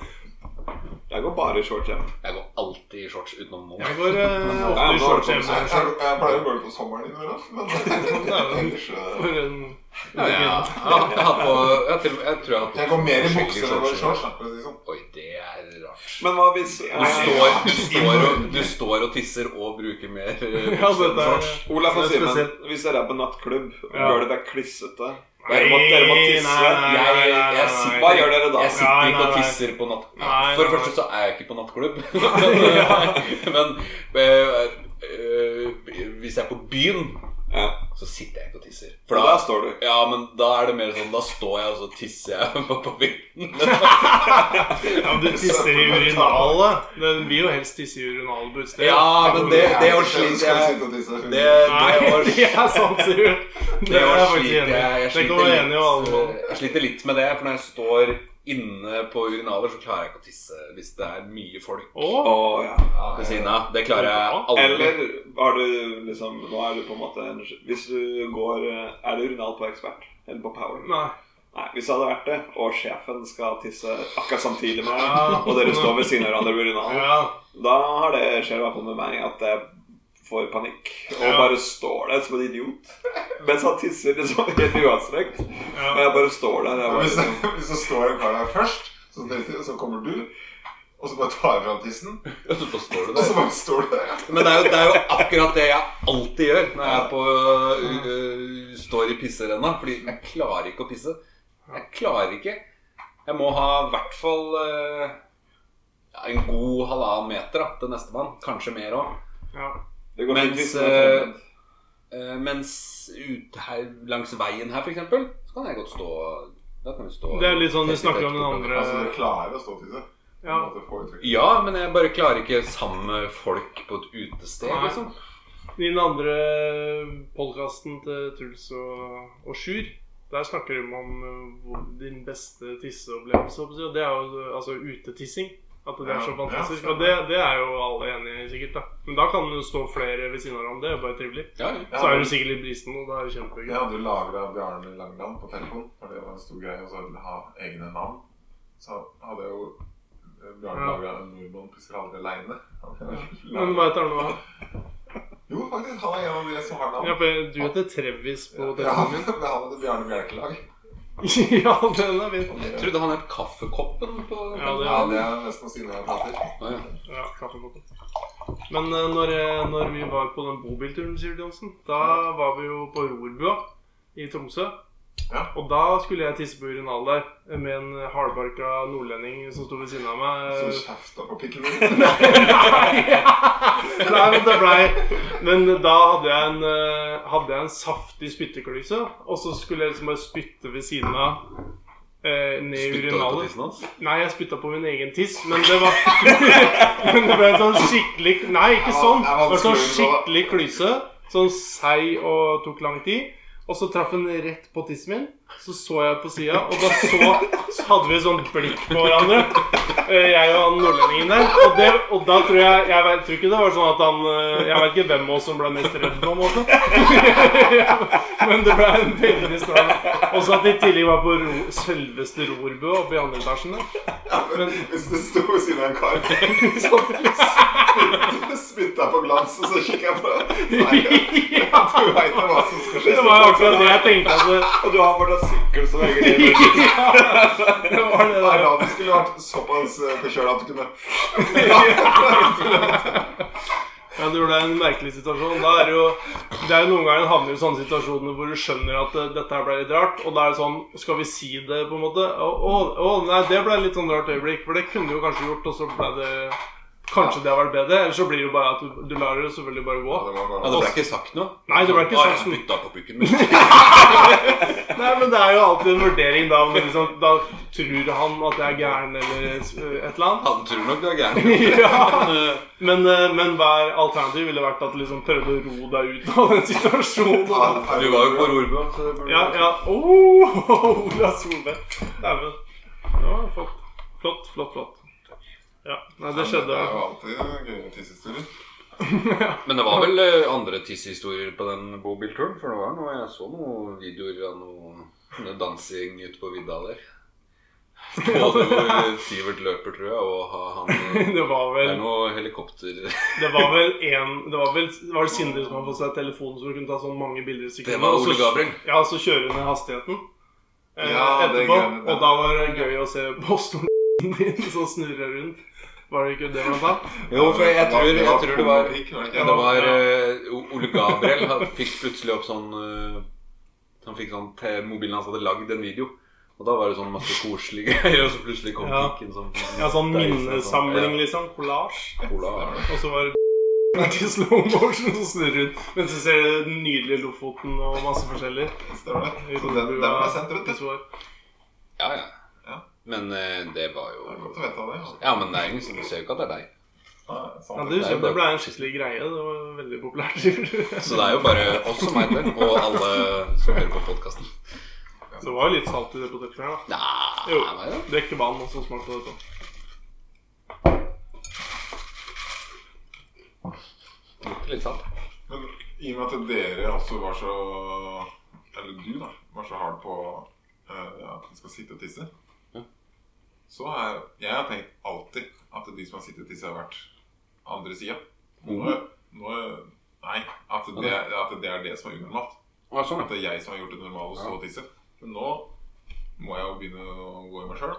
S3: Jeg går bare i shorts hjemme.
S1: Jeg går alltid i shorts utenom nå.
S4: Jeg går eh, ofte i shorts
S2: Jeg, jeg,
S4: hjemme.
S2: jeg pleier å gå ut på sommeren innimellom, men ellers eh,
S4: For en
S1: Ja, ja. Jeg, jeg, har på, jeg, har til, og med- jeg tror jeg har på
S2: Jeg går mer i
S1: forskjellige
S2: bukser enn i
S1: nå.
S2: shorts. da, for å si det sånn.
S1: Oi, det er rart.
S3: Men hva hvis
S1: Du
S3: jeg,
S1: står, du, står og, du står og tisser og bruker mer eh,
S4: Ja,
S1: bukser enn
S4: dette er
S1: shorts.
S3: Olaf og
S4: det er
S3: Simen,
S4: spesielt.
S3: hvis dere er på nattklubb og
S4: Ja.
S3: gulvet er klissete Dere må, dere må tisse.
S4: Nei, nei, nei, nei,
S1: Jeg
S4: nei.
S1: sitter-
S3: Hva gjør dere da?
S1: Jeg sitter
S4: Nei,
S1: ikke
S4: nei,
S1: og
S4: nei.
S1: tisser på natt...
S4: Nei,
S1: For det
S4: nei,
S1: første
S4: nei.
S1: så er jeg ikke på nattklubb. Men, men eh, eh, hvis jeg er på byen,
S3: Ja.
S1: så sitter jeg ikke og tisser. For
S3: For der
S1: da,
S3: står du.
S1: ja, men da er det mer sånn Da står jeg, og så tisser jeg på, på byen.
S4: Ja, men du tisser i urinalet. Den vil jo helst tisse i urinalet på utstedet.
S1: Ja, men det, det å
S2: Skal du
S1: slite jeg
S2: sitte og tisse?
S1: Det, det
S4: Nei,
S1: å
S4: det er sant, Sivert. Det
S1: Det
S4: er
S1: var
S4: jeg faktisk
S1: sliter
S4: enig
S1: jeg,
S4: i.
S1: jeg
S4: Det
S1: sliter
S4: kan vi være
S1: litt,
S4: enige om alle mann.
S1: eh, Jeg sliter litt med det, for når jeg står inne på urinaler, så klarer jeg ikke å tisse hvis det er mye folk
S4: Å,
S3: Å, ja.
S2: Ja,
S1: ved siden av. Det klarer jeg aldri.
S3: Eller har du liksom Nå er du på en måte en, Hvis du går eh, Er det urinal på ekspert? Eller på power?
S4: nei.
S3: Nei, hvis det hadde vært det, og sjefen skal tisse akkurat samtidig med
S4: Ja.
S3: deg, og dere står ved siden av hverandre ved urinalen,
S4: Ja.
S3: da har det skjer i hvert fall med meg at jeg får panikk og
S4: Ja.
S3: bare står der som en idiot mens han tisser liksom helt uanstrengt.
S4: Ja.
S3: Og jeg bare står der.
S2: Men
S3: Jeg bare,
S2: Hvis,
S3: liksom,
S2: hvis det står en kar der først, så, tisser, så kommer du, og så bare tar du fram tissen,
S1: Og så bare står du
S2: og så
S1: der.
S2: bare står du der. ja.
S1: Men det er, jo, det er jo akkurat det jeg alltid gjør når jeg er på, øh, øh, står i pisserenna. Fordi jeg klarer ikke å pisse. Jeg klarer ikke. Jeg må ha i hvert fall øh, ja, en god halvannen meter da, til nestemann. Kanskje mer òg.
S4: Ja.
S3: det går fint
S1: Mens,
S3: hvis man er fremmed.
S1: Eh, mens ut her, langs veien her, for eksempel, så kan jeg godt stå Da kan vi stå
S4: Det er litt sånn vi
S1: tett i
S4: snakker om
S1: tett
S4: den
S1: på-
S4: andre
S2: Altså, du klarer å stå og tisse.
S4: Ja.
S2: På en måte få uttrykk.
S1: Ja, men jeg bare klarer ikke sammen med folk på et utested,
S4: Nei.
S1: liksom.
S4: I den andre podkasten til Truls og, og Sjur, der snakker de om eh, hvor- din beste tisseopplevelse. holdt jeg på å si, og Det er jo eh, altså utetissing. At det er
S2: Ja,
S4: så fantastisk.
S2: ja.
S4: Og det, det er jo alle enige i, sikkert. da Men da kan det jo stå flere ved siden av hverandre. Det er jo bare trivelig.
S1: Ja, ja.
S4: Så er du sikkert litt brisen, og da er det
S2: Jeg
S4: kjempegøy.
S2: hadde jo lagra Bjarne Langland på telefon, for det var en stor greie å så ha egne navn. Så hadde jeg jo Bjarne
S4: Ja.
S2: lagra en nordmann pusser aldri aleine.
S4: Men hva heter han nå?
S2: Jo, faktisk. Han er en av de som har navn.
S4: Ja, for du heter Trevis på
S2: Ja,
S4: telefonen
S2: men
S4: min.
S2: han hadde Bjarne Bjerkelag.
S4: ja, den er fin.
S1: Jeg trodde han het Kaffekoppen på
S4: Ja, det-
S2: Ja, det er nesten å si når jeg prater.
S1: Å, ja.
S4: Ja, kaffekoppen. Men eh, når, eh, når vi var på den bobilturen, Sivert Johnsen, da var vi jo på Rorbua i Tromsø.
S2: Ja.
S4: Og da skulle jeg tisse på urinalet der eh, med en hardbarka nordlending som sto ved siden av
S2: Så
S4: meg.
S2: kjefta på pikken min.
S4: Nei, men det blei Men da hadde jeg en, eh, hadde jeg en saftig spytteklyse, og så skulle jeg liksom bare spytte ved siden av eh, ned i
S1: Spytta du på
S4: urinalet.
S1: tissen hans?
S4: Nei, jeg spytta på min egen tiss, men det var Men det ble en sånn skikkelig Nei, ikke sånn. Det var sånn skikkelig klyse. Sånn seig og tok lang tid. Og så traff den rett på tissen min. Så så jeg på sida, og da så, så hadde vi sånn blikk på hverandre. eh, Jeg og han nordlendingen der. Og, det, og da tror jeg Jeg vet, tror ikke det var sånn at han eh, Jeg vet ikke hvem av oss som ble mest redd, på en måte. Men det ble en veldig stram Og så at de i tillegg var på ro, selveste Rorbø oppe i andre etasjen der.
S2: Hvis det sto ved siden av en kar som spytta på glanset, så kikker jeg på Nei, du veit da hva som skal skje.
S4: Det var jo akkurat det jeg tenkte. Altså.
S3: Og du har fortsatt sykkel som henger i
S2: Nei,
S4: Det var det der.
S2: da, det skulle vært såpass eh, forkjøla at du kunne
S4: Ja, du gjorde deg en merkelig situasjon. Da er det jo, det er jo Noen ganger en havner i sånne situasjoner hvor du skjønner at eh, dette her ble litt rart. Og da er det sånn Skal vi si det, på en måte? Å, å, å, nei, det ble litt sånn rart øyeblikk. For det kunne du jo kanskje gjort, og så ble det Kanskje det har vært bedre. Eller så blir det jo bare at du, du lar det jo selvfølgelig bare gå.
S2: Ja, det var bare-
S1: Ja, det ble ikke sagt noe?
S4: Nei, det ble ikke
S1: Bare
S4: sagt noe.
S1: spytta på pukken min.
S4: Nei, men det er jo alltid en vurdering da om det liksom, Da tror han at jeg er gæren, eller eh, et eller annet.
S1: Han tror nok du er gæren.
S4: Ja.
S1: Men, eh,
S4: Men, eh, men hver alternativ ville vært at du liksom prøvde å ro deg ut av den situasjonen.
S2: Ja,
S4: da.
S1: Du var jo på Rorbua, så det burde
S4: Ja, ja. Oh, Ola Solberg. Dæven. Ja, flott. Flott, flott, flott. Ja, nei, det
S2: Det
S4: skjedde.
S2: er jo alltid gøye tissehistorier.
S1: Men det var vel eh, andre tissehistorier på den bobilturen? For det var noe, jeg så noen videoer av noe noe dansing ute på vidda der. Både hvor eh, Sivert løper, tror jeg, og ha- han
S4: Det var
S1: Det
S4: vel
S1: er noe helikopter
S4: Det var vel en Det var vel det var det Sindre som hadde fått seg telefon som kunne ta sånn mange bilder i sekundet.
S1: Det var
S4: og så-
S1: Ole Gabriel.
S4: Ja, så kjører hun ned hastigheten eh,
S2: Ja, det er
S4: etterpå.
S2: greiene der.
S4: Og da var det gøy å se poststolen din som snurrer rundt. Var det ikke det man sa?
S1: Jo, for jeg tror, jeg tror det var
S2: Pornopikk, var det
S1: Ja,
S2: ikke?
S1: det var eh, O- Ole Gabriel han fikk plutselig opp sånn eh, Han fikk sånn te- Mobilen hans hadde lagd en video. Og da var det sånn masse koselige greier, og så plutselig kom
S4: Ja.
S1: pikken som
S4: Ja, sånn
S1: Deisen,
S4: minnesamling,
S1: sånn,
S4: liksom. Collage.
S1: ja, cola.
S4: Og så var det i slow motion som snurrer rundt. Men så ser du den nydelige Lofoten og masse forskjellig.
S2: Stemmer det. Så den, den var sendt, vet du.
S4: Svar.
S1: Ja,
S2: Ja.
S1: ja. Men eh, det var
S2: Det er
S1: jo
S2: Godt å vite av det. altså.
S1: Ja, men det er ingen som du ser jo ikke at det er deg.
S2: Ja,
S4: Ja,
S2: sant.
S4: det husker jeg. Det ble en skikkelig greie. Det var veldig populært.
S1: Så det er jo bare oss som veit det, og alle som hører på podkasten.
S4: Så det var jo litt salt i det potetgullet her, da.
S1: Nei,
S4: Jo.
S1: nei, da.
S4: Drikke vann og så smart på dette.
S1: Det lukter litt salt.
S2: Men i og med at dere også var så Eller du, da. Var så hard på eh, at de skal sitte og tisse.
S1: Ja.
S2: Så har jeg, jeg har tenkt alltid at de som har sittet og tisset, har vært andre sida.
S1: Mm.
S2: Nå, nå Nei. At det, at det er det som er unormalt.
S1: Ja, sånn,
S2: At det er jeg som har gjort det normale å stå og tisse. Men nå må jeg jo begynne å gå i meg sjøl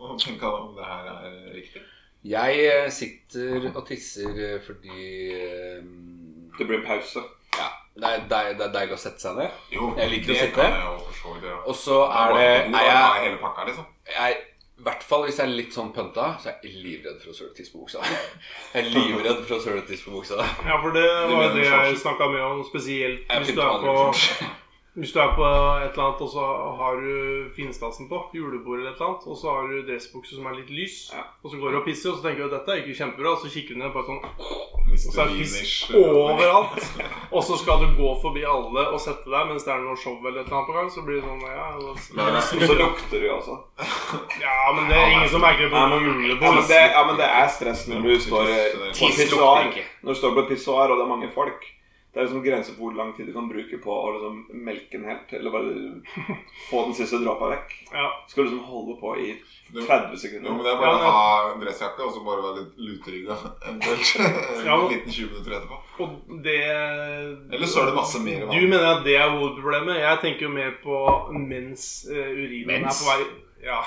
S2: og tenke om det her er riktig.
S1: ja. Jeg eh, sitter og tisser eh, fordi eh,
S3: Det blir en pause.
S1: Ja, det er, det, er, det er deilig å sette seg ned.
S2: Jo,
S1: Jeg liker å
S2: det
S1: sitte.
S2: kan jeg jo forstå. Det, ja.
S1: Og så er det er
S2: jeg,
S1: jeg,
S2: hele pakka, liksom.
S1: jeg I hvert fall hvis jeg er litt sånn pønta, så er jeg livredd for å søle tiss på buksa. Jeg er livredd for å søle tiss på buksa.
S4: Ja, for det var jo
S2: mener
S4: det jeg
S2: sjansen.
S4: snakka med om, spesielt
S1: Jeg
S4: hvis du,
S1: pynter
S4: er på,
S1: aldri.
S4: hvis du er på et eller annet, og så har du finstasen på, julebord eller et eller annet, og så har du dressbukse som er litt lys,
S3: Ja.
S4: og så går du og pisser, og så tenker du at dette er ikke kjempebra, og så kikker du ned bare sånn Og så
S2: Mr.
S4: er det piss
S2: Vinish.
S4: overalt! Og så skal du gå forbi alle og sette deg mens det er noe show eller et eller annet på gang, så blir det sånn Ja,
S2: Men
S4: da-
S2: det
S3: Og så lukter du, altså.
S4: ja men det er ingen som merker det på
S3: Ja,
S4: noe
S3: men- Ja, men
S4: julebord.
S3: det, ja, men det er stress når du står eh, på et
S1: Tiss lukter
S3: pissoar.
S1: ikke.
S3: Når du står på et pissoar og det er mange folk. Det er liksom grenser for hvor lang tid du kan bruke på å liksom melke den helt. Eller bare få den siste dråpa vekk.
S4: Ja.
S3: Skal liksom holde på i
S2: Jo.
S3: 30
S2: Jo, men
S3: sekunder.
S2: det er bare
S4: Ja, ja.
S2: å ha en dressjakke og så bare være litt luterygga eventuelt.
S4: Ja.
S2: En liten 20 minutter etterpå.
S4: Og det
S2: Eller så er det masse mer vann.
S4: Du mener at det er hovedproblemet? Jeg tenker jo mer på mens eh, urinen
S1: Mens?
S4: er på vei Ja.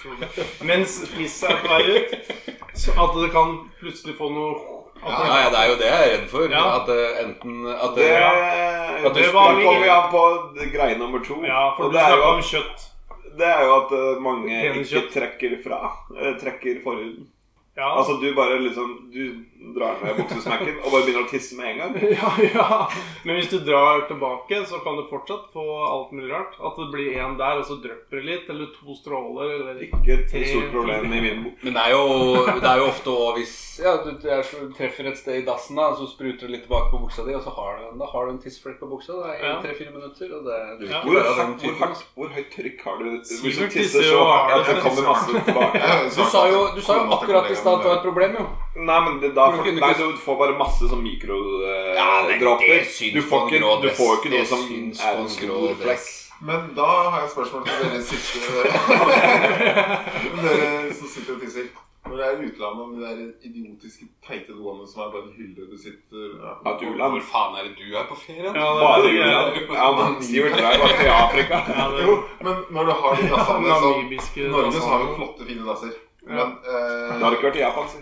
S4: mens pisset er på vei ut. Så at det kan plutselig få noe at
S1: Ja, ja, det er jo det jeg er redd for.
S4: Ja.
S1: At eh, enten at
S3: Det,
S1: eh,
S3: det,
S1: det
S3: Da
S4: var-
S3: kommer vi an på greie nummer to.
S4: Ja, for
S3: og
S4: du
S3: det er,
S4: snakker
S3: jo
S4: om
S3: at,
S4: kjøtt.
S3: det er jo at eh, mange ikke
S4: Penekjøtt.
S3: trekker fra. eh, Trekker forhuden.
S4: Ja.
S3: Altså du bare liksom Du drar ned buksesmekken og bare begynner å tisse med en gang.
S4: ja, ja. Men hvis du drar tilbake, så kan du fortsatt få alt mulig rart. At det blir én der, og så drypper det litt, eller to stråler, eller
S3: Ikke et stort problem i min bok.
S1: Men det er jo, det er jo ofte også hvis ja, du, du er, så- treffer et sted i dassen, da, og så spruter det litt tilbake på buksa di, og så har du, en- da har du en tissflekk på buksa. Det er
S4: Ja.
S1: tre-fire minutter, og det du vil
S4: Ja.
S1: ikke
S3: Hvor,
S1: være av den
S3: hardt, hvor,
S1: typen,
S3: hardt,
S1: altså.
S3: hvor høyt trykk har du? Hvis du
S4: Sivert
S3: tisser så
S4: tisser jo
S3: hardt at
S4: hardt.
S3: det kommer masse tilbake?
S1: Du sa jo, du sa jo akkurat i stad at det var et problem, jo.
S3: Nei, men det, da
S1: Men
S3: får,
S1: kunne
S3: nei,
S1: ikke-
S3: du får bare masse
S1: Ja, men
S3: sånn
S1: det
S3: mikrodråper.
S1: syns
S3: du får
S1: på en
S3: ikke,
S1: grå
S3: du
S1: dress.
S3: får ikke
S1: Det
S3: noe som
S1: syns på
S3: er
S1: en
S3: en
S1: grå
S3: stor flekk.
S1: dress.
S2: Men da har jeg et spørsmål til dere siste Dere som sitter og tisser. Når det er i utlandet om de der idiotiske teite doene som er bare en hylle du sitter ja.
S3: Ja, et u-land.
S1: Hvor faen er det du er på ferie?
S4: Ja, det er
S3: Bare
S4: det
S3: u-land.
S4: greia.
S3: Ja, men Sivert drar bare til Afrika.
S4: Ja, det
S2: Jo, men når du har de dassene som
S4: Namibiske
S2: Norge så har jo flotte, fine dasser.
S4: sånn. Ja.
S2: Men eh,
S3: Det har ikke vært i Japan, si.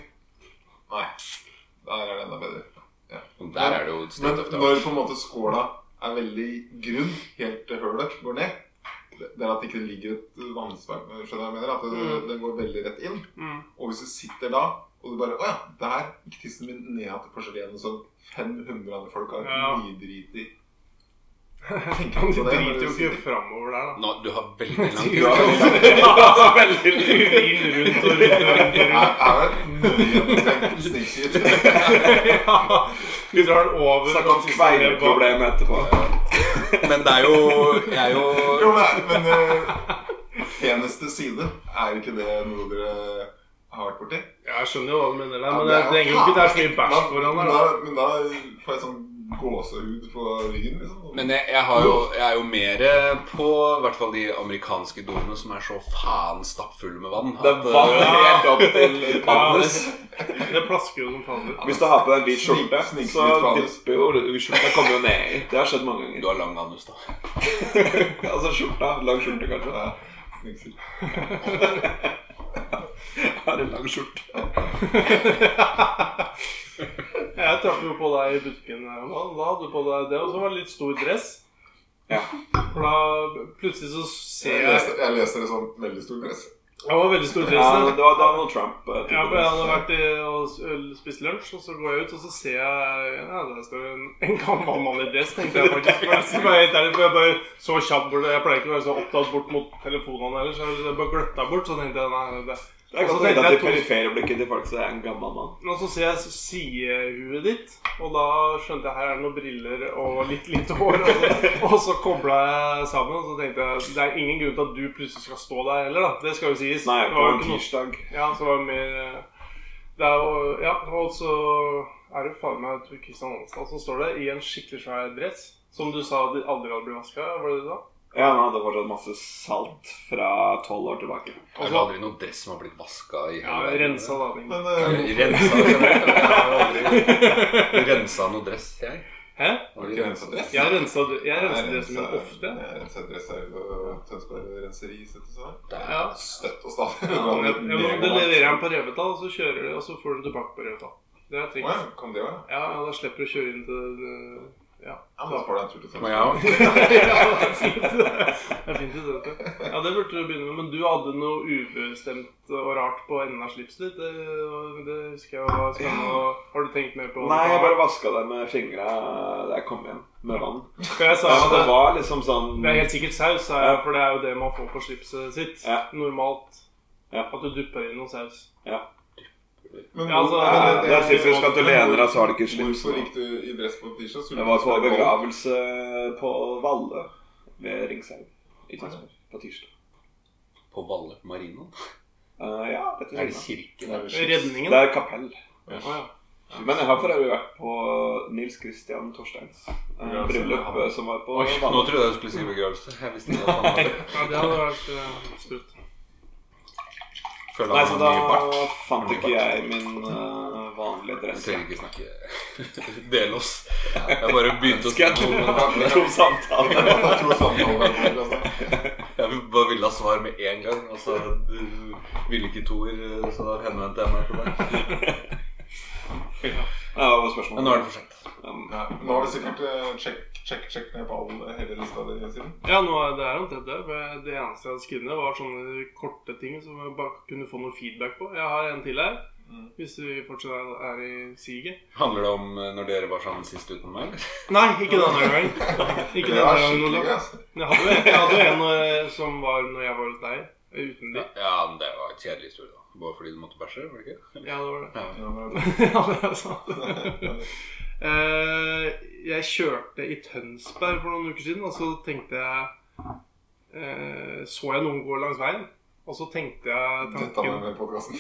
S2: Nei. Der er det enda bedre.
S1: Der er det jo
S2: Men
S1: state of the art.
S2: når på en måte skåla er veldig grunn, helt til hølet går ned det det er at det ikke ligger et vannsverk Skjønner du hva jeg mener? At det,
S4: Mm.
S2: det går veldig rett inn.
S4: Mm.
S2: Og hvis du sitter da og du bare Å ja, der gikk tissen min ned til porselenet som 500 andre folk har
S4: Ja.
S2: nydriti.
S4: Ja, men Du driter jo ikke framover der, da.
S1: Nå, du har veldig lang
S4: Ja,
S1: tid.
S4: veldig urin rundt og rundt. og rundt, og
S2: Her er
S4: rundt.
S2: det nødvendig snikskritt.
S4: Ja. Vi drar den over.
S3: Snakk om kveileproblem etterpå.
S1: Men det er jo Jeg er jo
S2: Jo, men, men eh, peneste side, er ikke det noe dere har vært borti.
S4: Jeg skjønner jo hva du mener, der, men
S2: Ja,
S4: det
S2: er jo
S4: trenger jo ikke det er så mye
S2: faen
S4: bæsj
S2: ikke-
S4: foran
S2: men
S4: der. da.
S2: da- Men da får jeg sånn gåsehud på ryggen, liksom.
S1: Men jeg, jeg, har jo, jeg er jo mer på i hvert fall de amerikanske doene som er så faen stappfulle med vann.
S3: Det er vann helt opp til
S4: Ja,
S3: pannes.
S4: det, det plasker jo som faen ut.
S3: Hvis du har på deg en hvit skjorte,
S2: Snik- snik-
S3: så
S2: litt pannes.
S3: dipper jo skjorta kommer jo ned i. Det har skjedd mange
S1: Du
S3: ganger.
S1: har lang anus, da.
S3: altså skjorta. Lang skjorte, kanskje.
S2: Ja, snikser.
S3: Har en lang skjorte.
S4: Jeg traff jo på deg i butikken. eh, Da, da hadde du på deg det, og så var det litt stor dress.
S3: Ja.
S4: For da plutselig så ser
S2: jeg,
S4: jeg
S2: leser, jeg leser det som veldig stor dress.
S4: Det var veldig stor
S3: Ja,
S4: dress.
S3: det
S4: det.
S3: var Donald Trump. eh,
S4: Ja,
S3: typen.
S4: for jeg hadde vært i, og s- øl- spist lunsj, og så går jeg ut, og så ser jeg Ja, der står en, en gammel mann i dress, tenkte jeg faktisk. For jeg, skal være helt ærlig, for jeg bare så kjapt bort Jeg pleier ikke å være så opptatt bort mot telefonene ellers. Jeg bare gløtta bort, så tenkte jeg nei det.
S3: Det er
S4: Og så
S3: godt å vite
S4: tenkte
S3: at
S4: jeg
S3: de
S4: Altså, to-
S3: perifere blikket til folk så er jeg en gammel mann.
S4: Men så ser jeg sidehuet ditt, og da skjønte jeg her er det noen briller og litt lite hår. Og så, og så kobla jeg sammen, og så tenkte jeg det er ingen grunn til at du plutselig skal stå der heller, da. Det skal jo sies.
S3: Nei,
S4: Det
S3: på
S4: var jo
S3: en
S4: ikke noe-
S3: tirsdag.
S4: Ja, så var det mer eh, det er, jo- Ja, og så er det faen meg Tor Kristian Hanstad som står der i en skikkelig svær dress. Som du sa de aldri hadde blitt vaska, var det det du sa?
S3: Ja, han hadde fortsatt masse salt fra tolv år tilbake.
S1: Det er aldri noe dress som har blitt vaska i
S4: Altså, Ja,
S1: hele verden.
S4: rensa lading.
S2: Men
S1: Eller,
S2: eh,
S1: Rensa Jeg har aldri rensa noe dress, jeg.
S4: Hæ?
S2: har du ikke renset dress?
S4: Jeg rensa, jeg rensa
S2: Jeg
S4: dressen min
S2: renser-
S4: ofte.
S2: Jeg renser dress her og Tønsberg renseri, så det sånn.
S1: Det er
S4: Ja.
S2: Støtt og stadig.
S4: Ja, men jeg- jeg- men det leverer han på Revetal, og så kjører det, og så får du den tilbake på Revetal. Det er et
S2: Å
S4: triks.
S2: ja, kom det òg, ja.
S4: Ja, ja, da slipper du å kjøre inn til øh,
S2: Ja, men Da får du en tur til
S1: Men
S2: Tønsberg.
S1: jeg har-
S4: Ja, det er fint. Det er fint å se det. Ja, det burde du begynne med. Men du hadde noe ubestemt og rart på enden av slipset ditt. Det, det husker jeg var spennende. og- Har du tenkt mer på
S3: Nei, jeg bare vaska det med fingra da jeg kom hjem med vann.
S4: For jeg sa
S3: Ja,
S4: jo
S3: det
S4: det.
S3: var liksom sånn
S4: Det er helt sikkert saus, sa jeg, for det er jo det man får på slipset sitt.
S3: Ja.
S4: Normalt.
S3: Ja.
S4: At du dupper i noe saus.
S2: Men
S4: Ja, altså,
S3: ja,
S2: men
S3: Det er typisk at du lener deg, så har du ikke slips.
S2: Hvorfor gikk du i dress på tirsdag? Skulle
S3: Det
S2: du
S3: var på
S2: spille golf?
S3: begravelse på Valle ved Ringshaug i Tønsberg på tirsdag.
S1: På Valle Marino.
S3: Eh, ja, rett
S1: Er
S3: ved
S1: det
S3: siden av.
S1: kirke der?
S4: Redningen.
S3: Det er kapell.
S4: Å, ja.
S3: Men jeg har for øvrig vært på Nils Christian Torsteins eh, bryllup eh, som var på
S1: Oi, nå
S3: Valle.
S1: trodde jeg du skulle si begravelse. Jeg visste ikke at han hadde
S4: ja, det hadde vært uh, sprøtt.
S1: Føler
S3: Nei,
S1: han
S3: så
S1: har
S3: da
S1: mye bart.
S3: fant ikke jeg min eh, vanlige
S1: Vi
S3: dress.
S1: trenger ikke snakke Del oss. Jeg bare begynte å
S3: Skal jeg tro om samtalen?
S2: Jeg tror samtalen var god, altså.
S1: Jeg bare ville ha svar med en gang, og så du ville ikke Tor, så da henvendte jeg meg til deg.
S3: Ja, det var spørsmålet.
S1: Men nå er det for sent.
S3: Um,
S2: Nei, Nå har vi sikkert eh, sjekk, sjekk, sjekk ned på all eh, hele lista di siden.
S4: Ja, nå er det er omtrent det. for Det eneste jeg hadde skrevet ned, var sånne korte ting som jeg bare kunne få noe feedback på. Jeg har en til her,
S2: Mm.
S4: hvis vi fortsatt er- er i siget.
S1: Handler det om eh, når dere var sammen sist uten meg? eller?
S4: Nei, ikke denne gangen. Ikke
S2: Det var
S4: denne gangen,
S2: skikkelig gøy,
S4: Olav.
S2: altså.
S4: Jeg hadde jo- jeg hadde jo en eh, som var når jeg var hos deg, uten de.
S1: Ja, men det var et kjedelig historie, da. Bare fordi du måtte bæsje, var det ikke?
S4: Ja, det var det.
S1: Ja.
S2: Ja, men-
S4: ja, det er sant. Eh, jeg kjørte i Tønsberg for noen uker siden, og så tenkte jeg eh, Så jeg noen gå langs veien, og så tenkte jeg
S2: Dette må
S4: tanken
S2: med i podkasten.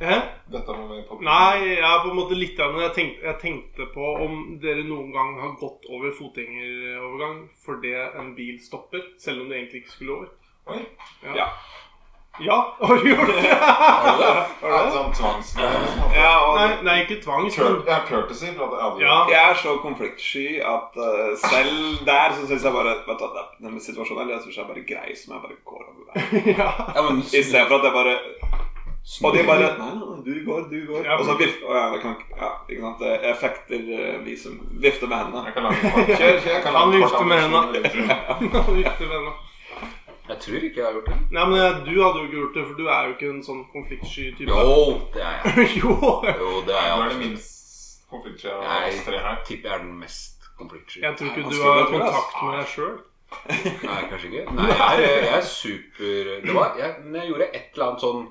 S4: Hæ?
S2: Dette må med i podkasten.
S4: Nei, jeg er på en måte litt grann, men jeg tenkte, jeg tenkte på om dere noen gang har gått over fotgjengerovergang fordi en bil stopper, selv om du egentlig ikke skulle over.
S2: Oi,
S3: Ja.
S4: Ja, har du gjort det?
S2: er det det? Er
S4: Har
S2: det
S4: du det?
S2: sånn tvangsgreie? liksom?
S3: Ja, og
S4: Nei, nei, ikke tvangs,
S2: Cur-
S4: men
S2: Ja, courtesy. For at jeg hadde
S4: Ja.
S3: jeg er så konfliktsky at eh, selv der så syns jeg bare Vet du, hva, det- denne situasjonen her, jeg synes jeg er bare grei som jeg bare går over veien.
S4: ja.
S1: ja, men
S3: I stedet for at jeg bare
S1: snu-
S3: Og de bare Nei, nei, nei, du går, du går.
S4: Ja,
S3: og så vifter Å ja, det kan ikke Ja, ikke sant. det- Jeg fekter eh, vi som vifter med hendene.
S2: Jeg kan lage kort.
S3: Kjør, kjør.
S2: Jeg kan
S4: Han
S2: lage kort
S4: vifter med
S2: animasjon.
S4: Riktig, venner.
S1: Jeg tror ikke jeg har gjort det.
S4: Nei, men eh, du hadde jo ikke gjort det, for du er jo ikke en sånn konfliktsky type.
S1: Jo, det er jeg.
S4: jo.
S1: Jo, det er
S2: Nå
S1: jeg.
S2: er det
S1: absolutt.
S2: minst konfliktsky av
S1: Nei.
S2: oss tre her.
S1: Tipper jeg er den mest konfliktsky.
S4: Jeg tror ikke
S3: Nei,
S4: du
S3: vanskelig å
S4: har
S3: tro, ass.
S4: kontakt med deg sjøl.
S1: Nei, kanskje ikke. Nei, jeg er, jeg er super det var, jeg, men jeg gjorde et eller annet sånn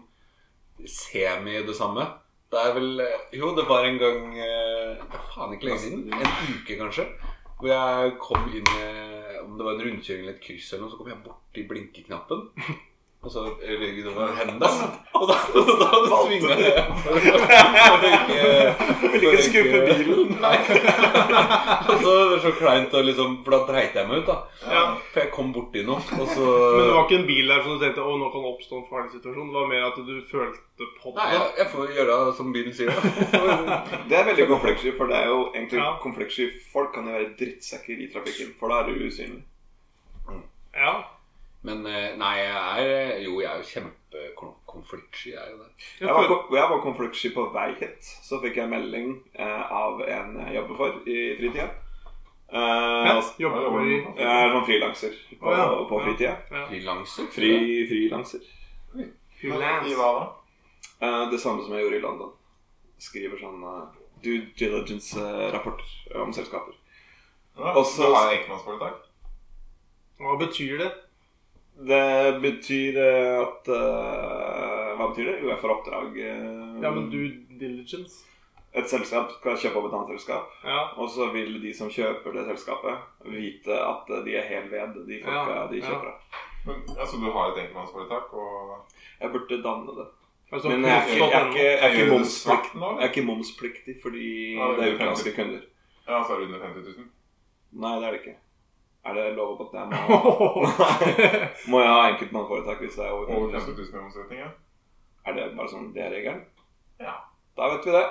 S1: semi det samme. Det er vel Jo, det var en gang eh, det er Faen, ikke lenge siden. En uke, kanskje. Hvor jeg kom inn eh, Om det var en rundkjøring eller et kryss eller noe, så kom jeg borti blinkeknappen. Og så røyk det over hendene. Og da, og da svinga jeg. For, å- for, å ikke-
S3: Vil ikke skuffe bilen.
S1: Nei. Og så var det så kleint, og liksom, for da dreit jeg meg ut, da.
S4: Ja.
S1: For jeg kom borti noe, og så
S4: Men det var ikke en bil der som du tenkte å, nå kan det oppstå en farlig situasjon. Det var mer at du følte på det.
S1: Nei, jeg, jeg får gjøre som bilen sier, da.
S3: Det er veldig konfliktsky, for det er jo egentlig
S4: Ja.
S3: konfliktsky. Folk kan jo være drittsekker i trafikken, for da er du usynlig.
S4: Ja.
S1: Men eh, nei, jeg er eh, Jo, jeg er jo kjempekonfliktsky, jeg er jo det.
S4: Jeg
S3: Jeg var,
S4: følte,
S3: ko- jeg var konfliktsky på vei hit. Så fikk jeg melding eh, av en jeg jobber for i fritida. Eh,
S4: ja,
S3: altså,
S4: jobber du i
S3: jeg er sånn frilanser på,
S4: Å, ja.
S3: på fritida.
S1: Frilanser.
S3: Fri, frilanser.
S2: Men, I
S4: Freelance.
S2: hva da?
S3: Eh, det samme som jeg gjorde i London. Skriver sånn eh, due diligence-rapporter om selskaper.
S2: Ja,
S3: Og så-
S2: du har enkeltmannsforetak?
S4: Hva betyr det?
S3: Det betyr eh, at eh, Hva betyr det? Jo, jeg får oppdrag. eh,
S4: Ja, men due diligence?
S3: Et selskap skal kjøpe opp et annet selskap.
S4: Ja.
S3: Og så vil de som kjøper det selskapet, vite at eh, de er hel ved de folka
S4: Ja,
S3: de
S4: ja.
S3: kjøper av.
S2: Men, altså, du har et enkeltmannsforetak, og
S3: Jeg burde danne det.
S4: Altså,
S3: Men jeg er ikke, jeg er ikke, jeg er ikke,
S2: Gjør du det svart
S3: momspliktig,
S2: nå?
S3: jeg er ikke momspliktig fordi
S2: Ja, det
S3: det
S2: er
S3: er utenlandske kunder.
S2: Ja, så er det under 50 000?
S3: Nei, det er det ikke. Er det lov på at jeg må,
S4: Nei.
S3: må jeg ha enkeltmannsforetak hvis det er over
S2: Over
S3: 50
S2: 50
S3: 000?
S2: 000 i omsetning, ja?
S3: Er det bare sånn det er regelen?
S2: Ja.
S3: Da vet vi det.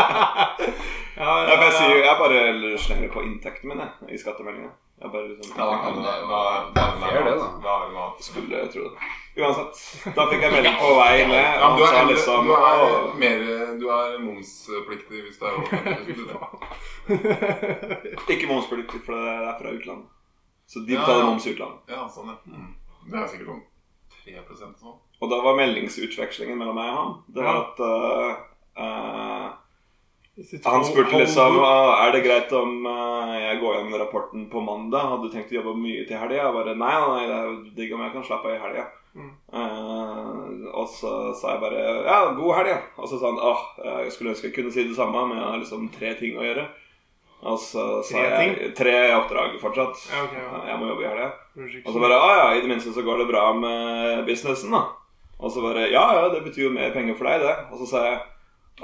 S4: ja,
S3: Jeg bare, sier, jeg bare slenger på inntekten min jeg, i skattemeldinga. Jeg bare liksom
S2: Ja, da kan du da, da, da, da,
S1: Fair det, da.
S2: da er det noe annet.
S3: Skulle jeg tro det. Uansett. Da fikk jeg melding på vei ned.
S2: Ja, men
S3: Og
S2: du
S3: han sa
S2: er,
S3: liksom
S2: du er,
S3: «Å,
S2: mer, du er momspliktig hvis det er over 50 000. du.
S3: Ikke momspliktig, for det er fra utlandet. Så de
S2: Ja.
S3: betaler moms i utlandet.
S2: Ja, sånn, ja. Mm. Det er sikkert sånn 3 og sånn.
S3: Og da var meldingsutvekslingen mellom meg og han Det var
S4: Ja.
S3: at øh, øh, Han spurte liksom «Å, Er det greit om øh, jeg går gjennom rapporten på mandag. Hadde du tenkt å jobbe mye til helga? Jeg bare nei, nei, nei, det er jo digg om jeg kan slappe av i helga.
S4: Mm.
S3: Eh, og så sa jeg bare ja, god helg. ja. Og så sa han åh, eh, jeg skulle ønske jeg kunne si det samme, men jeg har liksom tre ting å gjøre. Og så sa
S4: Tre
S3: jeg tre oppdrag fortsatt.
S4: Ja, ok, ja.
S3: Jeg må jobbe i helga.
S4: Unnskyld.
S3: Og så bare ah, ja, i det minste så går det bra med businessen, da. Og så bare ja, ja, det betyr jo mer penger for deg, det. Og så sa jeg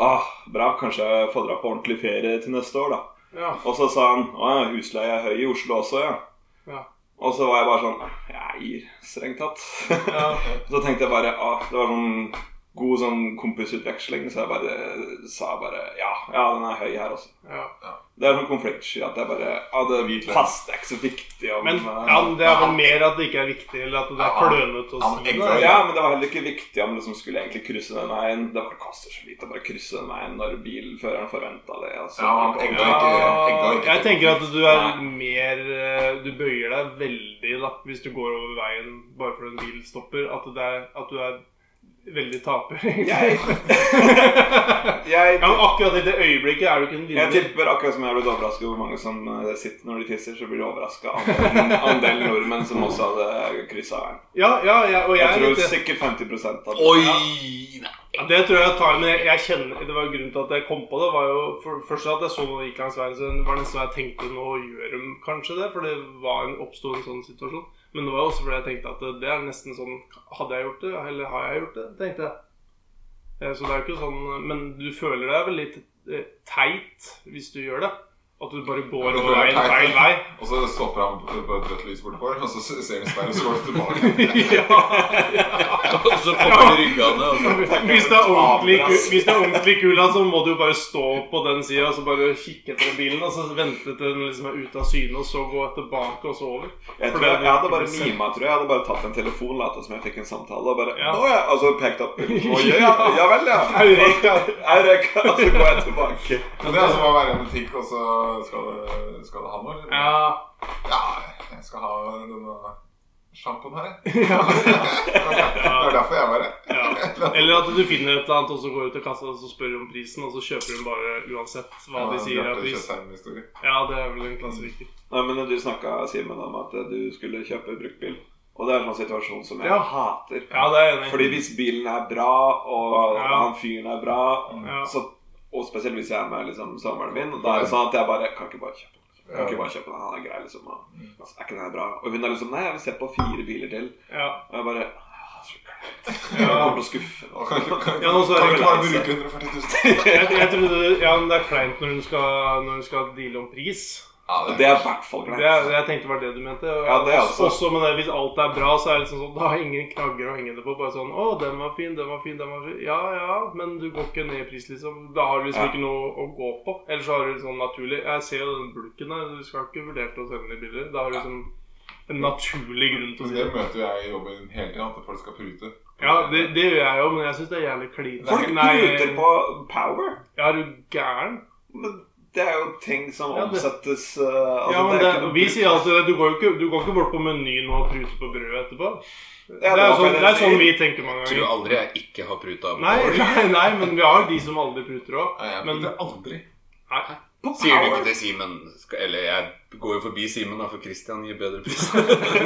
S3: ah, bra, kanskje jeg får dra på ordentlig ferie til neste år, da.
S4: ja.
S3: Og så sa han å ja, husleie er høy i Oslo også, ja.
S4: Ja.
S3: Og så var jeg bare sånn Nei, strengt tatt.
S4: Ja.
S3: så tenkte jeg bare ah, Det var sånn god sånn kompisutveksling, så jeg bare sa bare Ja, ja, den er høy her også.
S4: ja.
S3: Det er sånn konfliktsky at jeg bare Ja, det
S2: Hvitløk.
S3: pass, det er ikke så viktig om
S4: Men
S3: eh,
S4: ja, men det er vel mer at det ikke er viktig, eller at det er
S2: Ja,
S4: klønete å
S2: han-
S4: si
S2: han-
S4: det.
S3: Ja, men det var heller ikke viktig om liksom skulle egentlig krysse den veien. Det bare koster så lite å bare krysse den veien når bilføreren forventa det. Altså.
S2: Ja, han egga
S4: Ja,
S2: ikke, egga ikke
S4: jeg tenker at du er mer eh, Du bøyer deg veldig da, hvis du går over veien bare fordi en bil stopper. At, det er, at du er veldig taper, egentlig.
S3: jeg,
S4: Ja, men akkurat i det øyeblikket er du ikke en
S3: jeg
S4: vinner.
S3: tipper akkurat som jeg har blitt overraska over mange som eh, sitter når de tisser, så blir de overraska av en andel nordmenn som også hadde kryssa veien.
S4: Ja, ja, ja, og jeg
S3: Jeg
S4: er
S3: tror
S4: litt-
S3: sikkert 50 av
S1: Oi! Nei.
S4: Ja, Det tror jeg jeg tar, men jeg, jeg kjenner Det var grunnen til at jeg kom på det, var jo for, Først at jeg så noen gikk langs veien, så det var nesten så jeg tenkte nå gjør de kanskje det, for det var en, oppstod en sånn situasjon. Men det var også fordi jeg tenkte at det, det er nesten sånn Hadde jeg gjort det, eller har jeg gjort det? tenkte jeg. Eh, Så det er jo ikke sånn Men du føler deg vel litt eh, teit hvis du gjør det? At du bare går
S2: Ja, du
S4: over
S2: føler deg
S4: veien
S2: teit,
S4: feil
S2: ja.
S4: vei?
S2: Og så stopper han på på et rødt lys bortfor, og så ser han Sverre og så går han tilbake.
S4: ja,
S1: Og så popper ryggene. Og så.
S4: Hvis det er ordentlig, ku- hvis det er ordentlig kula, så må du jo bare stå på den sida og så bare kikke etter bilen. Og så vente til den liksom er ute av syne, og så gå tilbake og så over.
S3: Jeg,
S4: For
S3: tror jeg,
S4: det-
S3: jeg hadde bare mima, tror jeg. Jeg hadde bare tatt en telefon, lata som jeg fikk en samtale, og bare
S4: Ja.
S3: Å ja! Og så pekt opp. Å ja, ja vel, ja.
S4: Eureka.
S3: Eureka! Og så går jeg tilbake.
S2: Men det er som å være i en butikk, og så skal det, skal det ha noe? eller?
S4: Ja.
S2: ja, jeg skal ha denne sjampoen her. Det er derfor jeg var her.
S4: ja. Eller at du finner et eller annet, og så går du til kassa og så spør du om prisen, og så kjøper du bare uansett hva de sier er pris. Ja, det er vel en klassiker.
S3: Nei, men Du snakka Simen, om at du skulle kjøpe bruktbil. Og det er en sånn situasjon som jeg
S4: Ja.
S3: hater.
S4: Ja, det er jeg enig i.
S3: Fordi hvis bilen er bra, og
S4: Ja.
S3: han fyren er bra
S4: Ja.
S3: så, Og spesielt hvis jeg er med liksom, samboeren min, da er det sånn at jeg bare kan ikke bare kjøpe den. Kan ikke bare kjøpe den, han er grei, liksom. Og,
S4: Mm.
S3: altså, er ikke den her bra? Og hun er liksom Nei, jeg vil se på fire biler til.
S4: Ja.
S3: Og jeg bare «Ah, så kleint. Jeg kommer til å skuffe.
S2: Og Kan ikke kan-
S4: Ja, nå så er
S2: kan
S4: det
S2: ikke bare
S3: klart.
S2: bruke 140 000.
S4: Jeg, jeg trodde, ja, men det er kleint når hun skal, når hun skal deale om pris.
S2: Ja,
S3: Og
S2: det
S3: Det er i hvert fall
S4: Det er,
S3: greit.
S4: jeg tenkte var det du mente. Og
S3: Ja, det er altså- også-
S4: Også med det, Hvis alt er bra, så er det liksom sånn Da har jeg ingen knagger å henge det på. Bare sånn 'Å, den var fin, den var fin, den var fin.' Ja ja, men du går ikke ned i pris, liksom. Da har du liksom
S3: Ja.
S4: ikke noe å gå på. Eller så har du sånn naturlig Jeg ser jo den bulken der, du skal ikke vurdere til å selge den i bilder. Da har du liksom en naturlig grunn til å
S2: Men
S4: si
S2: det
S4: det.
S2: møter jo jeg i jobben hele tiden, at folk skal prute.
S4: Ja, det, det gjør jeg jo, men jeg syns det er jævlig kline.
S3: Folk bruker på power.
S4: Ja, er du gæren?
S3: Men det er jo ting som
S4: Ja, det-
S3: omsettes eh, altså,
S4: ja, men
S3: det er
S4: det,
S3: ikke noe
S4: vi
S3: bruk.
S4: sier alltid det. Du går jo ikke, du går ikke bort på menyen og pruter på brødet etterpå.
S3: Ja,
S4: det, er
S3: var
S4: jo sånn,
S3: feil.
S4: det er sånn vi tenker mange
S1: Tror
S4: ganger.
S1: aldri jeg ikke har pruta av
S4: Nei, nei, nei, men vi har de som aldri pruter òg.
S2: Nei, jeg
S4: Men-
S2: pruter aldri.
S3: På
S1: Sier du
S3: power.
S1: ikke til Simen skal- Eller jeg går jo forbi Simen, da, for Christian gir bedre pris. ja,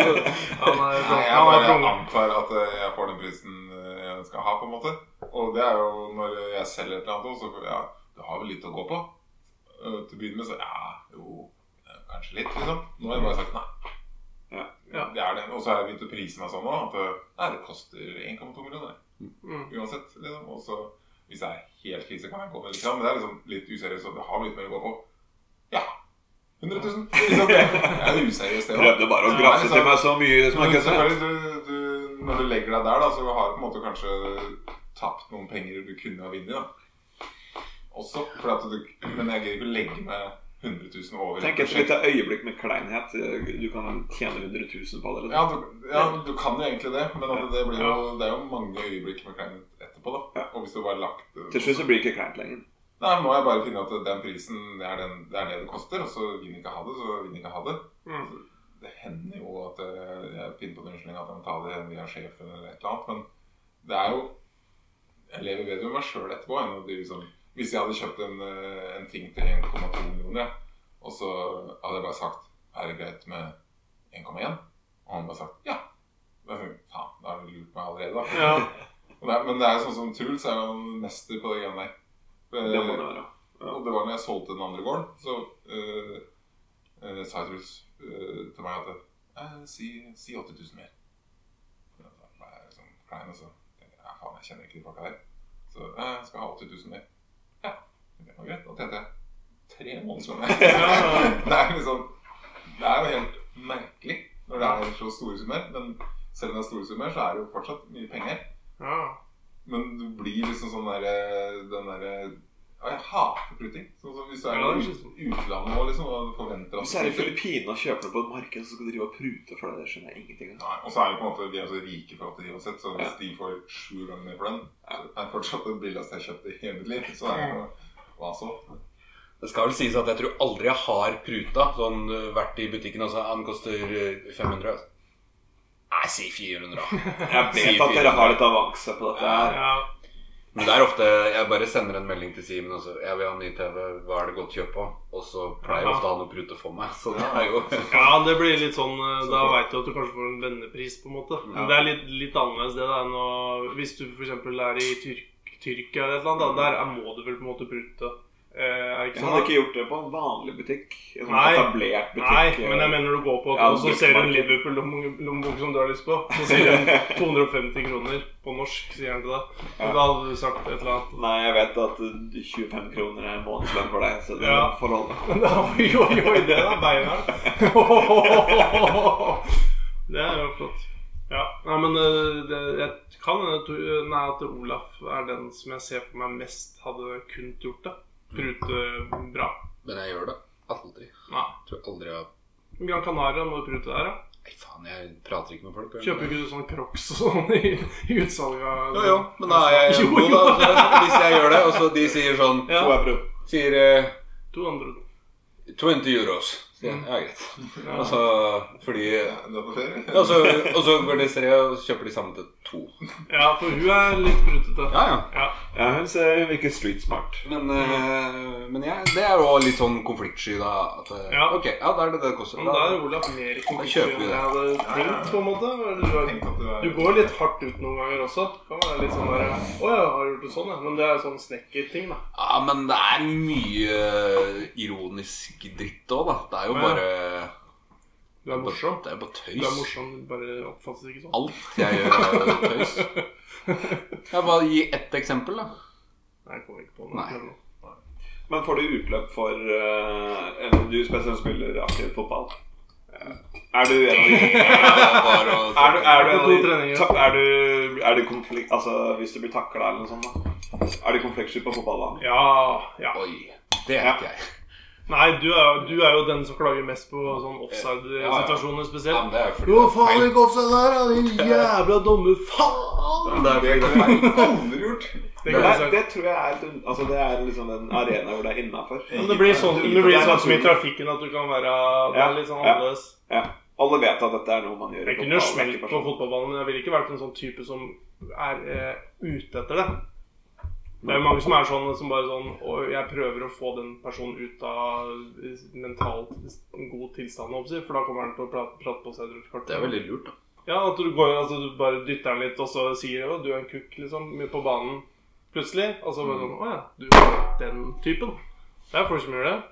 S4: Han er
S2: Nei, jeg
S4: han er
S2: bare
S4: fra-
S2: antar at eh, jeg får den prisen eh, jeg skal ha, på en måte. Og det er jo når jeg selger et eller annet også, så ja, du har vel litt å gå på. Eh, Til å begynne med så ja, jo, eh, kanskje litt, liksom. Nå har jeg bare sagt nei.
S3: Ja.
S4: Ja.
S2: Det er det. Og så har jeg begynt å prise meg sånn nå at eh, nei, det koster 1,2 millioner
S4: Mm.
S2: uansett, liksom. Og så hvis jeg er helt krise, kan jeg gå med litt fram. Men det er liksom litt useriøst, og det har litt mer å gå på. Ja. 100 000. Liksom. Jeg er useriøs, det også.
S3: Prøvde bare å graffe til meg så mye som jeg
S2: Men
S3: kunne.
S2: selvfølgelig, du, du, når du legger deg der, da, så har du på en måte kanskje tapt noen penger du kunne ha vunnet. da. Også, for at du, men jeg gidder ikke å legge meg 100 000 over.
S3: Tenk et lite øyeblikk med kleinhet. Du kan tjene 100 000 på det.
S2: Ja
S3: eller?
S2: du, ja, du kan jo egentlig det, men at det, blir jo, det er jo mange øyeblikk med kleinhet etterpå. da.
S3: Ja.
S2: Og hvis du bare lagt
S3: Til slutt så blir det ikke kleint lenger.
S2: Nei, må jeg bare finne at den prisen det er, den, det, er det det koster, og så vil jeg ikke ha det, så vil jeg ikke ha det.
S4: Mm.
S2: det hender jo at eh, jeg finner på en unnskyldning at jeg må ta det via sjefen eller et eller annet, men det er jo Jeg lever bedre med meg sjøl etterpå enn å drive sånn Hvis jeg hadde kjøpt en, eh, en ting til 1,2 millioner, jeg, og så hadde jeg bare sagt Er det greit med 1,1? Og han bare sagt ja. Da er jeg sånn, faen, da har du lurt meg allerede, da.
S4: Ja.
S2: Og det er, men det er jo sånn som Truls er jo en mester på det greiene der. Eh,
S3: Det må det være. Ja.
S2: og det var når jeg solgte den andre gården, så eh, eh, sa Truls eh, til meg at eh, si, si 80 000 mer. Og Da ble jeg sånn klein, og så tenkte jeg ja, faen, jeg kjenner ikke de folka der. Så eh, skal jeg ha 80 000 mer. Ja, det var greit. Da tjente jeg tre måneder
S4: Ja.
S2: mer. det er liksom Det er jo helt merkelig når det er så store summer, men selv om det er store summer, så er det jo fortsatt mye penger.
S4: Ja.
S2: Men du blir liksom sånn derre Den derre Ja, jeg hater pruting. Sånn som hvis du er
S4: Ja,
S2: i
S4: det er
S2: ut- utlandet og liksom og du forventer at
S3: Hvis jeg er i
S2: du pruter.
S3: Filippinene og kjøper noe på et marked, så skal du drive og prute for det. Det skjønner jeg ingenting av.
S2: Nei, Og så er det på en måte de er så rike for at de uansett, så hvis
S3: Ja.
S2: de får sju ganger mer for den, så er det fortsatt det billigste jeg har kjøpt i hele mitt liv. Så er det jo hva så?
S1: Det skal vel sies at jeg tror aldri jeg har pruta. Sånn øh, vært i butikken og sagt den koster øh, 500. altså. Nei, si 400, da.
S3: Jeg vet
S1: Sier
S3: at dere har litt avanse på dette her.
S4: ja.
S1: Men det er ofte Jeg bare sender en melding til Simen og så Jeg vil ha ny TV. Hva er det godt kjøp på? Og så pleier
S4: Ja.
S1: ofte han å prute for meg. Så det er jo
S4: ja, det blir litt sånn eh, Da veit du at du kanskje får en vennepris, på en måte. Men Det er litt, litt annerledes det da enn å Hvis du f.eks. er i Tyrk, Tyrkia eller et eller annet, da, der er- må du vel på en måte prute. Eh, er det
S3: Jeg
S4: ikke
S3: hadde
S4: sånn? da?
S3: ikke gjort det på en vanlig butikk. En sånn
S4: Nei.
S3: etablert butikk. eh,
S4: Nei, men jeg mener når du går på
S3: Ja,
S4: og så ser du en
S3: bruktmarked.
S4: Liverpool-lommebok som du har lyst på, så sier den 250 kroner på norsk, sier han til deg.
S3: Ja.
S4: Og Da hadde du sagt et eller annet.
S3: Nei, jeg vet at uh, 25 kroner er månedslønn for deg, så det
S4: Ja.
S3: får holde.
S4: Men da, oi, oi, oi, det er beina. Det er jo flott. Ja, nei, men eh, det, jeg kan hende to- nei, at Olaf er den som jeg ser for meg mest hadde kun gjort det. Prute eh, bra.
S1: Men jeg gjør det aldri.
S4: Nei.
S1: Jeg tror aldri jeg har
S4: Gran Canaria må du prute der, ja.
S1: Nei, faen, jeg prater ikke med folk.
S4: Kjøper ikke du sånn Crocs og sånn i, i utsalget? av-
S1: Jo, jo, men da er jeg
S4: Jo,
S1: god,
S4: jo.
S1: da. så Hvis jeg gjør det, og så de sier sånn
S4: Ja.
S3: To euro.
S1: Sier eh,
S4: To andre.
S1: 20 euros. Sier jeg, ja, greit. Og så fordi
S2: Du er på ferie?
S1: Og så, og så går de tre og kjøper de samme til to.
S4: Ja, for hun er litt brutete.
S1: Ja, ja.
S4: Ja.
S3: Ja, hun ser virker street smart.
S1: Men, eh, men jeg, det er jo litt sånn konfliktsky, da. At, eh,
S4: Ja.
S1: Ok, ja, da er det det det koster.
S4: Men da er Olaf mer i konflikt
S1: kjøper
S4: enn
S1: vi det.
S4: jeg hadde tenkt, på en måte.
S2: Jeg
S4: Eller,
S2: tenkte at det var-
S4: Du går litt hardt ut noen ganger også. Kan være litt sånn der, Å ja, har du gjort det sånn, ja. Men det er jo sånn snekkerting, da.
S1: Ja, men det er mye ironisk dritt òg, da. Det er jo
S4: Ja.
S1: bare
S4: Du er morsom.
S1: Det er jo bare tøys.
S4: Du er morsom, du bare oppfattes ikke sånn.
S1: Alt jeg gjør, er jo tøys. Jeg bare gi ett eksempel, da.
S4: Nei, jeg kommer ikke på
S1: Nei.
S4: noe. Men-
S3: Men får du utløp for eh, en- Du spesielt spiller aktiv fotball. Eh, Er du en av de
S1: Bare å-
S3: Er du, er du, en av
S4: To
S3: de-
S4: treninger.
S3: ta- er du, er du konflikt, altså, Hvis du blir takla eller noe sånt, da er du konfliktsky på fotballbanen?
S4: Ja, ja.
S1: Oi. Det er ikke jeg.
S4: Nei, du er, du er jo den som klager mest på sånn offside-situasjoner
S1: Ja,
S4: spesielt.
S1: men det er jo fordi
S4: Jo,
S1: det er
S4: faen,
S1: feil.
S4: ikke offside der, ja, din jævla dumme faen!
S1: Det er
S2: Det
S1: fordi det er
S2: kunne
S1: feil.
S2: jeg aldri gjort.
S4: Det,
S3: Det,
S4: kan
S3: er-
S4: jeg si.
S3: det tror jeg er, et un- altså, det er liksom en arena hvor det er innafor.
S4: Men det blir sånn, det blir sånn som i trafikken, at du kan være det er litt sånn
S3: Ja.
S4: annerledes.
S3: Ja. Alle vet at dette er noe man gjør. i
S4: Jeg kunne jo
S3: fotball, det er
S4: smelt
S3: ikke
S4: på
S3: personlig.
S4: fotballbanen, men jeg ville ikke vært en sånn type som er eh, ute etter det. Det er jo mange som er sånn som bare sånn Og jeg prøver å få den personen ut av eh, mentalt god tilstand, holdt jeg på å si, for da kommer han til å prate, prate på seg. rundt kort.
S1: Det er veldig lurt, da.
S4: Ja, at du går altså, du bare dytter den litt, og så sier jo du er en kukk, liksom, på banen plutselig. Og så bare sånn Å ja, du er den typen. Det er folk som gjør det.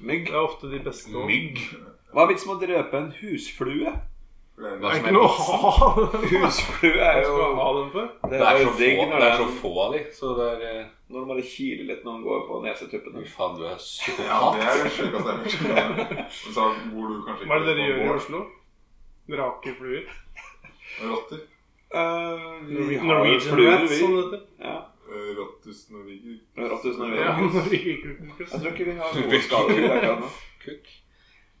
S3: Mygg.
S4: Det er ofte de beste. også.
S2: Mygg.
S3: Hva er vitsen med å drepe en husflue?
S4: Det
S1: Hva
S4: er
S1: som
S4: ikke
S1: er
S4: noe å ha den for.
S3: Husflue er
S4: Skal du ha
S3: jo
S4: den for?
S3: Det
S1: Det
S3: er
S1: er
S3: jo
S1: så
S3: digg
S1: få,
S3: når
S1: det er
S3: den-
S1: så få av de, så det er eh,
S3: Når de bare kiler litt når de går på
S1: Fy
S3: nesetuppene.
S1: faen, du er
S2: Ja,
S1: psykopat.
S2: det er det sjukeste jeg har hørt. Men Så bor du kanskje
S4: Hva er det dere gjør i
S2: Bor-
S4: Oslo? Rake fluer?
S2: Rotter.
S3: vi har
S4: Norwegian
S3: fluer,
S4: rats,
S3: vi.
S4: som det heter.
S3: Ja.
S2: Eh, Rottus nordiger.
S3: Rottus nordiger. Ja.
S4: Ja, Norwegian
S3: Jeg
S4: rats.
S3: tror ikke vi har
S1: Vi-
S3: noen skader. akkurat nå.
S1: Kukk.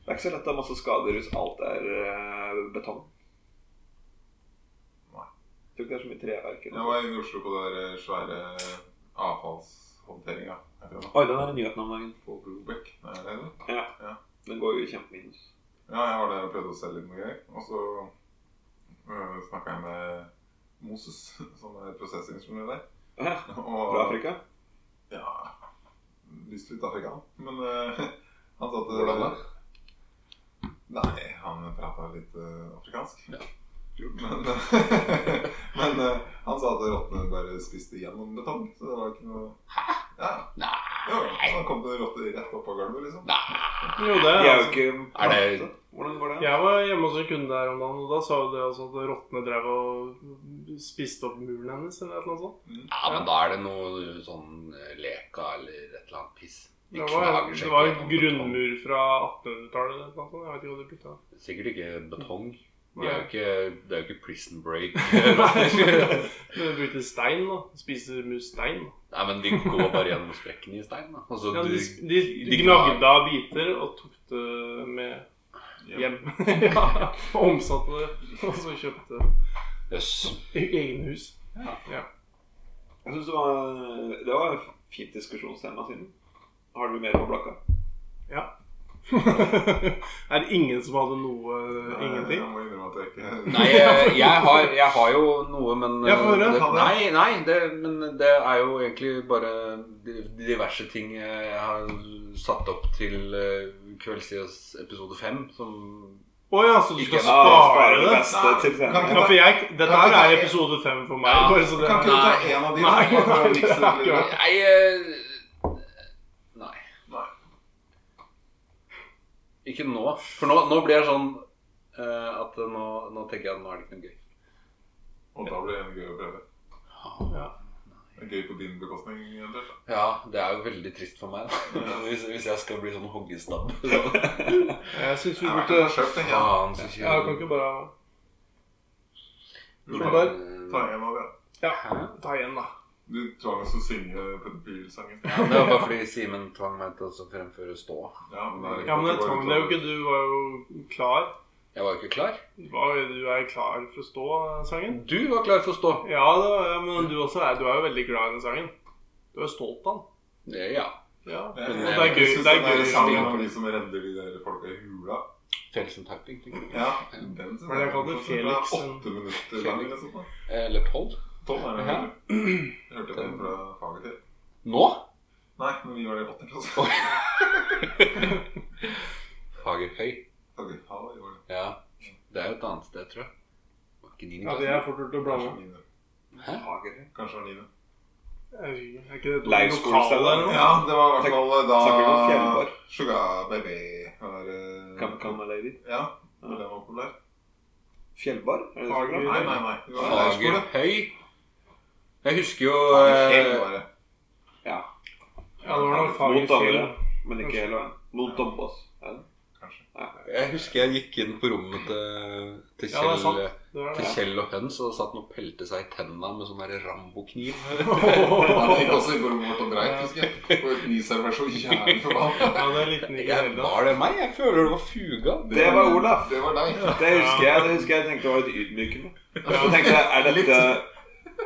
S3: Det er ikke så lett å ha masse skader hvis alt er eh, betong.
S2: Nei.
S3: Jeg tror ikke det er så mye treverk.
S2: Jeg
S3: eller noe.
S2: var inne i Oslo på den der svære avfallshåndteringa.
S3: Oi, den er i nyhetene om dagen.
S2: På Brobekk. Nei, det er det.
S3: Den går jo i kjempeminus.
S2: Ja, jeg var der og prøvde å selge litt noe greier. Og så øh, snakka jeg med Moses, som er prosessingeniør der.
S3: Hæ?
S2: Og,
S3: Fra Afrika?
S2: Ja, lyst til litt afrikan. Men øh, han sa at eh,
S1: Hvordan da?
S2: Nei, han prata litt eh, afrikansk.
S1: Ja.
S2: Men, men eh, han sa at rottene bare spiste gjennom betong, så det var ikke noe Ja.
S1: Nei.
S2: Jo, da kom det rotter rett opp av gulvet, liksom.
S1: Nei.
S4: Jo, det
S3: De
S4: er
S3: er jo
S4: altså.
S3: ikke plante.
S1: Er det-
S3: Hvordan går det?
S4: Jeg var hjemme hos en kunde der om dagen, og da sa jo det altså at rottene drev og spiste opp muren hennes, eller noe sånt.
S1: Ja, men da er det noe sånn eh, leka eller et eller annet piss. De
S4: Det var,
S1: knager seg
S4: det var
S1: ikke
S4: en
S1: gjennom
S4: grunnmur fra 1800-tallet eller noe sånt. Jeg vet ikke hva de brukte. da.
S1: betong. Sikkert ikke betong. De er jo
S4: Nei.
S1: ikke, det er jo ikke prison break.
S4: Nei, men de brukte stein, da. Spiser mus stein. da.
S1: Nei, men de går bare gjennom sprekken i stein. Da. Altså,
S4: Ja, de,
S1: du,
S4: de, de
S1: de
S4: gnagde av biter og tok det med hjem. ja, og omsatte det. Og så kjøpte
S1: Jøss.
S4: i egne hus.
S3: Jeg synes det var, det var et fint diskusjonstema siden. Har du mer på blokka?
S4: er det ingen som hadde noe
S2: Nei,
S4: Eh, Ingenting?
S2: Eh, Jeg må innrømme at jeg ikke
S1: Nei, jeg, jeg, har, jeg har jo noe, men
S4: Ja, få høre.
S1: det,
S2: Ha det.
S1: Nei, nei det, men det er jo egentlig bare di- diverse ting jeg har satt opp til eh, Kveldstidas episode fem, som
S4: Å ja, så du
S1: Ikke-
S4: skal
S1: Ja,
S4: spare det?
S3: beste til
S2: Kan
S4: Ja,
S3: senere.
S2: ikke-
S4: for jeg, dette
S2: Kan
S4: her
S2: ikke
S4: er
S2: ta-
S4: episode fem for meg.
S1: Ja,
S4: Bare så det
S2: Kan ikke du ta
S1: Nei.
S2: en av de?
S4: Nei,
S2: da, for å
S4: nei,
S2: mikse
S4: det er
S2: litt?
S4: akkurat.
S1: Nei eh, Nei.
S2: Nei.
S1: Ikke nå. For nå, nå blir jeg sånn eh, at nå, nå tenker jeg at nå er det ikke noe gøy.
S2: Og da blir det en gøy å prøve.
S4: Ja.
S2: Det er Gøy på din bekostning, eventuelt. da.
S1: Ja, det er jo veldig trist for meg, da. Hvis, hvis jeg skal bli sånn hoggestabb.
S4: Jeg syns vi
S2: Det er
S4: burde
S2: verdt å forsøke, tenker jeg.
S1: Faen, så
S4: Ja, kan ikke bare
S2: Du
S4: Men
S2: tar-
S4: bare-
S2: tar en av de, da.
S4: Ja,
S1: Hæ?
S4: ta igjen, da.
S2: Du tvang oss til å synge pedofilsangen.
S1: Ja, men det var bare fordi Simen tvang meg til å så fremføre stå.
S2: Ja, men, det er
S4: Ja, men jeg tvang deg jo ikke. Du var jo klar.
S1: Jeg var jo ikke klar.
S4: Du var jo- du er klar for å stå-sangen.
S1: Du var klar for å stå.
S4: Ja, det var, jeg, men du også er, du er jo veldig glad i den sangen. Du er jo stolt av den.
S1: Ja.
S4: Ja.
S2: Jeg, jeg,
S1: Det
S2: jeg,
S1: er
S4: gøy-
S2: synes
S4: det er
S2: den der
S4: gøy
S2: sangen
S4: sang.
S2: om de som redder de der folka i hula
S1: Felsen Tapping. tenker jeg.
S2: Ja, den som
S4: Hva er det jeg kaller det? Felix-
S2: Åtte minutter lang eller sånt. da.
S1: Eh, Eller tolv?
S2: Tolv er det
S1: Ja.
S2: vel? Jeg hørte den fra faget til.
S1: Nå?
S2: Nei, men vi var det i åttende klasse.
S1: Fagerhøy.
S2: Takk, ja, vi var det.
S1: Ja. Det er jo et annet sted, tror jeg. Var ikke din
S4: Ja, det er fort gjort å
S2: Kanskje
S4: blande.
S2: niende.
S1: Hæ?
S2: Kanskje det var niende.
S4: Jeg vet ikke, Er ikke det
S3: Leirskolested
S4: lokale
S3: der,
S4: eller noe?
S2: Ja, det var i hvert fall eh,
S3: snakker vi om
S2: da
S3: fjellbar?
S2: Sugar Baby var eh,
S3: Kammerlady.
S2: Ja, når den var populær.
S3: Fjellbar? Er det det som
S4: Fager.
S3: er
S2: Nei,
S3: bra?
S2: nei, nei. Det var leirskole.
S1: Fagerhøy. Jeg husker jo
S2: Fjell,
S1: eh,
S2: bare.
S3: Ja.
S4: Ja, det var noe
S3: Mot
S4: fagerfjell.
S3: Dovre, men ikke hele veien. Mot Dombås. er det?
S2: Kanskje.
S1: Jeg husker jeg gikk inn på rommet til, til
S4: Ja, det
S1: Kjell
S4: er sant. Det var
S1: til
S4: det.
S1: Kjell og høns, og det satt noen og pelte seg i tennene med sånn der Rambo-kniv.
S2: Ja, det gikk også i rommet vårt og dreit, husker jeg. Og et nisarvær så jævlig forbanna.
S4: Ja, det likte den ikke
S1: Jeg-
S4: heller.
S1: Var det meg? Jeg føler det var fuga.
S3: Det var Olaf.
S2: Det var deg.
S3: Det husker jeg. Det husker jeg tenkte var litt ydmykende. Så tenkte jeg, er dette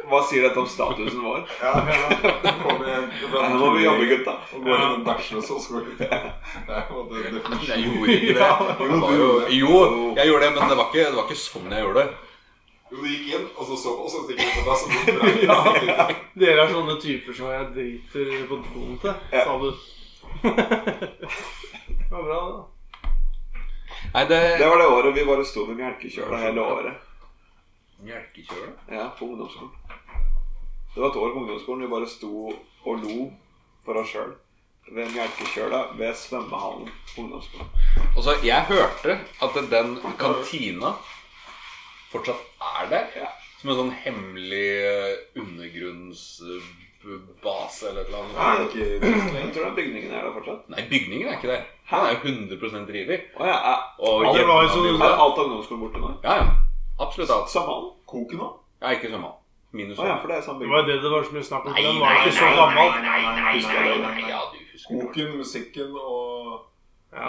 S3: Hva sier dette om statusen vår?
S2: Ja, det kom igjen. Det ble
S3: Her må vi jobbe, gutta.
S2: Og går inn og bæsjer, og så skal vi Det er på en måte
S1: Jeg
S2: definisjonen.
S1: gjorde ikke det.
S2: Jo,
S1: Det var
S2: du
S1: jo,
S2: gjorde det.
S1: jo, jeg gjorde det, men det var ikke, det var ikke sånn jeg gjorde det.
S2: Jo, du gikk inn, og så så og så tenkte jeg på deg, så ble det bra.
S4: Dere er sånne typer som jeg driter på doen til,
S3: Ja.
S4: sa du. Det var bra, det.
S1: Nei, det
S3: Det var det året vi bare sto ved melkekjøla hele året.
S1: Melkekjøla?
S3: Ja, på ungdomsskolen. Det var et år på ungdomsskolen vi bare sto og lo for oss sjøl. Ved melkekjøla ved svømmehallen på ungdomsskolen.
S1: Altså, jeg hørte at den kantina fortsatt er der.
S3: Ja.
S1: Som en sånn hemmelig eh, undergrunnsbase eller et eller annet.
S2: Er det ikke
S3: Jeg tror den bygningen er der fortsatt.
S1: Nei, bygningen er ikke det. Den er jo 100 revet.
S3: Å ja, er-
S1: Og
S4: Ja, det var jo
S1: jevna
S4: sånn-
S1: med-
S3: er alt av ungdomsskolen borte nå?
S1: Ja, ja. Absolutt alt.
S3: Samme hallen?
S2: koken nå?
S1: Ja, ikke svømmehallen. Minus
S3: Å ja, for det er samme
S4: Det var
S3: bygning.
S4: det det var så mye snakk om.
S1: Nei,
S4: Den var
S1: nei,
S4: ikke så
S1: nei,
S4: gammel.
S2: nei, nei, nei, nei,
S1: Ja, du husker det.
S2: Koken, musikken og,
S4: Ja.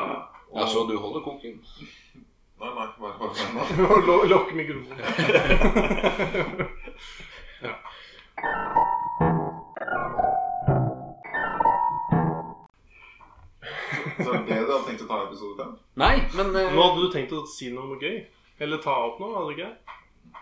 S2: og
S1: Ja, så du holder koken?
S2: Nei, nei, bare, bare, bare.
S4: Å lo- Lokke mikrofonen.
S2: Så er det det du hadde tenkt å ta i episode fem?
S1: Nei, men eh,
S4: Nå hadde du tenkt å si noe gøy. Eller ta opp noe, hadde du ikke?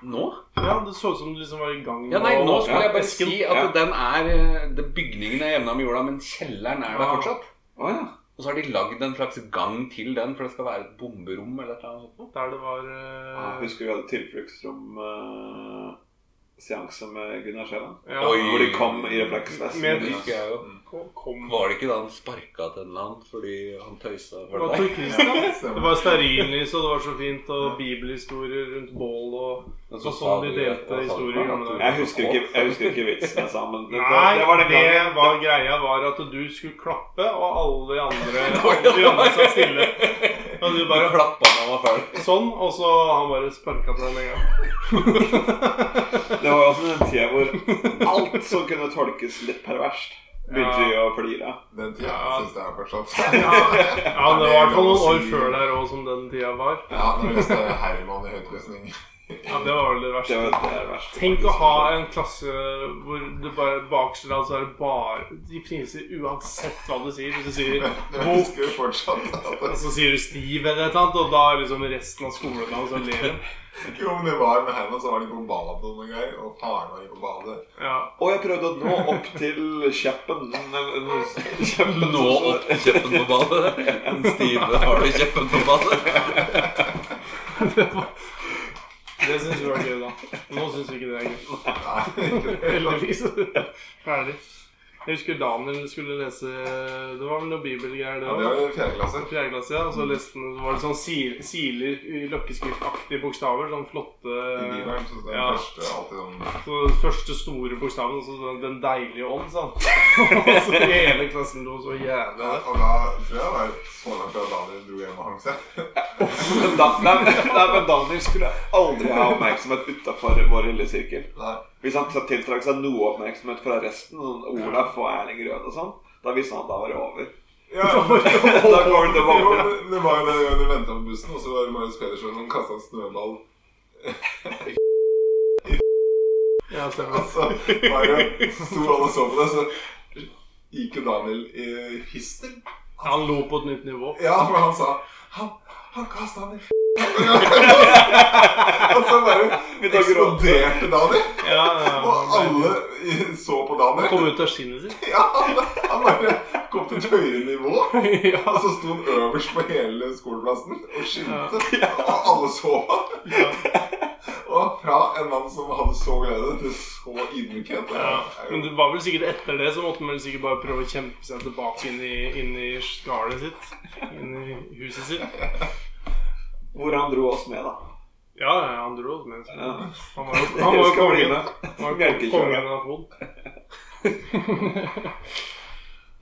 S1: nå?
S4: Ja, Det så ut som du liksom var i gang med
S1: Ja, nei, nå skulle
S3: Ja,
S1: jeg bare
S4: esken.
S1: si at den er eh, det- Bygningen er jevna med jorda, men kjelleren er der
S4: Ja.
S1: fortsatt.
S3: Å ja.
S1: Og så har de lagd en slags gang til den, for det skal være et bomberom eller et eller annet sånt.
S4: Der det var
S3: Ja,
S1: Ah,
S4: eh,
S3: Husker vi hadde tilfluktsrom-seanse med Gunnar Sjæland?
S4: ja,
S1: Oi.
S3: Hvor de kom i refleksvest.
S4: Med-
S1: Det husker jeg jo.
S2: Mm.
S4: kom- Kom
S1: Var det ikke da han sparka til en eller annen fordi han tøysa
S4: Det
S1: for
S4: var
S1: deg?
S4: Tor Christian. Det
S2: Stemmer.
S4: var stearinlys, og det var så fint, og bibelhistorier rundt bål og
S1: Men
S4: Så sånn
S1: sa
S4: de
S1: du-
S4: delte
S1: hva sa du
S4: historier
S1: for
S4: i gamle
S1: noe?
S4: dager.
S3: Jeg husker ikke, jeg husker ikke vitsen jeg sa, men det, det,
S4: Nei,
S3: det var den gangen.
S4: greia var at du skulle klappe, og alle de andre, alle de andre satt stille. Og du
S1: Du bare
S4: bare
S1: klappa når han var ferdig.
S4: sånn, og så han bare sparka på den en gang.
S3: Det var også den tida hvor alt som kunne tolkes litt perverst, begynte vi å flire av.
S2: Den tida
S4: Ja.
S2: syns jeg er fortsatt
S4: Ja, det var i hvert fall noen år før der òg som den tida var.
S2: Ja, når jeg leste Herman i høytlesning.
S4: Ja, det var vel det
S3: Det
S4: verste.
S3: var det verste.
S4: Tenk å ha en klasse hvor det bare bakerst altså er det bare De priser uansett hva du sier. Hvis du sier
S2: Men jeg husker jo fortsatt at
S4: og så sier du stiv eller et eller annet, og da er liksom resten av skoledagen så ler de.
S2: Jo, men det var med Herman, så var de på badet noen ganger, og faren var på badet.
S4: Ja.
S3: Og jeg prøvde å nå opp til kjeppen. men- men- kjeppen
S1: Nå opp kjeppen på badet. Den stive har du kjeppen på badet.
S4: Det syns vi var gøy, da. Nå syns vi ikke det er gøy.
S2: Nei.
S4: Heldigvis. Ferdig. Jeg husker Daniel skulle lese Det var vel noe bibelgreier, det
S2: Ja, det
S4: òg.
S2: var i fjerde klasse.
S4: Fjerde klasse, ja. Og så leste han så var det sånn sil- siler i løkkeskriftaktige bokstaver. Sånn flotte
S2: I Bibelen så den
S4: Ja.
S2: første alltid sånn
S4: Så den første store bokstaven, og så den- den deilige ånd, sa han. Og så hele klassen lo så jævlig. av det.
S2: Og da tror jeg det var så langt fra Daniel dro hjem og hang seg.
S3: Men da- Nei, men- nei, men Daniel skulle aldri ha oppmerksomhet utafor vår lille sirkel.
S2: Nei.
S3: Hvis han tiltrakk seg noe oppmerksomhet fra resten, sånn Olaf og Erling Rød og sånn, da visste han at da var det over.
S2: Ja, men,
S3: Da går det
S2: jo,
S3: tilbake.
S2: men det var jo den gangen du venta på bussen, og så var det Marius Pedersen som kasta en snøball.
S4: Ja, stemmer.
S2: Og så var det sto alle og så på det, så gikk jo Daniel i hister.
S4: Han lo på et nytt nivå.
S2: Ja, for han sa han, Han kastet han i f***. Og så bare
S3: Vi tar gråt.
S2: eksploderte Daniel.
S4: Ja, ja,
S2: Og alle i- så på Daniel.
S4: Kom ut av skinnet sitt.
S2: Ja, han, han bare kom til et høyere nivå.
S4: ja.
S2: Og så sto han øverst på hele skoleplassen og skinte. Og alle så han.
S4: ja.
S2: Og fra en mann som hadde så glede, til så ydmykhet. Det
S4: Ja,
S2: er
S4: men
S2: jo-
S4: det var vel sikkert etter det så måtte man vel sikkert bare prøve å kjempe seg tilbake inn i, inn i skallet sitt. Inn i huset sitt.
S3: Hvor han dro oss med, da.
S4: Ja, ja, han dro, men
S3: Ja.
S4: han var jo, han var jo
S3: Skal bli
S4: kongen.
S3: med.
S4: Han var jo
S3: Bjelkekjører.
S4: kongen av Fon.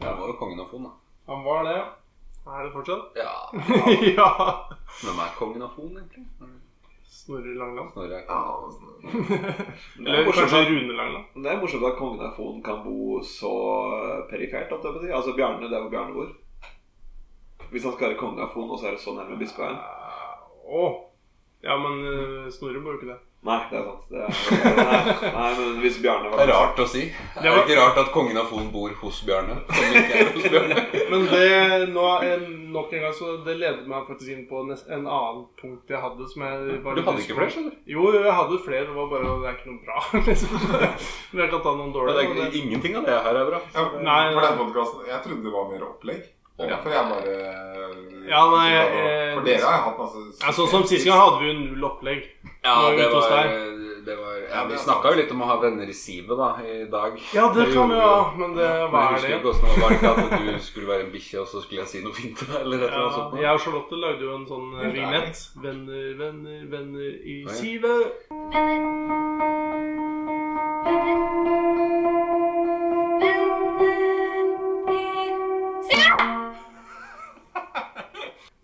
S1: Han var jo kongen av Fon, da.
S4: Han var det. Er det fortsatt?
S1: Ja.
S4: ja.
S1: Hvem er kongen av Fon, egentlig?
S4: Snorre Langland.
S1: Snorre er
S2: Ja,
S1: kongen.
S2: sånn.
S3: Det er
S4: Eller
S3: morsomt
S4: kanskje
S3: at-
S4: Rune Langland.
S3: det er morsomt at kongen av Fon kan bo så perifert. holdt jeg på å si. Altså Bjarne der hvor Bjarne bor. Hvis han skal være konge av Fon, og så er det så nærme Bispeveien.
S4: Å. Ja, men eh, Snorre bor jo ikke det.
S3: Nei, det er sant. Det er, nei, nei, men hvis Bjarne
S1: Det
S3: var
S1: er rart å si. Det er det ikke rart at kongen av Fon bor hos Bjarne. Som ikke er hos Bjarne.
S4: Men det nå, en- nok en gang så Det leder meg faktisk inn på nes- en annen punkt jeg hadde. Som jeg bare
S1: Du hadde ikke flere, skjønner du.
S4: Jo, jo, jeg hadde flere. Det var bare det er ikke noe bra. liksom. Men jeg kan ta noen
S1: Ja, det
S4: dårlige.
S1: er
S4: men
S1: ikke-
S4: det-
S1: Ingenting av det her er bra.
S2: Ja,
S4: Nei, altså-
S2: for den podcasten, Jeg trodde det var mer opplegg. Det er derfor jeg bare
S4: Ja, nei, eh,
S2: For dere har jo hatt masse
S4: Ja, sånn som Sist gang hadde vi jo null opplegg.
S1: Ja,
S4: Nå er vi
S1: det
S4: ute hos
S1: var, det var ja, Vi snakka jo litt om å ha venner i sivet da, i dag.
S4: Ja, det kan vi jo
S1: gjorde
S4: ha, men det
S1: Men jeg
S4: hva er
S1: husker
S4: det?
S1: ikke hvordan det var ikke at du skulle være en bikkje, og så skulle jeg si noe fint til deg, eller et eller annet
S4: Ja,
S1: sånt.
S4: jeg og Charlotte lagde jo en sånn eh,
S2: Helt ærlig.
S4: vignett. Venner, venner, venner i
S1: ja.
S4: sivet.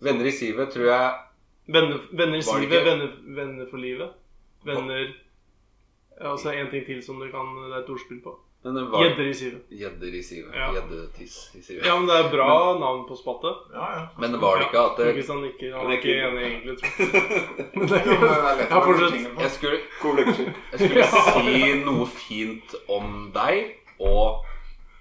S1: Venner i sivet tror jeg
S4: Venner, venner
S1: Var det
S4: i sivet,
S1: ikke-
S4: venner, venner for livet. Venner ja, Altså en ting til som du kan Det er et ordspill på.
S1: men det var-
S4: Gjedder i sivet.
S1: Gjedder i sivet.
S4: Ja.
S1: Gjeddetiss i sivet.
S4: Ja, men det er bra navn på spatte.
S2: Ja, ja.
S1: Men var det ikke at det,
S4: Hvis han ikke han
S3: Men
S4: er
S3: det er
S4: ikke
S3: ikke-
S4: enig egentlig, tror
S2: Jo, men det er
S4: jeg.
S2: lett å
S4: Ja,
S2: være
S4: fortsett.
S2: tingen på.
S1: jeg skulle,
S3: Hvor ble det ikke?
S1: jeg skulle si noe fint om deg og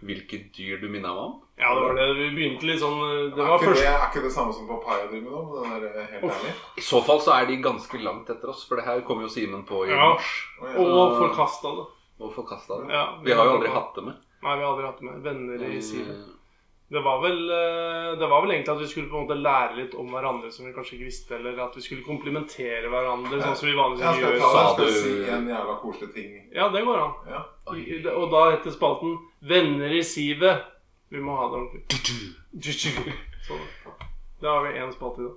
S1: hvilket dyr du minna meg om.
S4: Ja, det var det. Vi begynte litt sånn eh, Det
S2: Er
S4: var
S2: ikke det,
S4: første
S2: er ikke det samme som Papaya driver med nå? men den er Helt
S4: Uff.
S2: ærlig.
S1: I så fall så er de ganske langt etter oss, for det her kom jo Simen på i
S4: Ja.
S1: mars.
S2: Å, ja.
S4: Og forkasta det.
S1: Og forkasta det.
S4: Ja,
S1: Vi har jo aldri hatt Mm. det med. Eh,
S4: Nei, vi har aldri hatt det med. Venner i sivet. Det var vel eh, Det var vel egentlig at vi skulle på en måte lære litt om hverandre som vi kanskje ikke visste, eller at vi skulle komplimentere hverandre, sånn som vi
S2: Jeg
S4: vanligvis
S2: skal
S4: gjør.
S2: ta
S1: Sa
S2: jeg skal
S1: du-
S2: si en jævla koselig ting.
S4: Ja, det går an.
S2: Ja.
S4: I- i- Og da heter spalten 'Venner i sivet'. Vi må ha det ordentlig. Sånn. Da har vi én spalte i dag.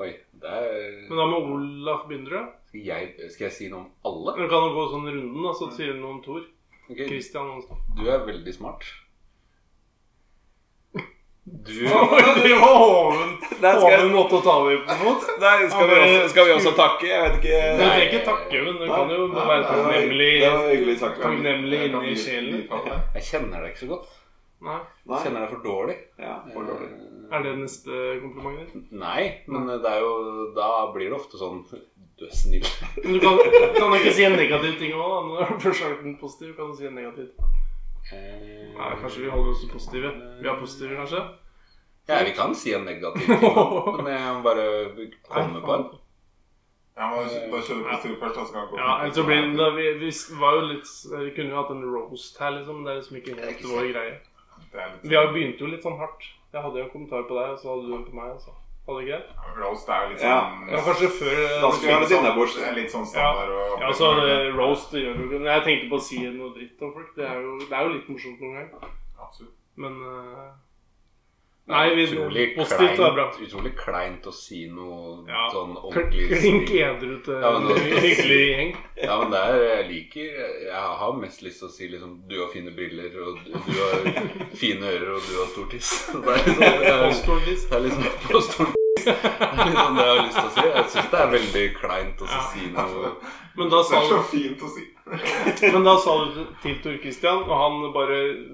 S1: Oi, der
S4: Men da må Olaf begynne, tror jeg.
S1: skal jeg, skal jeg si noe om alle?
S4: Eller kan jo gå sånn runden, da, så sier du noe om Thor.
S1: Ok,
S4: Christian Hansen.
S1: du er veldig smart. Du
S4: Det var hoven
S3: Der skal jeg-
S4: hoven måte å ta det på.
S3: Der skal, vi også, skal vi også takke? Jeg vet ikke
S4: Du trenger ikke takke, men du kan jo
S2: Nei,
S4: være
S2: nei, nei.
S4: sånn takknemlig
S3: Det var hyggelig sagt.
S4: Takknemlig
S2: Jeg kan
S4: inni
S2: bli-
S4: sjelen.
S2: bli papaya.
S1: Jeg kjenner deg ikke så godt.
S4: Nei.
S3: Nei.
S1: Jeg Eh, kjenner deg for dårlig. Eh,
S3: Ja, for dårlig.
S4: Er det neste kompliment? eller?
S1: Nei, men det er jo Da blir det ofte sånn Du er snill.
S4: Men du kan, kan du ikke si en negativ ting òg, da. Når du først har vært en positiv, kan du si en negativ. Nei, kanskje vi holder oss til positive. Vi er positive, kanskje?
S1: Ja, vi kan si en negativ ting, da. men jeg må bare komme på en.
S2: Ja, men Da kjører vi positiv først, da, så kan vi gå
S4: Ja, ellers så blir det da, vi, vi s- var jo litt Vi kunne jo hatt en roast her, liksom. men Det er liksom ikke helt vår greie.
S2: Det er litt-
S4: Vi har begynte jo litt sånn hardt. Jeg hadde jo en kommentar på deg, og så hadde du en på meg. Altså. Hadde du ikke det?
S2: Roast er jo litt
S3: Ja.
S2: sånn
S4: Ja, kanskje før
S3: Da skal vi ha
S2: Litt
S3: litt
S2: sånn-
S3: innabords.
S2: det er Litt sånn standard og
S4: Ja, altså eh, roast det gjør jo ikke Men Jeg tenkte på å si noe dritt om folk. Det er jo, det er jo litt morsomt noen ganger.
S2: Absolutt.
S4: Men eh, Nei, vi-
S1: utrolig
S4: positivt var bra.
S1: kleint, utrolig kleint å si noe
S4: Ja.
S1: sånn ordentlig
S4: Klink
S1: stygg.
S4: edru til
S1: Ja, men
S4: en
S1: nå-
S4: hyggelig gjeng.
S1: Ja, men det er Jeg liker Jeg har mest lyst til å si liksom Du har fine briller, og du du har fine ører, og du har stor tiss. Det er liksom det er-
S4: Postordvis.
S1: det er liksom på stor det er liksom det jeg har lyst til å si. Jeg syns det er veldig kleint å så
S4: Ja.
S1: si noe
S4: Men da
S2: Det
S4: sa
S2: er
S4: du
S2: så fint å si.
S4: Men da sa du til Tor Christian, og han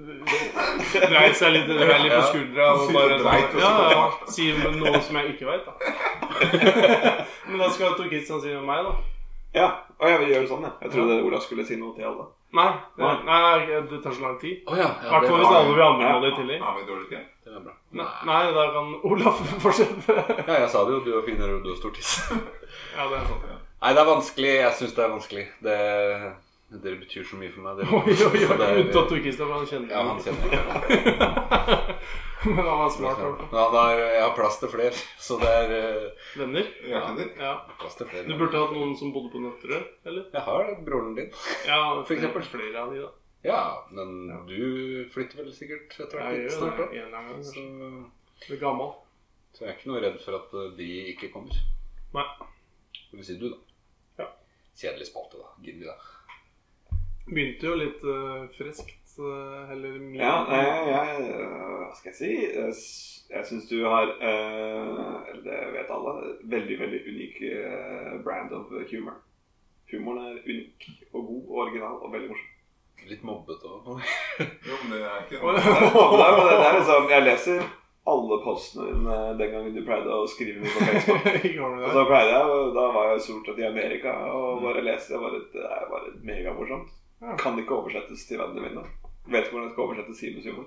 S4: bare dreit seg litt dreier litt på
S1: Ja.
S4: skuldra og
S2: Sitter
S4: bare
S2: og dreit, og
S4: sånn,
S2: så
S4: ja,
S2: bare-
S4: ja, sier noe som jeg ikke veit, da. Men da skal Tor Christian si om meg, da.
S3: Ja, og jeg vil gjøre det sånn, jeg. Jeg trodde Olav skulle si noe til alle.
S4: Nei,
S3: Nei.
S4: det, nei, det tar så lang tid.
S1: Å ja.
S4: I
S1: ja
S4: hvert
S1: det, var,
S4: fall hvis alle vil anmelde det i tillegg.
S2: Har vi dårlig tid?
S1: det var bra.
S4: Ne- Nei, da kan Olaf fortsette.
S1: Ja, jeg sa det jo. Du har fin rød og stor tiss.
S4: Ja, det er sant.
S1: Nei, det er vanskelig. Jeg syns det er vanskelig. Det, dere betyr så mye for meg. Dere.
S4: Oi, oi,
S1: Så
S4: oi.
S1: det er-
S4: Unntatt Torkistad, for han kjenner
S1: Ja, han kjenner jeg.
S4: Men han var smart. i hvert fall.
S1: Men han har, jeg har plass til flere, så det er eh,
S4: Venner?
S2: Jeg skjønner.
S4: Ja.
S1: plass til
S4: Du
S1: flere.
S4: burde hatt noen som bodde på Nøtterøy, eller?
S1: Jeg har broren din.
S4: Ja,
S1: For eksempel.
S4: flere av de, da.
S1: Ja, men du flytter vel sikkert etter
S4: Jeg
S1: hvert litt
S4: gjør
S1: snart
S4: det
S1: òg.
S4: en eller annen gang.
S1: Så,
S4: kanskje. Blir gammel.
S1: så jeg er ikke noe redd for at eh, de ikke kommer.
S4: Nei.
S1: Det vil si du, da.
S4: Ja.
S1: Kjedelig spalte, da. Gidder vi det?
S4: Begynte jo litt eh, friskt, eh, eller mye.
S3: Ja, nei, jeg, øh, Hva skal jeg si? Jeg s- Jeg syns du har øh, Eller det vet alle. Veldig, veldig unik øh, brand of humor. Humoren er unik og god og original og veldig morsom.
S1: Litt mobbet og
S2: Jo, men det er ikke
S4: Oi.
S3: Det er, det er, det er liksom, jeg leser alle postene dine den gangen du pleide å skrive noe på Facebook.
S4: Gjorde
S3: Og
S4: du det?
S3: da pleide jeg, og da var jeg stort sett i Amerika og bare leste. Det var, et, det er bare megamorsomt.
S4: Ja.
S3: Kan ikke oversettes til vennene mine. Vet ikke hvordan jeg skal oversette Simus humor.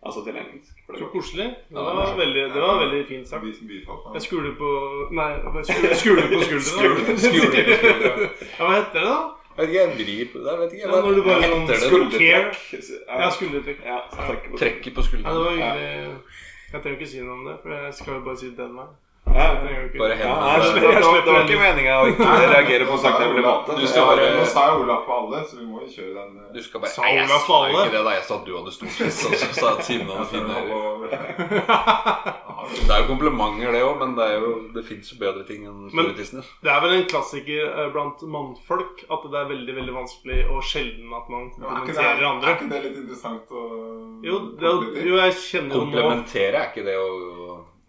S3: Altså til engelsk. For det
S4: Så
S3: går.
S4: koselig. Det
S1: Ja,
S4: var veldig, det var veldig fint sagt.
S2: Vi som bifalt meg.
S4: Jeg skuler på Nei, jeg skuler, skuler på
S1: Skuler
S4: skulderen.
S1: på skulderen.
S4: Ja, hva heter det, da?
S1: Jeg vet ikke, jeg vrir på det. Jeg vet ikke,
S4: Ja,
S1: jeg bare,
S4: når du bare sånn
S1: heter det
S4: skul-
S1: noe?
S3: Skuldertrekk.
S4: Ja,
S3: Ja,
S4: skuldertrekk.
S3: ja, så trekker på-
S1: Trekker på
S4: Ja, det
S1: skuldrene.
S4: var hyggelig. Jeg trenger ikke si noe om det, for jeg skal jo bare si den veien.
S3: Ja,
S4: Jeg
S3: ja.
S4: trenger jo ikke-
S1: Bare
S3: Ja,
S1: hendene.
S3: jeg
S1: der.
S3: slipper- det var ikke meninga å ikke reagere på
S2: Nå
S3: en
S2: sa jo
S3: takknemlig
S2: Olaf-
S3: måte.
S1: Du skal bare-
S2: Nå sa jo Olaf på alle, så vi må jo kjøre den eh,
S1: Du skal bare
S4: Sa
S1: Nei, jeg
S4: Olaf
S1: sa
S4: Valle?
S1: ikke det, da. Jeg sa at du hadde stor tiss, og så sa jeg at Simen hadde fine ører.
S2: Nei,
S1: Det er jo komplimenter, det òg, men det, er jo, det fins jo bedre ting enn
S4: Men-
S1: store tissen din.
S4: Det er vel en klassiker eh, blant mannfolk at det er veldig veldig vanskelig og sjelden at man
S2: Er ikke det,
S4: komplimenterer
S2: er
S4: andre.
S2: ikke det litt interessant å
S4: Jo, det, er jo- jo jeg kjenner jo nå
S1: Komplementere er ikke det å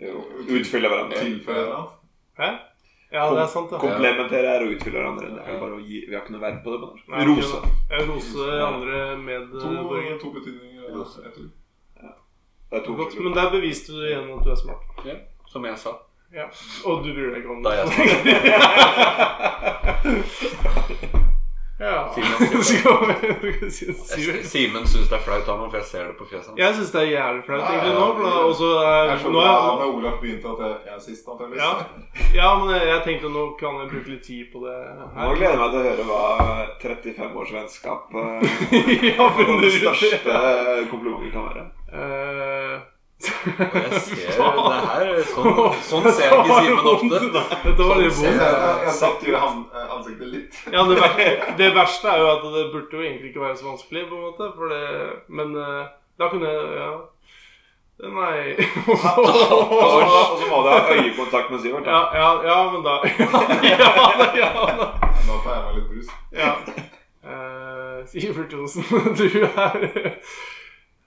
S3: Utfylle hverandre.
S2: Tilføye noe?
S4: Hæ? Ja, det er sant, ja.
S3: Komplementere er å utfylle hverandre. Det er jo bare å gi, vi har ikke noe verb på det. på norsk.
S4: Nei,
S3: Rose.
S4: Jeg roser andre eh, medborgere.
S2: To, to betydninger. eller ett ord.
S3: Det er to
S4: Godt, Men der beviste du igjen at du er smart.
S1: ja, Som jeg sa.
S4: Ja. Og du bryr deg ikke om
S1: Da
S4: det.
S1: er jeg smart.
S4: Ja.
S1: Simen.
S4: Skal vi si
S1: Jeg-
S4: Sivert?
S1: Simen syns det er flaut av meg, for jeg ser det på fjeset hans.
S4: Jeg syns det er jævlig flaut
S2: Ja, ja,
S4: egentlig nå. For da,
S2: ja.
S4: og så
S2: Jeg
S4: er,
S2: skjønner
S4: nå
S2: da
S4: er,
S2: da Olaf begynte at jeg- jeg er sist, antakeligvis.
S4: Ja. ja, men jeg, jeg tenkte nå kan jeg bruke litt tid på det
S3: Nå
S4: her.
S3: gleder jeg meg til å høre hva 35 års vennskap eh,
S4: ja,
S3: hva
S4: men
S3: Det
S4: du-
S3: største komplimentet kan være.
S4: Eh,
S1: Og jeg ser det her Sånn, sånn ser jeg ikke Simen ofte.
S4: Dette var litt
S1: Sånn ser
S2: Jeg,
S4: vondt.
S2: jeg, jeg satt jo han, eh, ansiktet litt.
S4: Ja, det, verste, det verste er jo at det burde jo egentlig ikke være så vanskelig, på en måte. For det, men eh, da kunne jeg Ja. Nei
S3: Og så må- og så må du ha øyekontakt med Sivert.
S4: Ja,
S3: da.
S4: ja, ja men da Ja, ja, ja, ja.
S2: Nå tar jeg meg litt brus.
S4: ja. Eh, Sivert Johnsen, du er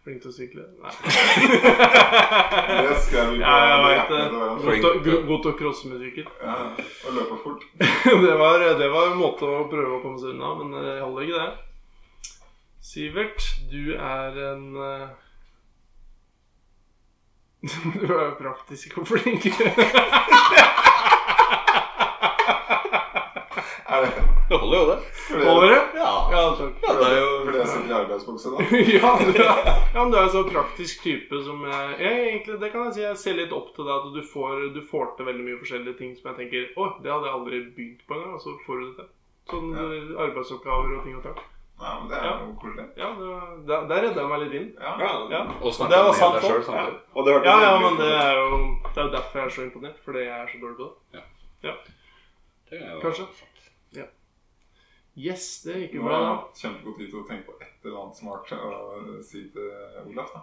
S4: flink til å sykle. Nei.
S2: Det skrev vi på
S4: Ja, jeg vet
S2: hjertet
S4: det.
S2: til hverandre.
S4: God til å- god- god til å crosse med sykkel.
S2: Ja, og løper fort.
S4: det, var, det var en måte å prøve å komme seg unna, men jeg holder ikke det. Sivert, du er en eh, Du er jo praktisk og flink.
S2: Er det
S1: Det holder jo, det.
S2: flere,
S4: Holder det?
S1: Ja.
S4: Ja, takk.
S1: ja det er jo
S2: flere som i arbeidsbukse da?
S4: Ja, du er, ja, men du er en sånn praktisk type som jeg, jeg egentlig, Det kan jeg si, jeg ser litt opp til deg at du får, du får til veldig mye forskjellige ting som jeg tenker Å, det hadde jeg aldri begynt på engang, og så får du det til. Sånn eh, arbeidsoppgaver og ting og takk.
S2: Nei, men det er
S4: Ja.
S2: jo koselig.
S4: Ja, det, der, der redda jeg meg litt inn.
S2: Ja.
S3: Ja.
S4: Ja.
S1: Å snakke
S4: Det var
S1: ned
S4: sant
S1: deg selv
S4: også.
S1: samtidig.
S3: Og det hørtes
S4: Ja, ja,
S3: veldig
S4: men
S3: ut.
S4: det er jo Det er jo derfor jeg er så imponert. Fordi jeg er så dårlig på det.
S1: Det er jo-
S4: Kanskje. Yes, det gikk jo
S2: Nå har
S4: bra.
S2: jeg
S4: da.
S2: hatt kjempegod tid til å tenke på et eller annet smart å si til Olaf, da.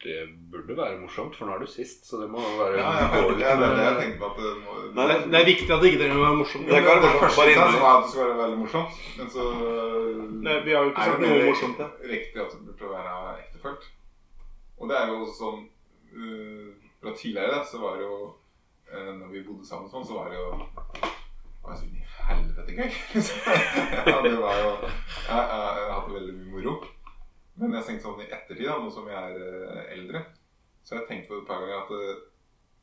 S1: Det burde være morsomt, for nå er du sist, så det må jo være
S2: Ja, jeg vet ikke, det er det jeg tenkte på at det må...
S3: Nei,
S4: Det, det er viktig at det ikke trenger å være morsomt.
S3: Det
S2: det,
S3: er ikke
S2: det,
S3: morsomt,
S2: første
S3: bare
S2: jeg sa
S3: innrømme.
S2: var at det skulle være veldig morsomt, men så
S4: Nei, vi har jo ikke
S2: er
S4: sagt
S2: det
S4: noe
S2: mer
S4: morsomt. Ja.
S2: riktig at det burde være ektefølt. Og det er jo også sånn eh, Fra tidligere så var det jo eh, Når vi bodde sammen sånn, så var det jo Hva i helvete gøy? ja, det var jo Jeg, jeg, jeg hadde veldig mye moro. Men jeg tenkte sånn i ettertid, da, nå som jeg er eh, eldre Så har jeg tenkt på det et par ganger at det,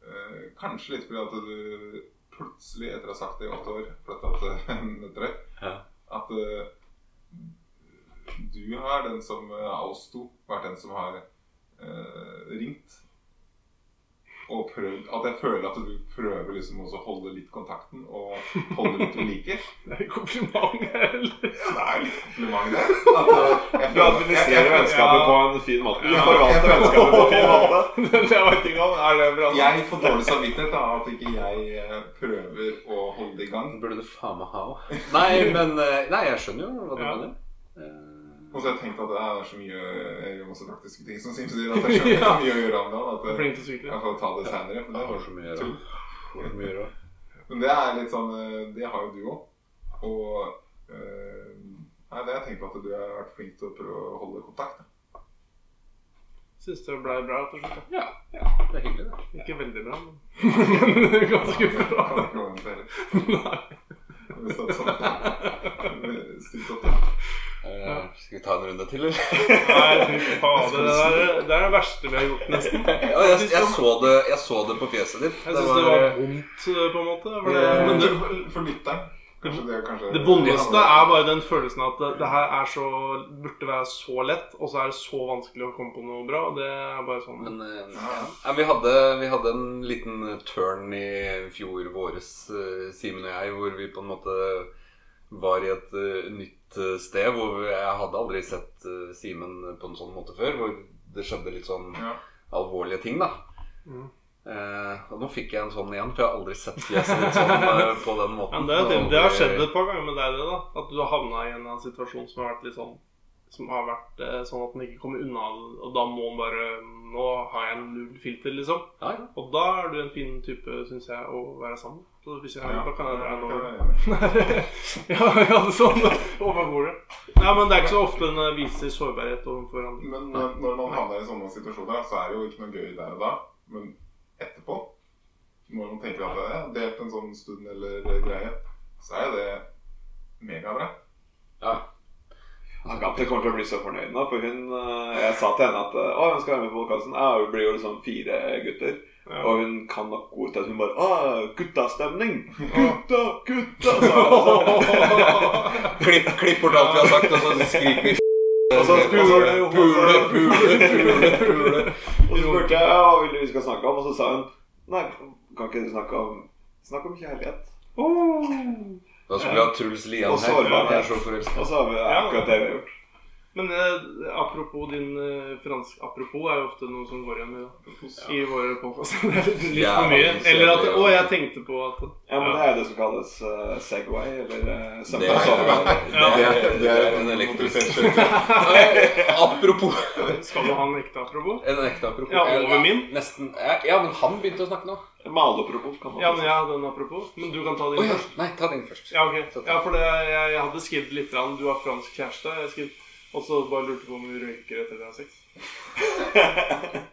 S2: eh, Kanskje litt fordi at du plutselig, etter å ha sagt det i åtte år, flytta til Nøtterøy
S1: Ja.
S2: At eh, du har, den som eh, av oss to, vært den som har eh, ringt. Og prøvd, at jeg føler at du prøver liksom også å holde litt kontakten og holde litt ved like.
S4: Det er kompliment, eller?
S2: Ja, det er jo litt kompliment, det. At, eh, jeg
S3: Du
S2: føler- jeg-
S3: administrerer
S2: jeg-
S3: vennskapet
S2: ja.
S3: på en fin måte. Du
S2: Ja,
S3: forvalter
S2: jeg-
S3: vennskapet på en fin måte.
S4: Det vet ikke om. Er det bra?
S2: Jeg får dårlig samvittighet av at ikke jeg eh, prøver å holde det i gang.
S1: Burde du faen meg ha òg. Nei, men eh, Nei, jeg skjønner jo hva du
S4: Ja.
S1: mener. Eh,
S2: Og så har jeg tenkt at eh, det er så mye Jeg gjør masse praktiske ting som Sim sier, at jeg skjønner ikke så mye å gjøre om dagen. At jeg,
S4: Flink til å sykle.
S2: jeg får ta det senere. Men det,
S1: Jeg har så mye å gjøre. Har så mye å gjøre.
S2: men det er litt sånn eh, Det har jo du òg. Og eh, Nei, det har jeg tenkt på at du har vært flink til å prøve å holde kontakt. da.
S4: Syns det ble bra til slutt.
S1: Ja, ja, det er hyggelig, det.
S4: da. Ikke veldig bra, men ganske
S2: Jeg kan
S4: bra.
S2: ikke overvente det heller.
S4: Nei.
S2: Hvis det er sånn. Stilt opp, da.
S1: Eh, skal vi ta en runde til, eller?
S4: Nei, fy fader. Det, der- det er det verste vi har gjort, nesten.
S1: Ja, jeg, jeg, så det, jeg så det eh, på fjeset ditt.
S4: Jeg syns det var vondt, på en måte. For det, men det,
S2: for, for lytteren Kanskje det kanskje
S4: det vondeste er bare den følelsen at det, det her er så, burde være så lett, og så er det så vanskelig å komme på noe bra. og Det er bare sånn.
S1: Men eh,
S2: Ja, ja.
S1: ja, vi, hadde, vi hadde en liten turn i fjor våres, eh, Simen og jeg, hvor vi på en måte var i et eh, nytt eh, sted. Hvor jeg hadde aldri sett eh, Simen på en sånn måte før. Hvor det skjedde litt sånn
S2: Ja.
S1: alvorlige ting, da.
S4: Mm.
S1: Eh, og nå fikk jeg en sånn igjen, for jeg har aldri sett fjeset ditt sånn eh, på den måten.
S4: Men det, det, det har
S1: Aldri-
S4: skjedd et par ganger med deg, det, da. At du har havna i en eller annen situasjon som har vært litt sånn Som har vært eh, sånn at den ikke kommer unna, og da må den bare Nå har jeg null filter, liksom.
S1: Ja, ja.
S4: Og da er du en fin type, syns jeg, å være sammen med. Så hvis jeg
S2: Ja.
S4: da kan jeg dra noe
S2: Ja, ja, ja.
S4: ja, ja, det er sånn over bordet. Nei, men det er ikke så ofte den viser sårbarhet overfor andre.
S2: Men når, når man havner i sånne situasjoner, da, så er det jo ikke noe gøy der og da. Men etterpå, når man tenker at jeg har delt en sånn stund eller greie, så er jo det megabra.
S1: ja.
S3: Agathe kommer til å bli så fornøyd nå, for hun eh, Jeg sa til henne at eh, å, hun skal være med på podkasten. Ja, hun blir jo liksom fire gutter.
S4: Ja.
S3: Og hun kan nok ord til at hun bare Å, guttastemning! Gutta, gutta! sa hun, altså.
S1: Klipp, klipp bort alt vi har sagt, og så skriker vi
S3: Og så spurte jeg om-
S1: Pule, pule, pule, pule.
S3: Og så spurte jeg hva vil du vi skal snakke om, og så sa hun Nei, kan ikke dere snakke om Snakk om kjærlighet.
S1: Da skulle vi ha Truls Lian
S3: Og
S1: her.
S3: sårbarhet.
S1: Jeg er så forelsket.
S3: Og så har vi akkurat det vi har gjort.
S4: Men eh, apropos din eh, fransk Apropos er jo ofte noe som går igjen i, i våre podkaster. Det er litt
S1: Ja,
S4: for mye.
S1: faktisk,
S4: Eller at
S1: det er jo-
S4: Å, jeg tenkte på at
S3: Ja, men det er det som kalles eh, Segway, eller uh,
S1: Det er, det er, det er en elektrisk Apropos
S4: Skal du ha en ekte apropos?
S1: En ekte apropos.
S4: Ja, over min.
S1: Nesten. Ja, men han begynte å snakke nå.
S3: Malapropos, kan man
S4: Ja, men jeg hadde en apropos. Men du kan ta
S1: Å
S4: din
S1: ja.
S4: først.
S1: Nei, ta den først.
S4: Ja, ok. Ja, for det, jeg, jeg hadde skrevet litt grann, Du har fransk kjæreste. Jeg skrev, og så bare lurte på om du røyker etter dere har sex.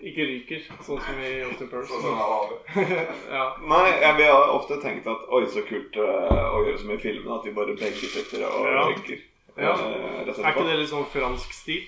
S4: Ikke ryker, sånn som i Austin
S2: Og så
S4: Purse.
S2: har alle det.
S4: Ja.
S3: Nei, jeg, vi har ofte tenkt at oi, så kult eh, å gjøre som i filmene, at vi bare begge sitter og
S4: Ja.
S3: røyker.
S4: Ja.
S3: Eh, rett
S4: Er ikke
S3: etterpå.
S4: det litt sånn fransk stil?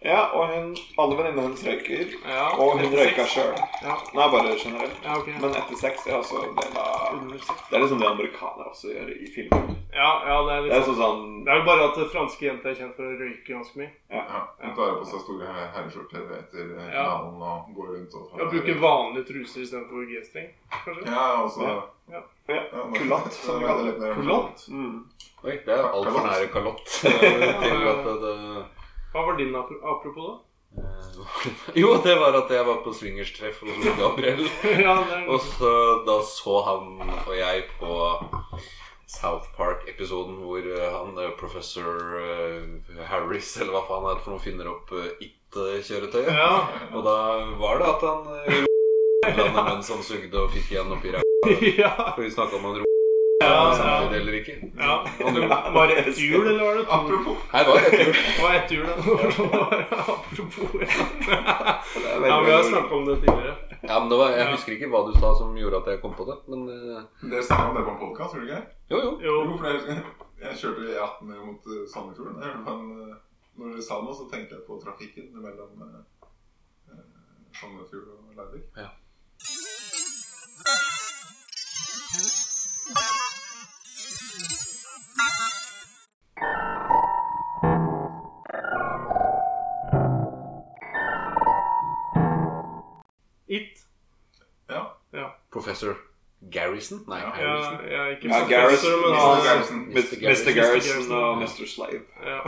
S3: Ja, og hun, alle venninnene hennes røyker.
S4: Ja.
S3: Og hun
S4: etter
S3: røyka
S4: sex?
S3: sjøl.
S4: Ja.
S3: Nei, bare generelt.
S4: Ja, ok.
S3: Men etter sex er også en del av
S4: Under sex.
S3: Det er liksom det amerikanere også gjør i filmer.
S4: Ja, ja, det er
S3: Det er
S4: litt sånn.
S3: sånn sånn
S4: Det er jo bare at franske jenter er kjent for å røyke ganske mye.
S2: Ja. Hun tar på seg store her- herreskjorter etter eh,
S4: Ja.
S2: finalen og går rundt og
S4: Ja, Bruke vanlige truser istedenfor G-streng, kanskje.
S2: Ja, og så
S4: Ja.
S3: ja,
S2: men-
S3: Kulatt, som vi
S2: Ja,
S3: kaller
S2: litt
S3: det.
S2: mer- sånn.
S4: Kulott?
S3: Mm.
S1: Oi, det er altfor nære kalott eh, til at det
S4: Hva var din apro- apropos, da?
S1: eh, Jo, det var at jeg var på swingerstreff hos Ole Gabriel.
S4: ja, det er...
S1: Og så da så han og jeg på South Park-episoden hvor eh, han eh, professor eh, Harris, eller hva faen han heter for noe, finner opp eh, It-kjøretøyet.
S4: ja.
S1: Og da var det at han eh, landet mens han sugde og fikk igjen oppi ræva.
S4: ja.
S1: For vi snakka om han ro
S4: ja, ja.
S1: samtidig eller ikke.
S4: Ja. Var det ett hjul, eller var det to?
S2: Apropos
S1: Nei, det var rett gjort.
S4: Det var ett hjul, da. Apropos ja.
S3: Det er veldig,
S4: ja, vi har
S3: veldig-
S4: snakka om det tidligere.
S1: Ja, men det var, jeg husker ikke hva du sa som gjorde at jeg kom på det, men eh,
S2: Dere snakket om det på en podcast, gjorde dere ikke?
S1: jo, jo.
S4: Jo.
S2: Jo, for jeg husker jeg kjørte E18 ned mot eh, Sandefjorden. Jeg hørte på en, eh, Når dere sa noe, så tenkte jeg på trafikken mellom eh, eh, Sandefjord og Leirvik.
S1: Ja. Professor Garrison? Nei,
S2: Ja.
S4: Ja,
S1: Harrison.
S4: liksom- ja, ikke
S3: Ja,
S4: professor,
S3: Garrison,
S4: men
S2: Mr.
S4: han
S2: Garrison.
S3: Mr. Garrison,
S1: ja.
S3: og Mr. Slave.
S4: ja.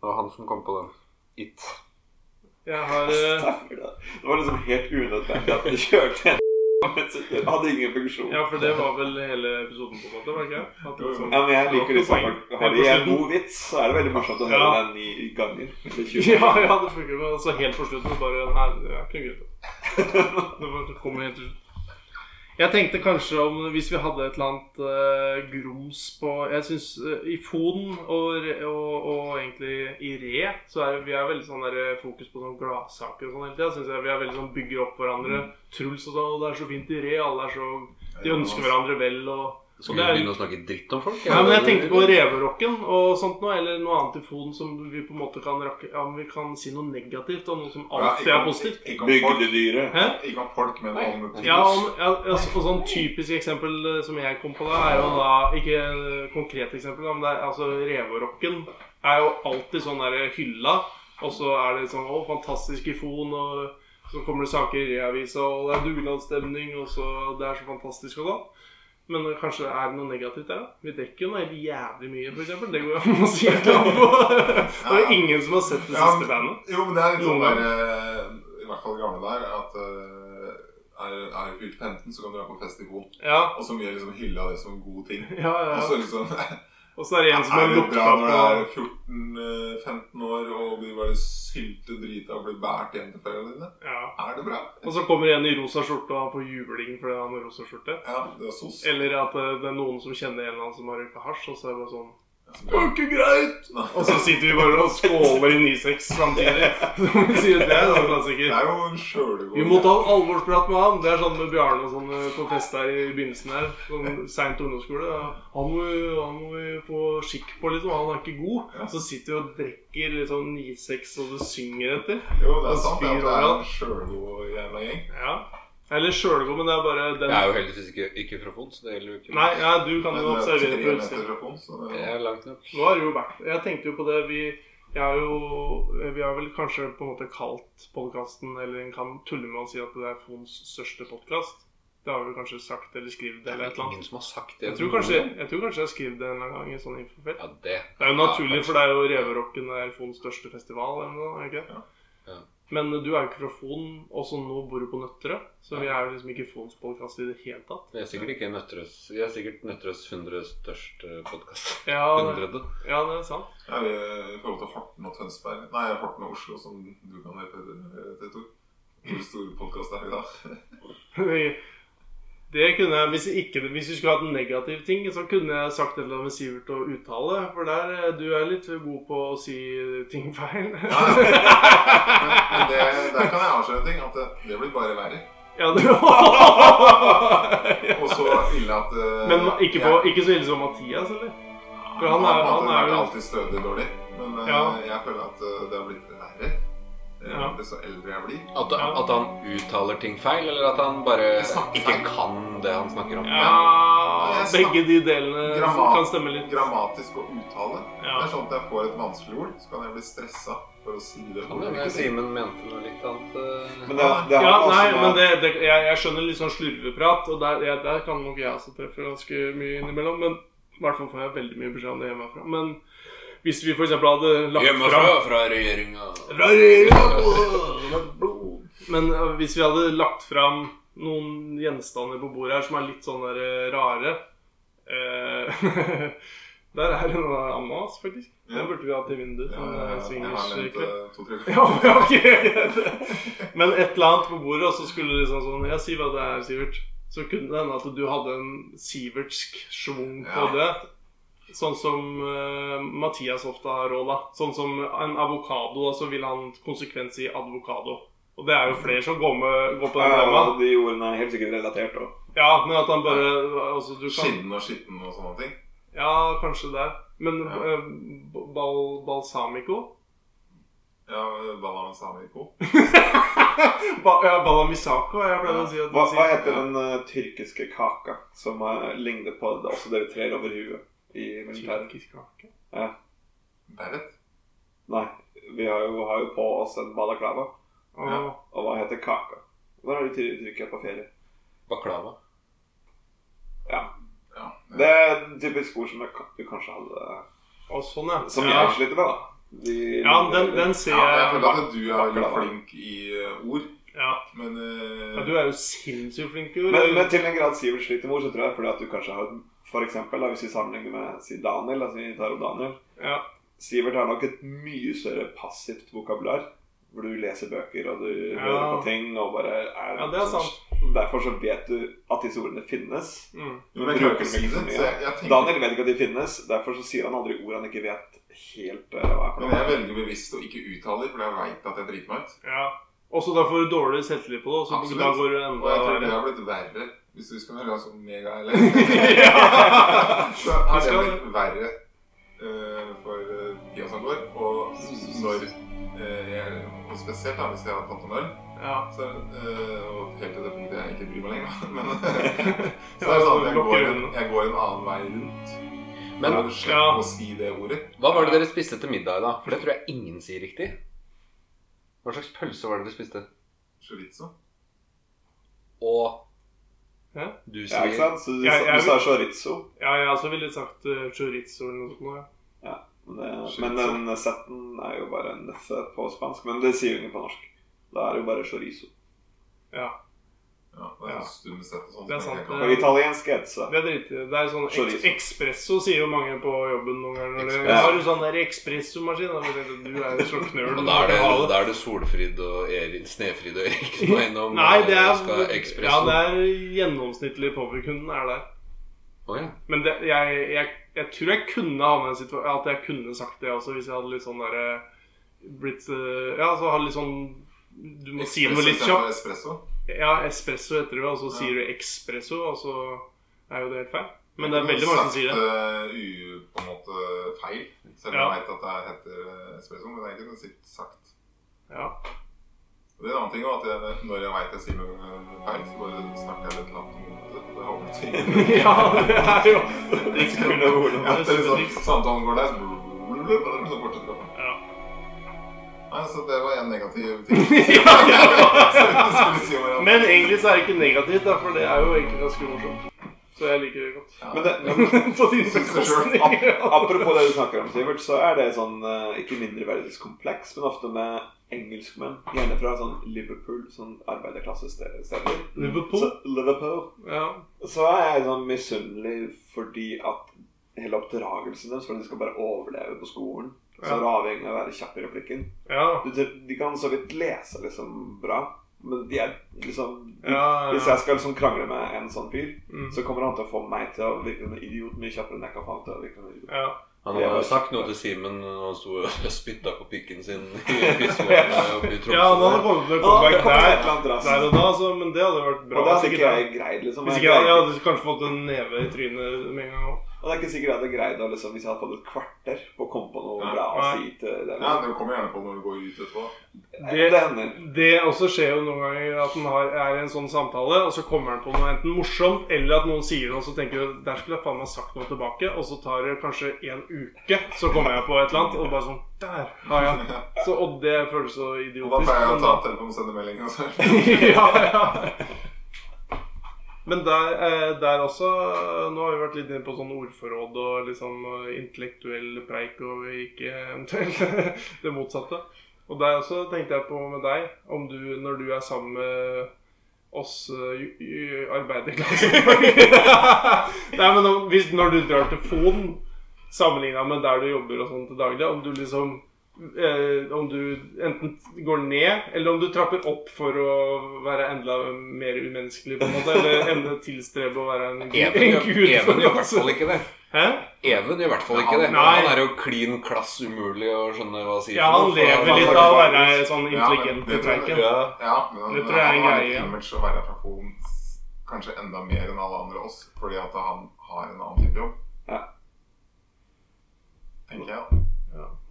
S1: Det var han som kom på den. It.
S4: Jeg har eh,
S3: Stemmer det. Det var liksom helt unødvendig at de kjørte en men så- det hadde ingen funksjon.
S4: Ja, for det var vel hele episoden, på en måte? var det ikke? At det var sånn.
S3: Ja, men jeg liker liksom Har de en god vits, så er det veldig morsomt å høre
S4: Ja.
S3: den ni ganger. Eller 20
S4: Ja, ja, det funker jo. Altså helt på slutten bare Nei, det er ikke noe greit. Det bare kommer helt til slutt. Jeg tenkte kanskje om hvis vi hadde et eller annet eh, grums på Jeg syns i Foden og, Re- og, og egentlig i Re, så er vi er veldig sånn der, eh, fokus på sånn gladsaker og sånn hele tida. Synes jeg vi er veldig sånn bygger opp hverandre. Truls og sånn, og det er så fint i Re. Alle er så De
S2: altså.
S4: ønsker hverandre vel og
S1: Skal
S4: Og
S1: vi
S4: det er-
S1: begynne å snakke dritt om folk?
S4: Nei, men jeg tenkte på reverocken og sånt noe, eller noe annet i foden som vi på en måte kan rakke ja, men Vi kan si noe negativt om noe som alltid er positivt.
S2: Ikke om folk,
S3: Bygdedyret.
S4: Hæ?
S2: ikke om folk men om ting.
S4: Ja, om, ja, ja, så- og sånn typisk eksempel eh, som jeg kom på da, er jo da Ikke eh, konkret eksempel, da, men det er altså reverocken er jo alltid sånn der hylla, og så er det sånn Å, fantastisk i fon, og så kommer det saker i reavisa, og det er dugnadsstemning, og så Det er så fantastisk og sånn. Men eh, kanskje det er noe negativt der, da? Vi dekker jo noe helt jævlig mye, for eksempel. Det går jo an å si et eller annet på. Det er jo ingen som har sett det
S2: Ja, men-
S4: siste bandet.
S2: Jo, men det er litt sånn
S4: Noen
S2: der eh, I hvert fall gamle der at eh, er, er du fylt 15, så kan du være på festival.
S4: Ja,
S2: Og så mye liksom hylle av det som en god ting.
S4: ja,
S2: Og
S4: ja.
S2: så liksom
S4: Og så er det en som
S2: Er
S4: har
S2: det
S4: lukta
S2: bra når du
S4: på
S2: er 14-15 år og blir bare sylte drita og blir båret hjem til foreldrene dine?
S4: ja.
S2: Er det bra?
S4: Og så kommer en i rosa skjorte, og han får jubling fordi han har rosa skjorte.
S2: Ja, det er sos.
S4: Eller at eh, det er noen som kjenner en eller annen som har røyka hasj, og så er det bare sånn
S2: Det var ikke greit!
S4: Og så sitter vi bare og skåler i Nisex samtidig. Som vi sier, det er en
S2: Det
S4: klassiker.
S2: er jo en sjølegod
S4: Vi må ta en alvorsprat med han. Det er sånn med Bjarne og sånn eh, på fest her i begynnelsen her. Sånn seint ungdomsskole. Han må, han må vi få skikk på, liksom. Han er ikke god. Så sitter vi og drikker liksom Nisex, og du synger etter.
S2: Jo, det er sant. Det er, det er en sjølegod jævla gjeng.
S4: Ja. Eller sjølgod, men det er bare den
S1: Jeg er jo heldigvis ikke, ikke fra Fons. Det gjelder jo ikke.
S4: Nei, ja, du kan
S2: Men eh,
S4: jo
S2: det er tre
S4: observere på utsiden.
S2: meter fra fond, så det
S1: Jeg
S2: er
S1: er langt nok.
S4: Nå har det jo vært Jeg tenkte jo på det Vi, jeg har jo, eh, vi har vel kanskje på en måte kalt podkasten Eller en kan tulle med å si at det er Fons største podkast. Det har vi kanskje sagt eller skrevet
S1: Det er
S4: eller et
S1: vel
S4: eller
S1: ingen
S4: annet.
S1: som har sagt det.
S4: Jeg tror kanskje jeg, tror kanskje jeg har skrevet det en eller annen gang i sånn infofelt.
S1: Ja, det.
S4: Det er jo
S1: Ja,
S4: naturlig, for det er jo Reverocken det er Fons største festival eller noe, er det ikke?
S1: Ja.
S4: Men du er jo ikke fra Fon, og så nå bor du på Nøtterøy. Så vi er jo liksom ikke Fons podkast i det hele tatt.
S1: Vi er sikkert ikke Nøtterøys Vi er sikkert Nøtterøys eh, 100 største podkast.
S4: Ja, det-
S1: 100.
S4: ja, det er sant.
S2: Ja, vi er i forhold til Horten og Tønsberg Nei, Horten og Oslo, som du kan hete, det, Tor. Hvor stor podkast er vi da?
S4: Det kunne jeg, hvis, jeg ikke, hvis vi skulle hatt en negativ ting, så kunne jeg sagt et eller annet med Sivert og uttale. For der, eh, du er litt god på å si ting feil.
S2: Men det, der kan jeg avsløre en ting. At det, det blir bare verre.
S4: ja, du
S2: Og så ille at eh,
S4: Men ma- ikke, på,
S2: jeg-
S4: ikke så ille som Mathias, eller? For
S2: Han,
S4: han er, han
S2: har
S4: er jo
S2: alltid stødig dårlig. Men eh,
S4: Ja.
S2: jeg føler at eh, det har blitt verre. Eh, Ja.
S4: Ja.
S2: Desto eldre jeg blir.
S1: At, at han uttaler ting feil, eller at han bare
S2: Jeg snakker
S1: ikke
S2: feil.
S1: kan det han snakker om?
S4: Ja,
S2: Jeg
S4: begge de delene
S2: Grammat-
S4: kan stemme litt.
S2: Grammatisk og uttale. Det
S4: Ja.
S2: er sånn at jeg får et vanskelig ord, så kan jeg bli stressa for å si det.
S1: Kan hende eh, Simen mente noe litt annet. eh.
S3: Men det, det har
S4: Ja,
S3: også
S2: altså,
S4: nei,
S3: med-
S4: men det, det, jeg, jeg skjønner litt sånn slurveprat, og der, jeg, der kan nok jeg også treffe ganske mye innimellom. Men i hvert fall får jeg veldig mye beskjed om det hjemmefra. Men hvis vi f.eks. hadde lagt
S1: Hjemmefra
S4: fram
S1: fra regjeringa.
S4: Men eh, hvis vi hadde lagt fram noen gjenstander på bordet her som er litt sånn der eh, rare eh, Der er en ananas, altså, faktisk. Den burde vi hatt i vinduet.
S2: Ja,
S4: Sånn
S2: ja, ja. jeg
S4: eh,
S2: har nevnt
S4: swingers-kveld.
S2: eh, to-tre
S4: Ja, men ok, greit. Men et eller annet på bordet, og så skulle det liksom sånn Ja, si hva det er, Sivert. Så kunne det hende at du hadde en sivertsk schwung på
S2: Ja.
S4: det. Sånn som eh, Mathias ofte har råd, da. Sånn som en avokado, da, så vil han konsekvens i advokado. Og det er jo flere som går, med, går på den
S3: Ja,
S4: glemma.
S3: og de ordene er helt sikkert relatert òg.
S4: Ja, men at han bare Altså, du kan
S2: Skitten og skitten og sånne ting.
S4: Ja, kanskje det. Men
S2: Ja.
S4: eh, bal, balsamico?
S2: Ja, Banan Samiko.
S4: Ba, ja, balamisako, jeg pleide å si at
S3: Hva,
S4: sier-
S3: hva heter den eh, tyrkiske kaka som eh, ligner på det, også det vi trer over huet i militæret?
S4: Tyrkisk kake?
S3: Ja.
S2: Beret?
S3: Nei, vi har jo, har jo på oss en balaklava.
S4: Åh.
S3: Og hva heter kaka? Hvor er det i Tyrkia på ferie?
S1: Baklava.
S3: Ja.
S2: Ja,
S3: Det er typisk ord som jeg, kan- du kanskje hadde
S4: Og sånn, ja.
S3: Som
S4: ja.
S3: jeg sliter med, da. De-
S4: ja, den, den ser
S2: Ja, jeg
S4: jeg.
S2: føler at du er litt
S3: Baklava.
S2: flink i eh, ord,
S4: Ja.
S2: men eh,
S4: ja, du er jo sinnssykt flink, jo.
S3: Men, men til en grad Sivert sliter med ord, så tror jeg fordi at du kanskje har For eksempel, da, hvis vi sammenligner med si Daniel, altså vi tar opp Daniel
S4: Ja.
S3: Sivert har nok et mye større passivt vokabular. Hvor du leser bøker og du
S4: Ja.
S3: hører på ting og bare er sånn-
S4: Ja, det er sant.
S3: Derfor så vet du at disse ordene finnes.
S4: Mm.
S2: jo, men jeg kan ikke si
S4: liksom
S2: det. Så jeg, jeg tenker
S3: Daniel vet ikke at de finnes, derfor så sier han aldri ord han ikke vet helt eh, hva er for
S2: Men jeg
S3: noe.
S2: velger bevisst å ikke uttale dem, for jeg veit at jeg driter meg ut.
S4: ja. Også da får du dårlig selvtillit på det, og så
S2: Absolutt.
S4: da går det
S2: Og jeg
S4: enda
S2: tror det
S4: verre.
S2: har blitt verre, hvis du skal være sånn mega eller Så har det
S4: skal-
S2: blitt verre eh, for eh, tida som går. Og s- når eh, jeg, og spesielt da, hvis jeg har tatt en øl,
S4: Ja.
S2: så eh, og helt til det punktet jeg ikke bryr meg lenger, men så er det sånn at jeg går, en, jeg går en annen vei rundt. Men
S1: Men
S2: du slipper
S4: ja.
S2: å si det ordet.
S1: hva var det dere spiste til middag i dag? For det tror jeg ingen sier riktig. Hva slags pølse var det dere spiste?
S2: Chorizo.
S1: Og
S4: Hæ?
S1: du
S3: Ja, ikke
S1: sier
S3: sant? Så du,
S4: Jeg- jeg-
S3: du sa chorizo.
S4: Ja, jeg også ville sagt eh, chorizo eller noe sånt. nå, Ja.
S3: Det, men den setten er jo bare en neffe på spansk. Men det sier jo ingen på norsk. Da er det jo bare chorizo.
S2: Ja, det er
S4: Ja.
S2: en stund sett og sånn.
S4: Det er
S2: så
S4: sant,
S2: jeg
S4: det.
S2: kan-
S3: På italiensk etsa.
S4: Det er dritt. Det er sånn eks
S3: Chorizo.
S4: Espresso sier jo mange på jobben noen ganger. Når det,
S3: Espresso.
S4: har du sånn der espressomaskin? da tenker jeg, Du er jo så knøl.
S1: Og da er, det, da er det Solfrid og Erik, Snefrid og Erik som er innom
S4: Nei, det
S1: og skal
S4: er, ja,
S1: ekspresso.
S4: det er gjennomsnittlig powerkunden er der.
S1: Å, ja.
S4: Men det, jeg, jeg, jeg tror jeg kunne havnet i en situasjon At jeg kunne sagt det også, hvis jeg hadde litt sånn derre Blitt eh, Ja, så hadde litt sånn Du må si noe litt
S2: Espresso istedenfor
S4: kjapt.
S2: Espresso.
S4: Ja, espresso heter det jo, og så
S2: Ja.
S4: sier du espresso, og så er jo det helt feil. Men det er veldig mange som sier det.
S2: Sagt eh, u, på en måte feil, selv om
S4: Ja.
S2: jeg vet at det heter eh, espresso. Men det er ikke noe sikkert sagt.
S4: Ja.
S2: Og det er en annen ting også, at jeg, når jeg vet jeg sier noe feil, så bare snakker jeg litt langt om det. Det håper jeg ikke.
S4: ja, det er jo Det
S3: Ole, Ole.
S2: Ja, det er liksom, samtalen går der, så blablabla, og så fortsetter det.
S4: Ja.
S2: Nei, så det var en negativ ting.
S4: Ja,
S2: Så
S4: ja.
S2: jeg skulle si om jeg-
S4: Men egentlig så er det ikke negativt, da, for det er jo egentlig ganske morsomt. Så jeg liker det godt.
S2: Ja.
S3: Men, det, men
S4: På din bekostning.
S3: apropos det du snakker om, Sivert, så er det sånn eh, ikke mindreverdighetskompleks, men ofte med engelskmenn. Gjerne fra sånn Liverpool, sånn arbeiderklassesteder.
S4: Liverpool?
S3: Så, Liverpool.
S4: Ja.
S3: Så er jeg sånn misunnelig fordi at hele oppdragelsen deres, for at de skal bare overleve på skolen, så
S4: Ja.
S3: er du avhengig av å være kjapp i replikken.
S4: Ja.
S3: Du, de kan så vidt lese liksom bra, men de er liksom de,
S4: Ja, ja.
S3: Hvis jeg skal liksom krangle med en sånn fyr,
S4: Mm.
S3: så kommer han til å få meg til å virke som en idiot mye kjappere enn jeg kan få han til å virke som en idiot.
S4: ja.
S1: Han
S3: Jeg
S1: har
S3: var-
S1: sagt noe til Simen når han sto og spytta på pikken sin i pissvåpenet oppe i Tromsø.
S4: ja, han hadde kommet med
S3: Nå
S4: comeback
S3: kommer det et eller
S4: der,
S3: annet rass.
S4: der og da, så, men det hadde vært bra.
S3: og det hadde
S4: sikkert,
S3: ikke
S4: da.
S3: jeg greid, liksom.
S4: Hvis
S3: Jeg
S4: ikke jeg, jeg
S3: greide-
S4: hadde kanskje fått en neve i trynet med en gang òg.
S3: Og det er ikke sikkert jeg hadde greid å liksom, hvis jeg hadde fått et kvarter på å komme på noe
S2: Nei.
S3: bra å
S4: Nei.
S3: si til dem.
S2: Ja, du kommer gjerne på når du går ut etterpå.
S3: det, det hender.
S4: Det også skjer jo noen ganger at man har, er i en sånn samtale, og så kommer han på noe enten morsomt, eller at noen sier noe, så tenker du der skulle jeg faen meg sagt noe tilbake, og så tar det kanskje en uke, så kommer jeg på et eller annet, og bare sånn Der har jeg den. så, Og det føles så
S2: Og da
S4: idiotisk.
S2: pleier jeg å
S4: men
S2: ta
S4: da-
S2: telefonen og sende melding. Og så.
S4: ja, ja. Men der, eh, der også eh, Nå har vi vært litt inne på sånn ordforråd og liksom eh, intellektuell preik og ikke eventuelt det motsatte. Og der også tenkte jeg på med deg, om du når du er sammen med oss eh, ju- ju- arbeiderklassen Nei, men om, hvis, når du drar til Fon, sammenligna med der du jobber og sånn til daglig, om du liksom eh, om du enten går ned, eller om du trapper opp for å være enda mer umenneskelig, på en måte, eller enda tilstrebe å være en, gu-
S1: Even,
S4: en
S1: gjør-
S4: gud
S1: Even
S4: for
S1: gjør i
S4: oss.
S1: hvert fall ikke det.
S4: Hæ?
S1: Even gjør i hvert fall ikke det.
S4: Nei.
S1: Han er jo klin klass umulig å skjønne hva han sier.
S4: Ja,
S1: for
S4: han
S1: noe, for
S4: lever
S1: han-
S4: litt av å være sånn
S2: Ja, men
S4: intelligent i
S2: det tror jeg-
S4: preiken.
S1: Ja.
S2: Ja, men han,
S4: Det tror jeg er en
S2: han har
S4: greie,
S2: litt
S4: ja.
S2: image å være fra Polen s- kanskje enda mer enn alle andre oss, fordi at han har en annen type jobb.
S3: Ja.
S2: Tenker jeg.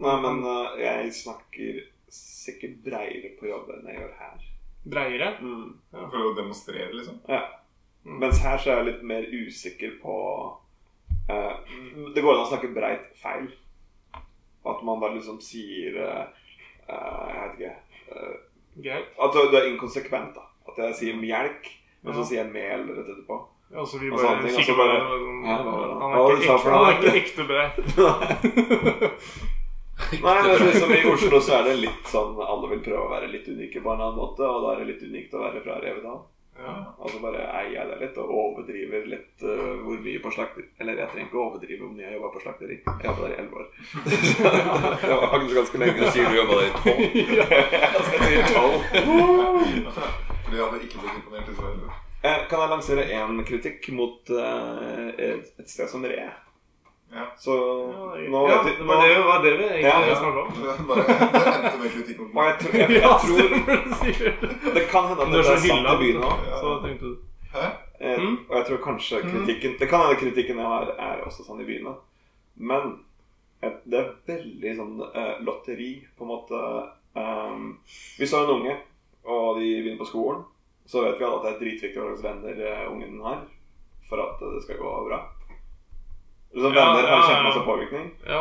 S3: Nei, men eh, jeg snakker sikkert breiere på jobb enn jeg gjør her.
S4: Breiere.
S2: For å demonstrere, liksom.
S3: Ja. Mens her så er jeg litt mer usikker på eh, Det går an å snakke breit feil. At man da liksom sier eh, eh, Jeg vet ikke eh,
S4: Greit.
S3: At det er inkonsekvent, da. At jeg sier melk, Men så sier jeg mel rett etterpå.
S4: Altså, vi
S3: Og
S4: bare
S3: sånne ting,
S4: fikk
S3: altså bare-
S4: bare sånn-
S3: Ja, det var det.
S4: Han
S3: Hva var
S4: er
S3: det du sa
S4: ikke ekte,
S3: for noe?
S4: han er ikke ekte bre.
S3: Nei, men jeg synes som I Oslo så er det litt sånn alle vil prøve å være litt unike på en annen måte. Og da er det litt unikt å være fra Revedal.
S4: Ja.
S3: Altså bare eier jeg det litt og overdriver litt eh, hvor mye på slakter... Eller jeg trenger ikke å overdrive hvor mye jeg jobba på slakteri. Jeg jobba der i elleve år. det var faktisk ganske lenge.
S1: Du sier du jobba der i tolv.
S3: Jeg skal si tolv.
S2: Fordi jeg hadde ikke blitt imponert i så heller.
S3: Eh, Kan jeg lansere én kritikk mot eh, et et sted som Re?
S2: Ja.
S3: Så nå
S4: ja,
S3: vet vi
S4: det var det, var det vi
S3: Ja,
S4: egentlig
S3: ja.
S4: snakket om.
S2: Det bare det endte med kritikk mot
S3: Og
S2: meg.
S3: jeg tror, jeg, jeg tror Det kan hende at
S4: Du er
S3: dette
S4: så
S3: er sant
S4: hylla,
S3: i byen òg.
S4: så tenkte du
S2: Hæ?
S3: Eh,
S4: Mm.
S3: Og jeg tror kanskje kritikken Det kan hende kritikken jeg har, er også sånn i byene. Men eh, det er veldig sånn eh, lotteri, på en måte. Ehm, vi så en unge, og de begynner på skolen. Så vet vi alle at det er dritviktig hva slags venner eh, ungen har for at eh, det skal gå bra. Så venner
S4: Ja, ja,
S3: har
S4: ja.
S3: kjempemasse påvirkning.
S4: Ja.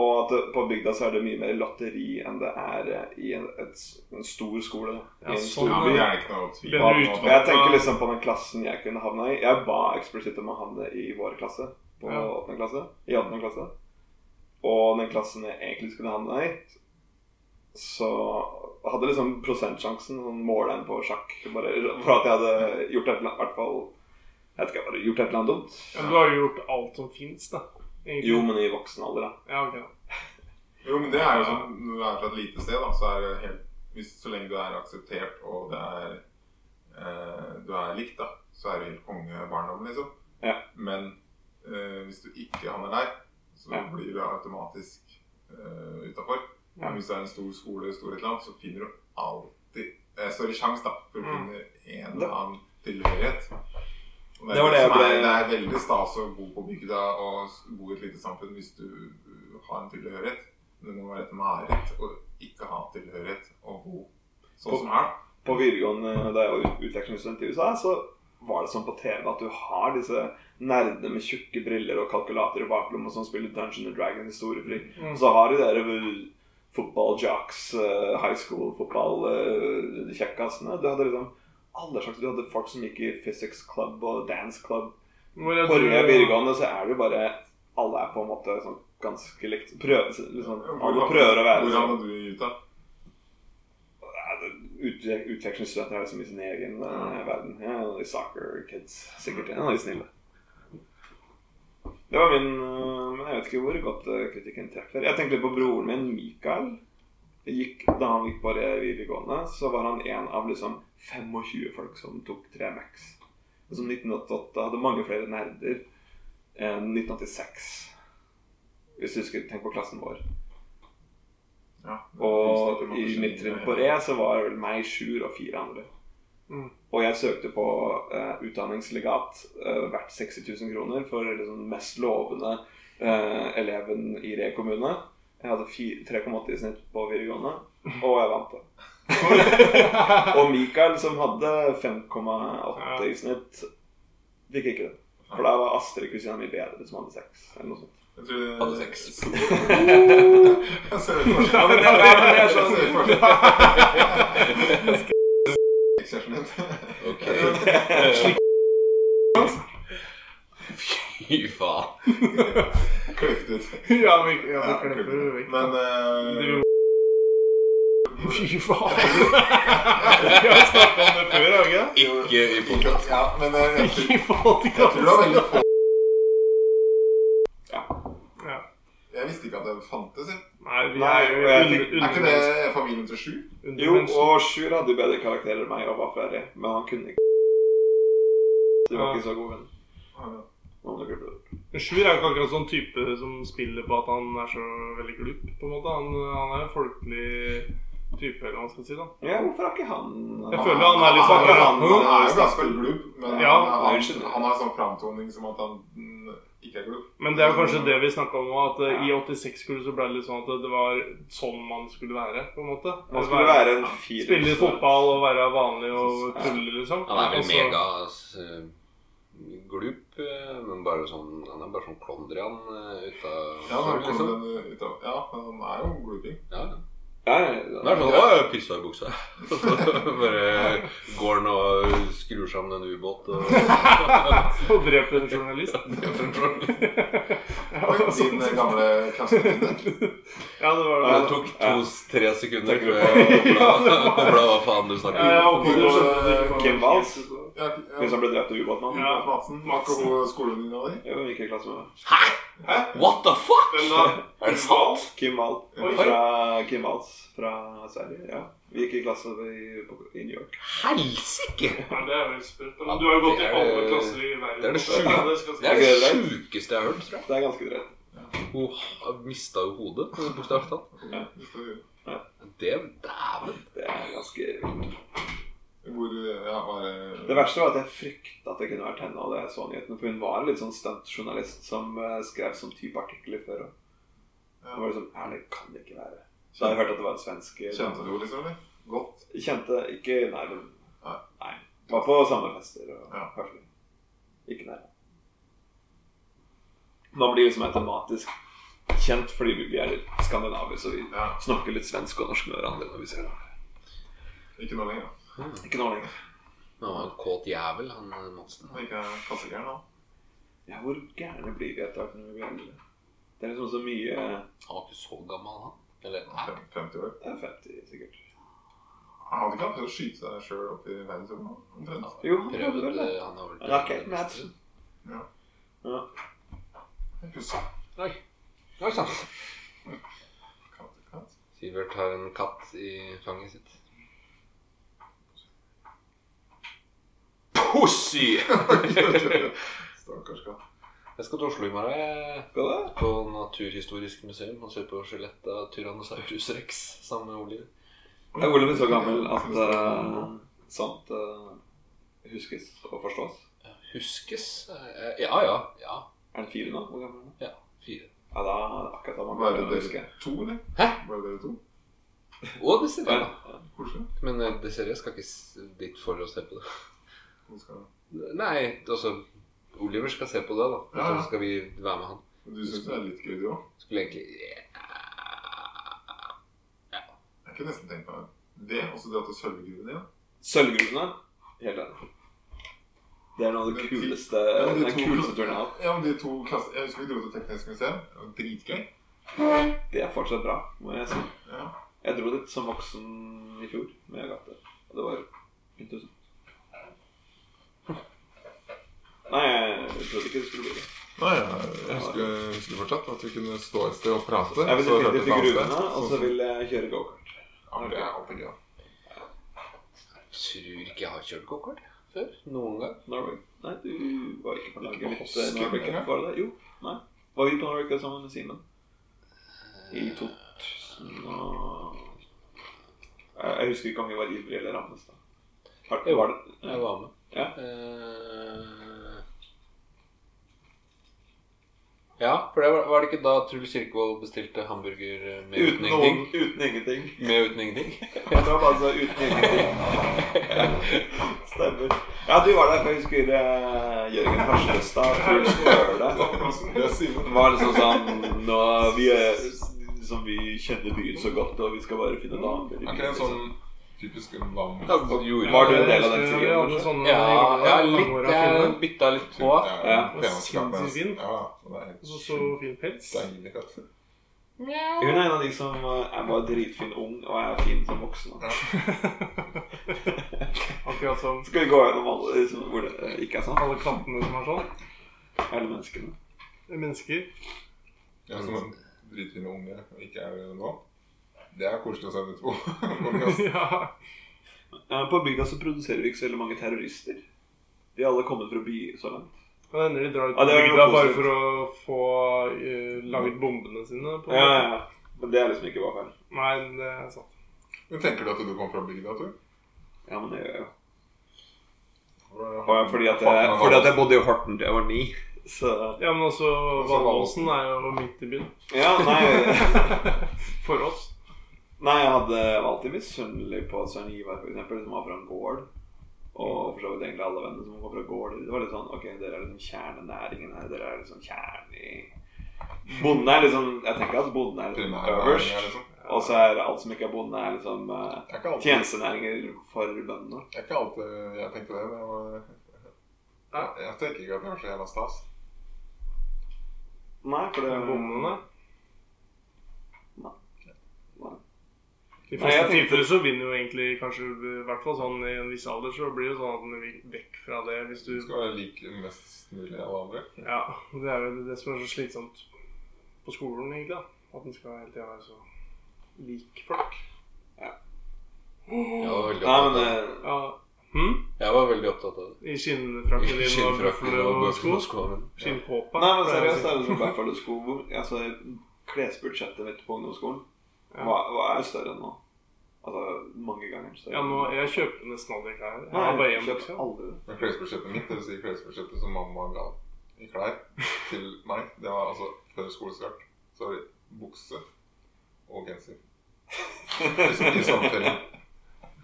S3: Og at eh, på bygda så er det mye mer lotteri enn det er eh, i en, et, s- en stor skole. I
S4: Ja,
S3: en stor
S4: sånn,
S2: Ja,
S3: by.
S2: det er ikke noe tvil om.
S4: Ble du
S2: at-
S4: utvalgt?
S3: Men jeg tenker liksom på den klassen jeg kunne havna i. Jeg ba eksplisitt om å havne i vår klasse. På
S4: Ja.
S3: åttende klasse. I åttende klasse. Og den klassen jeg egentlig skulle havna i, så hadde liksom prosentsjansen, sånn måleren på sjakk, bare for at jeg hadde gjort et eller annet, i hvert fall Jeg vet ikke, bare gjort et eller annet dumt.
S4: Men du har jo gjort alt som fins, da. egentlig.
S3: Jo, men i voksen alder, da.
S4: Ja, ok.
S2: Jo, men det er jo sånn Når du er fra et lite sted, da, så er det helt hvis, Så lenge du er akseptert og det er eh, du er likt, da, så er du helt kongebarndom, liksom.
S3: Ja.
S2: Men eh, hvis du ikke havner der, så
S3: Ja.
S2: blir du automatisk eh, utafor.
S3: Ja.
S2: Men hvis det er en stor skole, stor et eller annet, så finner du alltid eh, Større sjanse, da, for å
S4: Mm.
S2: finne en
S3: Det-
S2: eller annen tilhørighet. Og
S3: Det var det jeg
S2: som
S3: ble-
S2: Er, det er veldig stas å bo på bygda og s- bo i et lite samfunn hvis du uh, har en tilhørighet. Men det må være et mareritt å ikke ha tilhørighet og bo sånn
S3: På-
S2: som her.
S3: på videregående da jeg var ut- utvekslingsstudent i USA, så var det sånn på TV at du har disse nerdene med tjukke briller og kalkulator i baklomma som spiller Dungeon and Dragon i storefri.
S4: Mm.
S3: Og så har de der eh, fotballjocks, eh, high school-fotballkjekkasene. Du hadde liksom alle slags Du hadde folk som gikk i physics club og dance club.
S4: Hvor er
S3: På
S4: du-
S3: Røa videregående så er det jo bare Alle er på en måte sånn ganske likt. Prøver, liksom, alle prøver å være
S2: Hvor
S3: sånn.
S2: havnet du i Utah?
S3: Ja, det- ut- Utvekslingsstudenter er liksom i sin egen eh, verden. Ja, og de soccer kids, sikkert. Ja, de er snille. Det var min eh, Men jeg vet ikke hvor godt eh, kritikken treffer. Jeg tenkte litt på broren min, Mikael. Gikk, da han gikk på re- videregående, så var han en av liksom 25 folk som tok 3 Max. Som 1988 hadde mange flere nerder enn 1986. Hvis du husker, tenk på klassen vår.
S2: Ja,
S3: Og i mitt trinn på Re så var det vel meg, Sjur og fire andre.
S4: Mm.
S3: Og jeg søkte på eh, utdanningslegat eh, verdt 60 000 kroner for liksom mest lovende eh, eleven i Re kommune. Jeg hadde fi- 3,8 i snitt på videregående, og jeg vant det. og Mikael, som hadde 5,8 i snitt, fikk ikke det. For da var Astrid kusina mi bedre, som hadde 6, eller noe sånt.
S2: Jeg tror det-
S1: Hadde sex.
S2: Jeg ser det for
S3: Ja, men det- ja, men det er sånn-
S2: Kjæresten din.
S1: Ok. Fy faen.
S2: Klippet ut.
S4: Ja, vi ja, vi
S2: Ja,
S4: klipper det
S2: klippet ut.
S4: vekk.
S2: Men eh,
S4: Du-
S3: eh,
S4: Fy faen! Vi har snakka om det før, har vi ikke?
S1: Ikke i podcast.
S2: Ja, men eh, jeg tror-
S4: Ikke i forhold til
S2: jeg tror det var veldig få
S4: Ja.
S2: Jeg visste ikke at det fantes. Jeg.
S4: Nei, vi
S3: Nei,
S4: er jo
S3: og jeg fikk-
S4: under-
S2: Er ikke
S4: undermennesker.
S2: det familien til sju?
S3: Jo,
S4: Undermennesker.
S3: og Sjur hadde jo bedre karakterer enn meg og var flere, men han kunne ikke De var ikke så gode venner. Nå må du klippe det ut.
S4: Men Sjur er jo ikke akkurat sånn type som spiller på at han er så veldig glupp, på en måte. Han, han er en folkelig type, eller hva man skal si, da.
S3: Ja, hvorfor har ikke han
S4: Jeg føler han er litt sånn-
S2: Han er jo
S3: Han er
S2: ganske glubb, men
S4: Ja,
S2: han,
S3: det er
S2: han,
S3: jo
S2: han har sånn framtoning som at han mm, ikke er glubb.
S4: Men det er jo kanskje det vi snakka om òg, at eh, i 86-kullet så ble det litt sånn at det var sånn man skulle være, på en måte.
S3: Han skulle være en firer.
S4: Spille litt fotball og være vanlig og tulle, liksom.
S1: Han er vel
S4: Og så-
S1: mega eh, glup, eh, men bare sånn, han er bare sånn Klondrian eh, ut av
S2: Ja, han er,
S4: sånn.
S1: liksom.
S2: den, ut av, ja, men han er jo glubbing.
S1: Ja.
S3: Ja,
S1: Det er sånn, Å, jeg pissa i buksa. Og så bare går han og skrur sammen en ubåt og
S4: Og dreper en journalist. Ja,
S2: Og
S4: sånn-
S2: Din gamle klassevenninne.
S4: ja, det var
S1: Det
S4: det.
S1: tok to-tre sekunder før jeg kobla hva faen du
S4: Ja, ja,
S1: snakker om.
S4: og Kåre skjønte det ikke.
S3: Kim Wals.
S2: Ja,
S3: Hun som ble drept av ubåtmann.
S4: sånn. Ja.
S2: Ulf Madsen. Var ikke hun skolevenninna di?
S3: Jeg gikk i klasse med henne.
S1: What the fuck?!
S4: Men da-
S1: Er det sant?
S3: Kim Wahl.
S4: Oi.
S3: Fra Kim Wals fra Sverige. Ja. Vi gikk i klasse i, på- i New York.
S1: Helsike!
S4: Ja, det er vel sprøtt. Men du har jo gått i
S1: Ja, det er-
S4: alle klasser i verden.
S1: det er det
S4: så
S1: sjuke.
S4: ja, skal
S1: Det er det sjukeste jeg har hørt. tror jeg.
S3: Det er ganske drøyt.
S1: Hun mista jo hodet, bokstavelig talt. Det Dæven.
S3: Det er ganske vilt.
S2: Hvor ja, var
S3: Det verste var at jeg frykta at det kunne vært henne. Og det så nyhetene, For hun var litt sånn stuntjournalist som eh, skrev sånn type artikler før. Og det var liksom Ja, det kan det ikke være. Så hadde jeg hørt at det var en svenske.
S2: Kjente du henne liksom, eller? Godt.
S3: Kjente ikke Nei, men
S2: Nei.
S3: nei. Var på samme fester og
S2: Ja.
S3: høflig. Ikke nær. Da blir liksom jeg tematisk kjent fordi vi er litt skandinaver, så vi
S2: Ja.
S3: snakker litt svensk og norsk med hverandre når vi ser det.
S2: Ikke nå lenger.
S3: Ikke nå lenger.
S1: Han var en kåt jævel, han eh, Madsen.
S2: Han ikke er kassegæren nå.
S3: Ja, hvor gærne blir vi etter hvert når vi blir eldre? Det er liksom så mye
S1: Han var ikke så gammel, han. Eller nei.
S2: Fem- 50 år.
S3: Det er 50, sikkert.
S2: Han hadde ikke hatt til å skyte seg sjøl opp i verdensrommet, omtrent.
S3: Jo, han
S1: prøvde
S3: prøvde vel det.
S1: Han har vel
S3: Han rakk helt med Madsen.
S2: Ja.
S3: Ja.
S2: Jeg husker.
S1: Oi. Oi sann.
S2: Katt, katt.
S1: Sivert har en katt i fanget sitt. Pussy!
S2: Stakkars katt.
S1: Jeg skal til Oslo i morgen. jeg,
S3: Skal det?
S1: På Naturhistorisk museum og se på skjelettet av Tyrannosaurus rex sammen med Oliver.
S3: Er Ole blitt så gammel at eh, sånt eh, huskes og forstås?
S1: Huskes? Eh, Ja, ja. ja.
S3: Er han fire nå? Hvor gammel er han?
S1: Fire.
S3: Ja, da akkurat da man
S2: Var det
S3: kan huske.
S2: dere to, eller?
S1: Hæ?
S2: Var det dere to?
S1: Og Desiree. da.
S3: Ja.
S2: Koselig.
S1: Men eh, Desiree skal ikke s- dit for å se på det.
S2: Hun skal-
S1: Nei, altså Oliver skal se på det, da. Og
S2: Ja, ja.
S1: så skal vi være med han.
S2: Men Du syns det er litt gøy, du òg?
S1: Skulle egentlig
S2: Jeg kunne nesten tenkt meg det. Også det at du sølver gruven igjen.
S3: Sølvgruvene. Helt enig. Det er noe av det
S2: Men de-
S3: kuleste
S2: Ja, men de
S3: Den
S2: to-
S3: kuleste turen jeg har hatt.
S2: Ja, men de to klasse... Jeg husker vi dro til Teknisk museum. Det var dritgøy.
S3: Det er fortsatt bra, må jeg si.
S2: Ja.
S3: Jeg dro dit som voksen i fjor med Agathe. Og det var interessant. Nei, jeg trodde ikke det skulle bli det.
S2: Nei, jeg jeg husker, jeg husker fortsatt at vi kunne stå et sted og prate.
S3: Jeg vil
S2: så hørte et
S3: definitivt til
S2: annet
S3: gruvene,
S2: sted.
S3: og så vil jeg kjøre gokart.
S2: Ja, men det er alltid gøy.
S1: Tror ikke jeg har kjørt gokart før. Noen gang.
S3: Norway? Nei, du var ikke på
S2: Ikke
S3: laget mitt.
S2: på Hosken,
S3: eh, Norway
S2: ikke?
S3: Cup, var det det? Jo. Nei. Var vi på Norway Cup sammen med Simen? I 2000 og... Jeg jeg husker ikke om vi var ivrig eller rammes da. Har-
S1: Jo.
S3: Var det?
S1: Jeg var med.
S3: Ja.
S1: Eh, ja, for det var, var det ikke da Truls Kirkevold bestilte hamburger med uten
S3: Uten, noen,
S1: ingenting?
S3: uten ingenting.
S1: Med uten ingenting?
S3: Det var bare så uten ingenting. Stemmer. Ja, du var der, for jeg husker eh, Jørgen Harstestad. Truls Bøhle.
S2: Det er Simen.
S3: var liksom sånn nå, vi, er, liksom, vi kjenner byen så godt, og vi skal bare finne damer.
S2: Er ikke det en sånn typisk lam...
S1: Ja, gjorde-
S3: Var du en del av den
S4: Ja,
S3: tiden,
S4: Vi hadde
S3: kanskje?
S4: sånne
S1: Ja, ja,
S4: i gamle
S1: litt. eh,
S4: dager, mange år av
S1: Jeg
S4: filmen.
S1: bytta litt på.
S2: Ja, ja.
S3: Ja.
S2: Penskapen er-
S4: Sinnssykt.
S2: Ja, det er
S4: Og så så
S2: helt
S4: fin pels.
S2: deilig katt.
S3: Hun er en av de som eh, er bare dritfin ung, og er fin som voksen. da.
S4: Akkurat som
S3: Skal vi gå gjennom alle liksom, hvor det eh, ikke er sånn?
S4: alle kantene som er sånn.
S3: Alle menneskene.
S4: Mennesker.
S2: Ja, som en dritfin unge og ikke er det nå. Det er koselig å sende ut på podcast.
S4: ja.
S3: Eh, På bygda så produserer vi ikke så veldig mange terrorister. De har alle kommet fra by så langt.
S4: Det hender de drar ut
S3: Ja,
S4: på
S3: det er noe
S4: bygda bare
S3: positivt.
S4: for å få eh, laget bombene sine. På
S3: Ja, ja, ja. Men det er liksom ikke vår feil.
S4: Nei, det er sant.
S2: Men tenker du at du kom fra bygda, tror du?
S3: Ja, men det gjør jeg jo.
S2: Fra-
S3: Og Fordi at jeg, fordi at jeg bodde i Horten til jeg var ni. Så
S4: Ja, men også
S2: så
S4: Valåsen er jo midt i byen.
S3: Ja, nei,
S4: For oss.
S3: nei jeg hadde var alltid misunnelig på Søren Ivar, for eksempel, som var fra en gård. Og for så vidt egentlig alle venner som kom fra gårder. Det var litt sånn Ok, dere er liksom kjernenæringen her. Dere er liksom kjernen i Bonden er liksom Jeg tenker at bonden er liksom
S2: Primærnæringer,
S3: øverst.
S2: liksom.
S3: Og så er alt som ikke er bonde, er liksom eh,
S2: Det er ikke alltid,
S3: tjenestenæringer for bøndene.
S2: det er ikke alltid jeg tenkte det. Men jeg, jeg tenker ikke at det var så jævla stas.
S3: Nei, for det er bonden.
S4: Bommene.
S3: Nei.
S4: De
S3: Nei, jeg
S4: fleste
S3: tenkte-
S4: tilfeller så vinner jo egentlig kanskje I hvert fall sånn i en viss alder så blir det jo sånn at man vil vekk fra det hvis du
S2: Du skal være lik mest mulig alle andre.
S4: Ja, det er jo det som er så slitsomt på skolen, egentlig. da At en skal hele tida være så lik folk.
S1: Jeg var veldig
S3: Nei,
S1: opptatt av
S3: men
S1: det.
S3: eh,
S4: Ja. Hm?
S1: Jeg var veldig opptatt av det.
S4: I skinnfrakken din og
S1: Skinnfrakken
S4: bøfler
S1: og
S4: og sko.
S1: skoene. Ja.
S4: Skinnkåpa.
S3: Nei, men
S4: pleier jeg å si.
S3: seriøst, det er liksom bæfalesko altså, Klesbudsjettet mitt på ungdomsskolen
S4: Ja.
S3: hva, hva er større enn nå? Altså mange ganger større.
S4: Ja, nå, jeg kjøper nesten aldri klær. Jeg
S3: Nei,
S4: har bare én
S3: jeg
S4: bukse.
S3: kjøper aldri det.
S2: Men klesbudsjettet mitt, det vil si klesbudsjettet som mamma ga i klær til meg, det var altså før skolestart, så var det bukse og genser. Liksom i samme felle.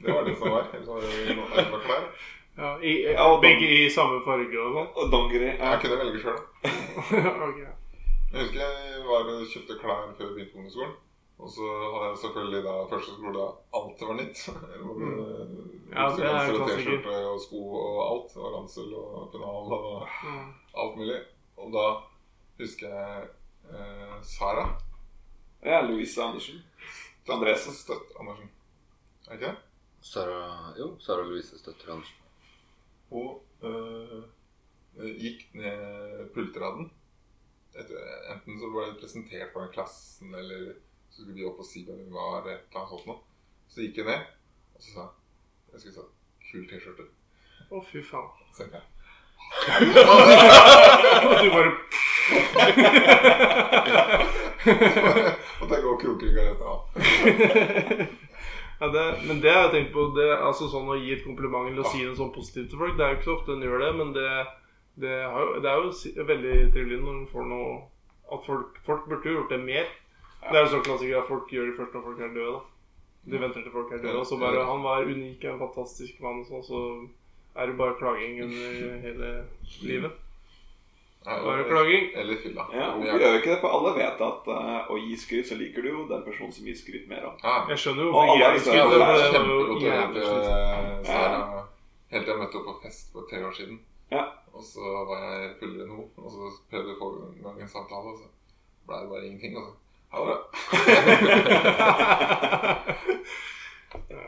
S2: Det var det som var. Ellers var det noe annet med klær.
S4: Ja, i, i-
S3: Ja, og
S4: begge i samme farge og sånn.
S3: Og dongeri. Ja.
S2: Jeg kunne velge sjøl.
S4: Ok.
S2: Jeg husker jeg var og kjøpte klær før jeg begynte på ungdomsskolen. Og så hadde jeg selvfølgelig da første skole da alt var nytt. Både
S4: Ja, det
S2: bukser,
S4: er
S2: genser og
S4: klassiker.
S2: T-skjorte og sko og alt. Og ransel og pennal og
S4: Mm.
S2: alt mulig. Og da husker jeg eh, Sara.
S3: ja, Louise Andersen.
S2: Støtt-
S3: Andresen.
S2: Støtt Andersen. Er ikke det?
S1: Sara, jo, Sara Louise støtter Andersen.
S2: Hun eh, gikk ned pultraden. Etter, enten så ble det presentert for den klassen, eller så skulle de opp og si hvem hun var. eller et eller annet sånt noe. Så gikk jeg ned, og så sa jeg jeg skulle si, kul T-skjorte.
S4: Å, fy faen.
S2: Så tenkte jeg,
S4: Og du bare
S2: Og der går krokrygga rett av.
S4: ja, det, Men det har jeg tenkt på. Det, altså sånn Å gi et kompliment eller å si noe sånn positivt til folk Det er jo ikke så ofte en gjør det, men det, det, har, jo- det er jo si- veldig trivelig når en får noe At folk, folk burde jo gjort det mer. Det er jo sånn klassiker at folk gjør det først når folk er døde. da Du venter til folk er døde, og så bare 'Han var unik, en fantastisk mann', og sånn, så er det bare klaging under hele livet. Bare klaging.
S2: Eller fylla.
S3: Ja,
S2: Vi
S3: hvorfor
S2: er-
S3: gjør vi ikke det? For alle vet at eh, å gi skryt, så liker du jo den personen som gir skryt mer av.
S2: Ja, ja.
S4: Jeg skjønner jo
S3: Og
S4: hvorfor
S3: alle
S4: jeg
S3: er
S4: skulle
S2: Ja,
S4: det.
S2: det var
S4: Det var jo
S2: kjempegodt å høre eh,
S4: jævlig slitsomt.
S2: til Sara. Helt til jeg møtte opp på fest for tre år siden.
S3: Ja.
S2: Og så var jeg fullere enn henne, og så prøvde jeg å få i gang en samtale, og så ble det bare ingenting. Og så ha det bra.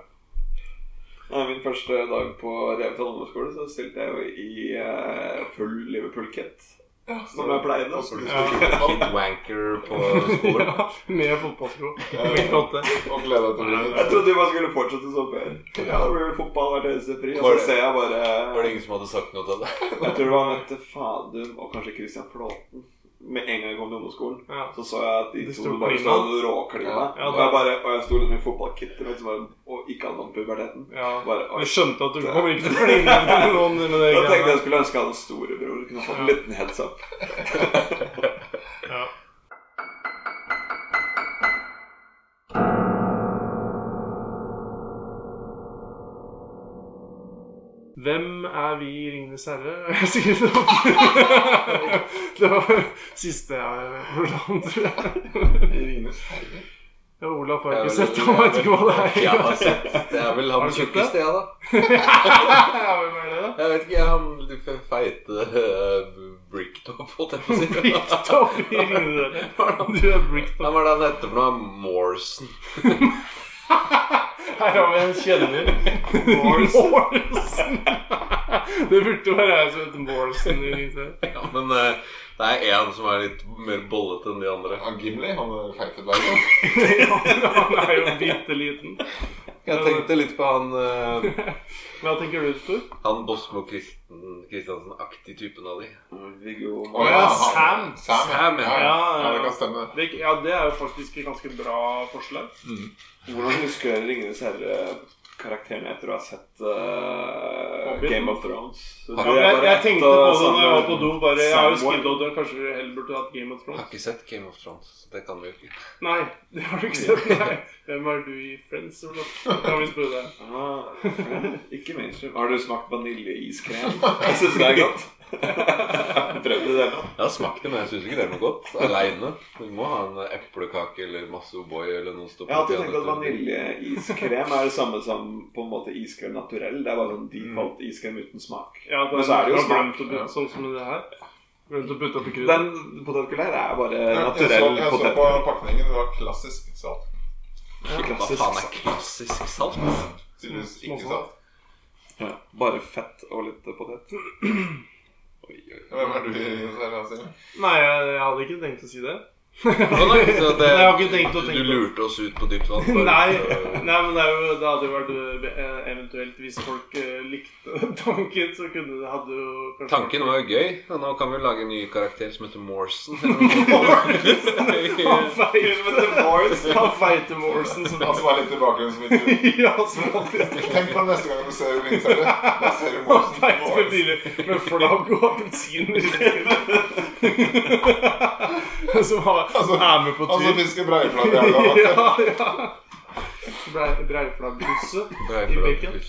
S3: Nei, min første dag på Revetal ungdomsskole så stilte jeg jo i eh, full Liverpool-kit.
S2: Ja,
S3: Som jeg pleide.
S2: Og så ble det
S4: Ja.
S2: stor fotball,
S1: Kid Wanker på skolen.
S4: Ja, Med fotballsko.
S2: Ja.
S4: Midt åtte.
S2: Og gleda deg til å bli
S3: Jeg trodde vi bare skulle fortsette som før. Ja, det blir vel fotball hver eneste fri, og
S1: Var
S3: så
S1: det-
S3: ser jeg bare
S1: Var det ingen som hadde sagt noe til deg?
S3: Jeg tror det var Mette Fadum og kanskje Christian Flåten. Med en gang jeg kom til ungdomsskolen,
S4: Ja.
S3: så så jeg at de
S4: Det
S3: to
S4: sto
S3: bare
S4: klima.
S3: stod råklima.
S4: Ja,
S3: og,
S4: det-
S3: jeg bare, og jeg sto liksom i fotballkittet mitt som bare, og ikke hadde noen puberteten.
S4: Ja.
S3: Bare,
S4: Du
S3: oi.
S4: skjønte at du kommer ikke til å klinge med noen med det
S3: Jeg sånn. tenkte
S4: greiene.
S3: jeg skulle ønske jeg hadde en storebror. Jeg Kunne fått en
S4: Ja.
S3: liten heads up.
S4: Ja. Hvem er vi i Ringenes herre? Jeg har skrevet det opp. Det var siste jeg hørte om, tror jeg.
S2: Ringenes herre.
S4: Ja, Olaf har
S1: Jeg
S4: ikke
S1: vel-
S4: sett det, han vet ikke hva det er.
S1: Jeg har sett Det er vel
S4: Har
S1: han
S4: du sett det?
S1: tjukkeste, jeg, da.
S4: ja, hvem er det, da?
S1: Jeg vet ikke, jeg han litt feite uh, Bricktop, holdt jeg på å si.
S4: Bricktop i Ringenes herre. Du er bricktop.
S1: Hva var det han hette for noe? Morrison?
S4: Her har vi en kjenner.
S3: Morrison.
S4: Morrison. det burde jo være jeg som heter Morrison. i Ringenes Herre.
S1: Ja, men eh, det er én som er litt mer bollete enn de andre.
S2: Han Gimli, han er feite dvergen.
S4: Han er jo bitte liten.
S1: Jeg tenkte litt på han eh,
S4: Hva tenker du, Tor?
S1: Han Bosmo Kristen, Kristiansen-aktig typen av de.
S3: Viggo
S2: Å,
S4: ja,
S2: han-
S4: Sam.
S2: Sam,
S1: Sam,
S2: ja.
S1: ja.
S2: Ja,
S4: Ja,
S2: ja,
S4: ja.
S2: det kan stemme. det.
S4: Det, ja, det er jo faktisk et ganske bra forslag.
S3: Hvordan husker dere Ringenes herre-karakteren etter å ha sett eh,
S4: Hobbiten?
S3: Game of Thrones? Så det
S4: Ja, men
S3: er
S4: jeg,
S3: bare
S4: jeg
S3: ett
S4: tenkte
S3: og
S4: på det
S3: samme-
S4: når jeg var på do. Bare, jeg har jo
S3: Samboer.
S4: skrevet og død. Kanskje du heller burde hatt Game of
S1: Jeg har
S4: Thrones?
S1: ikke sett Game of Thrones, så det kan vi jo ikke.
S4: Nei, det har du ikke sett. Nei. Hvem er du i Friends? Eller noe? Kan vi spørre deg?
S3: Ah, ikke mainstream. Har du smakt vaniljeiskrem? Jeg syns det er godt. Prøv det der nå.
S1: Jeg har smakt det, men jeg syns ikke det er noe godt aleine. Du må ha en eplekake eller masse O'boy eller noe
S3: Jeg har alltid tenkt at vaniljeiskrem er det samme som på en måte iskrem naturell. Det er bare sånn default iskrem uten smak.
S4: Ja,
S3: Men så er det jo
S4: du har
S3: smak,
S4: glemt å putte, sånn som det her. Glemt å putte oppi krydder.
S3: Den potetgull her er bare
S2: Jeg, jeg, så,
S3: naturell
S2: jeg så på
S3: potetgull.
S2: pakningen, det var klassisk salt.
S1: Hva
S3: Klassisk
S1: faen er
S3: salt.
S1: klassisk salt?
S2: Tydeligvis
S3: Mm,
S4: Små-
S2: ikke
S4: småsalt.
S2: salt.
S3: Ja, Bare fett og litt potet.
S1: Oi, oi.
S2: Hvem er du i serien?
S4: Nei, jeg, jeg hadde ikke tenkt å si det.
S1: Sånn, da, så det,
S4: Nei, jeg har ikke tenkt å
S1: du-
S4: tenke
S1: Du
S4: på det.
S1: lurte oss ut på dypt vann. bare
S4: Nei,
S1: for å-
S4: nei men det, er jo, det hadde jo vært eh, eventuelt Hvis folk eh, likte tanken, så kunne det hadde jo kanskje
S1: Tanken var jo gøy. og Nå kan vi lage en ny karakter som heter Morrison.
S4: Han feite Morrison. Han feite Morrison som
S2: Han som er litt i bakgrunnen som ikke
S4: Ja, som alltid
S2: Tenk på det neste gang du ser Blinkseile. Da ser du
S4: Han
S2: Morsen.
S4: feite med biler med flagg og appelsin i ryggen. Som har,
S2: Altså,
S4: er med på
S2: Han som
S4: tur.
S2: fisker breiflabb i elva. vet du.
S4: Ja, ja. Brei- Breiflagghuset. I bacon?
S1: Ja.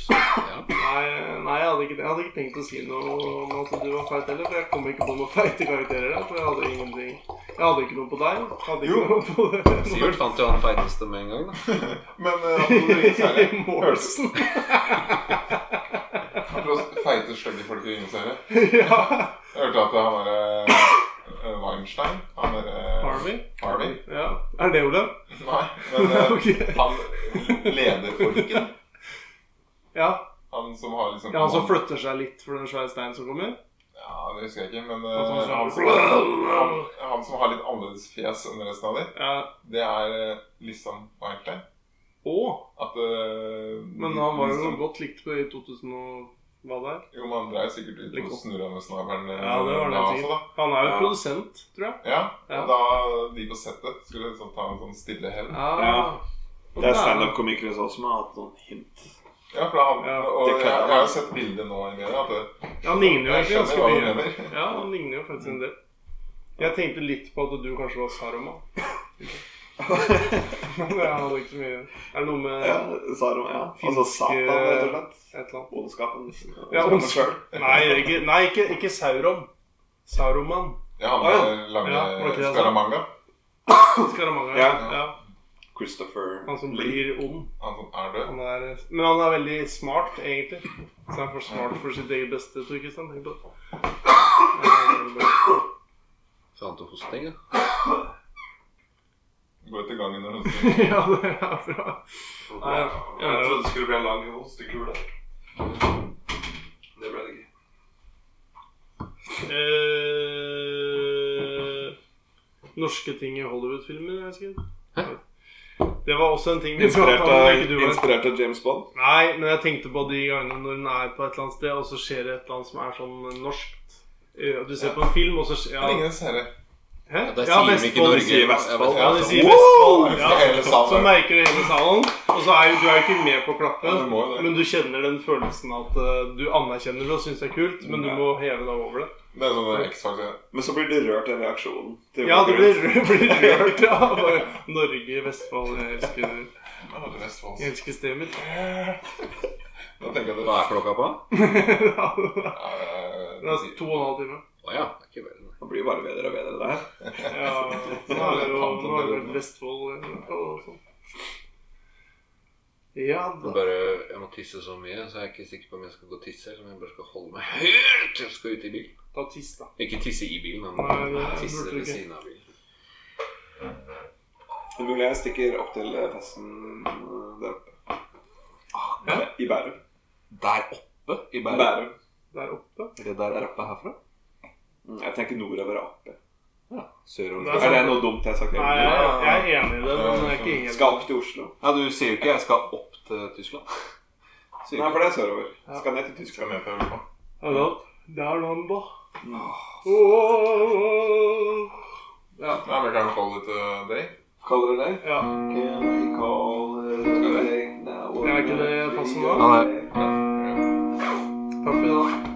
S4: Nei, nei jeg, hadde ikke, jeg hadde ikke tenkt å si noe om at du var feit heller, for jeg kom ikke på noen feite karakterer. her, For jeg hadde ingenting Jeg hadde ikke noe på deg. Hadde ikke
S2: Jo.
S4: noe på det.
S1: Sivert fant jo han feiteste med en gang. da
S2: Men eh, han som Blinkseile hørtes
S4: Morrison.
S2: feite, stygge folk i Blinkseile.
S4: Ja.
S2: Jeg hørte at han derre eh, Weinstein Han derre
S4: Harvey.
S2: Harvey?
S4: Ja. Er det Olav?
S2: Nei. Men eh,
S4: Ok.
S2: han lederfolken,
S4: Ja.
S2: han som har liksom
S4: ja, han som flytter seg litt for den svære steinen som kommer?
S2: Ja, det husker jeg ikke, men
S4: Han som
S2: eh,
S4: har
S2: han,
S4: sånn-
S2: som han, han som har litt annerledes fjes enn resten av dem,
S4: Ja.
S2: det er eh, liksom Weinstein.
S4: Å!
S2: At eh,
S4: Men han var jo
S2: liksom-
S4: godt likt på i 2000 og hva det er.
S2: Jo, men han dreiv sikkert ut
S4: Litt
S2: og
S4: godt.
S2: snurra med snabelen eh,
S4: Ja, det var det
S2: da
S4: sikkert.
S2: også, da.
S4: Han er jo
S3: Ja.
S4: produsent, tror jeg.
S2: Ja,
S4: Ja.
S2: og da de på settet skulle liksom ta en sånn stille hevn.
S4: Ja.
S3: Ja.
S4: Ah. Og
S3: Det er
S4: der-
S3: standup-komikere også som har hatt noen hint.
S2: Ja, for da han,
S4: Ja,
S2: og
S3: det
S2: jeg,
S3: kan-
S2: jeg har jo sett bildet nå i media. At det,
S4: Ja, Han ligner jo
S2: jeg
S4: egentlig
S2: skjønner
S4: ganske
S2: hva du
S4: mye.
S2: mener.
S4: Ja, han ligner jo faktisk en del. Jeg tenkte litt på at du kanskje var Saroma. Men jeg hadde ikke så mye Er det noe med
S3: Ja, Sarum, ja. Altså Satan, rett og slett.
S4: et eller annet?
S3: Ondskapen.
S4: Ja,
S3: Ondskapen
S4: ondskap.
S3: selv.
S4: Nei, ikke, nei, ikke, ikke Sauron. Sauroman.
S2: Ja, han
S3: Å, ja.
S2: med lange
S4: Ah, Ja, altså. var det ikke det han sa?
S2: Scaramanga.
S4: Skaramanga. Ja.
S3: Ja.
S4: Ja.
S3: Christopher
S4: Han som
S3: Lee.
S4: blir ond.
S2: Han som er død.
S4: Han er, men han er veldig smart, egentlig. Så han er for smart for sitt eget beste, tror jeg. Kristian. Tenk på det.
S1: Fant du hosting, ja?
S2: Gå ut i gangen når hun sier
S4: Ja, det er bra. Nei, ja.
S3: Jeg trodde det skulle bli en lang hostekule. Det ble det ikke.
S4: Eh, norske ting i Hollywood-filmer, jeg husker. Det var også en ting vi
S3: Inspirert
S4: pratet om,
S3: av,
S4: ikke du var-
S3: inspirert av James Bond.
S4: Nei, men jeg tenkte på de gangene når en er på et eller annet sted, og så skjer det et eller annet som er sånn norskt. Eh, Du ser på en film, og så skjer ja.
S2: Ringenes herre.
S4: Hæ?
S1: Der
S4: Ja,
S1: sier de ikke
S4: Vestfold.
S1: Norge.
S3: sier Vestfold.
S4: Ja, de sier
S1: Wow!
S4: Vestfold.
S2: Det er
S4: Ja.
S2: hele
S4: Så
S2: salen.
S4: merker du hele salen, og så er jo, du er jo ikke med på
S2: Ja, du
S4: klappet.
S2: må jo det.
S4: Men du kjenner den følelsen at eh, du anerkjenner det og syns det er kult, men du må heve deg over det.
S2: Det er sånn X-faktor.
S3: Men så blir du rørt av reaksjonen. til
S4: Ja, du
S3: folk
S4: blir,
S3: rundt.
S4: blir rørt av Norge, Vestfold Jeg elsker,
S2: Å, det er Vestfold.
S4: jeg elsker stedet
S2: Da
S4: mitt.
S2: tenker jeg
S1: Hva
S2: at
S1: er klokka på?
S4: Ja,
S2: det
S4: Det
S2: er
S4: er to og en halv time.
S1: Å ja. Det er ikke verre, nei.
S3: Det blir bare bedre og bedre der.
S4: Ja, nå er det jo nå er det vel Vestfold og sånn. Ja
S1: Jeg
S4: da.
S1: Bare, jeg må tisse så mye, så jeg er ikke sikker på om jeg skal gå og tisse. Eller om jeg bare skal holde meg helt til jeg skal ut i bilen.
S4: Ta tiss, da.
S1: Ikke tisse i bilen,
S4: Nei,
S1: men
S4: det
S1: tisse
S4: burde du
S1: ved
S4: ikke.
S1: siden av bilen.
S3: Det er mulig jeg stikker opp til festen der oppe. Ah,
S1: Ja.
S3: I Bærum.
S1: Der oppe i Bærum?
S3: Bærum.
S4: Der oppe.
S1: Det der er oppe herfra?
S3: Mm, Jeg tenker nordover og opp.
S1: Ja. Sørover.
S4: Det er
S3: Er
S4: sant.
S3: det noe dumt jeg har sagt?
S4: Nei, jeg, jeg er enig i det, men jeg er ikke helt
S3: Skal opp til Oslo.
S1: Ja, du sier jo ikke 'jeg skal opp til Tyskland'. Sier
S3: Nei,
S1: jo
S3: for det er sørover.
S4: Ja.
S3: Skal ned til
S2: Skal
S3: Tyskland.
S2: ned til Europa.
S4: Hallo? Der landa.
S1: Mm.
S3: Åh,
S4: Ja.
S2: Ja, vi kan jo call it a day.
S3: Kaller du det?
S4: ja.
S3: Can I call it a day now?
S4: Er ikke det passende?
S1: Ja,
S3: Ja.
S4: Takk for i dag.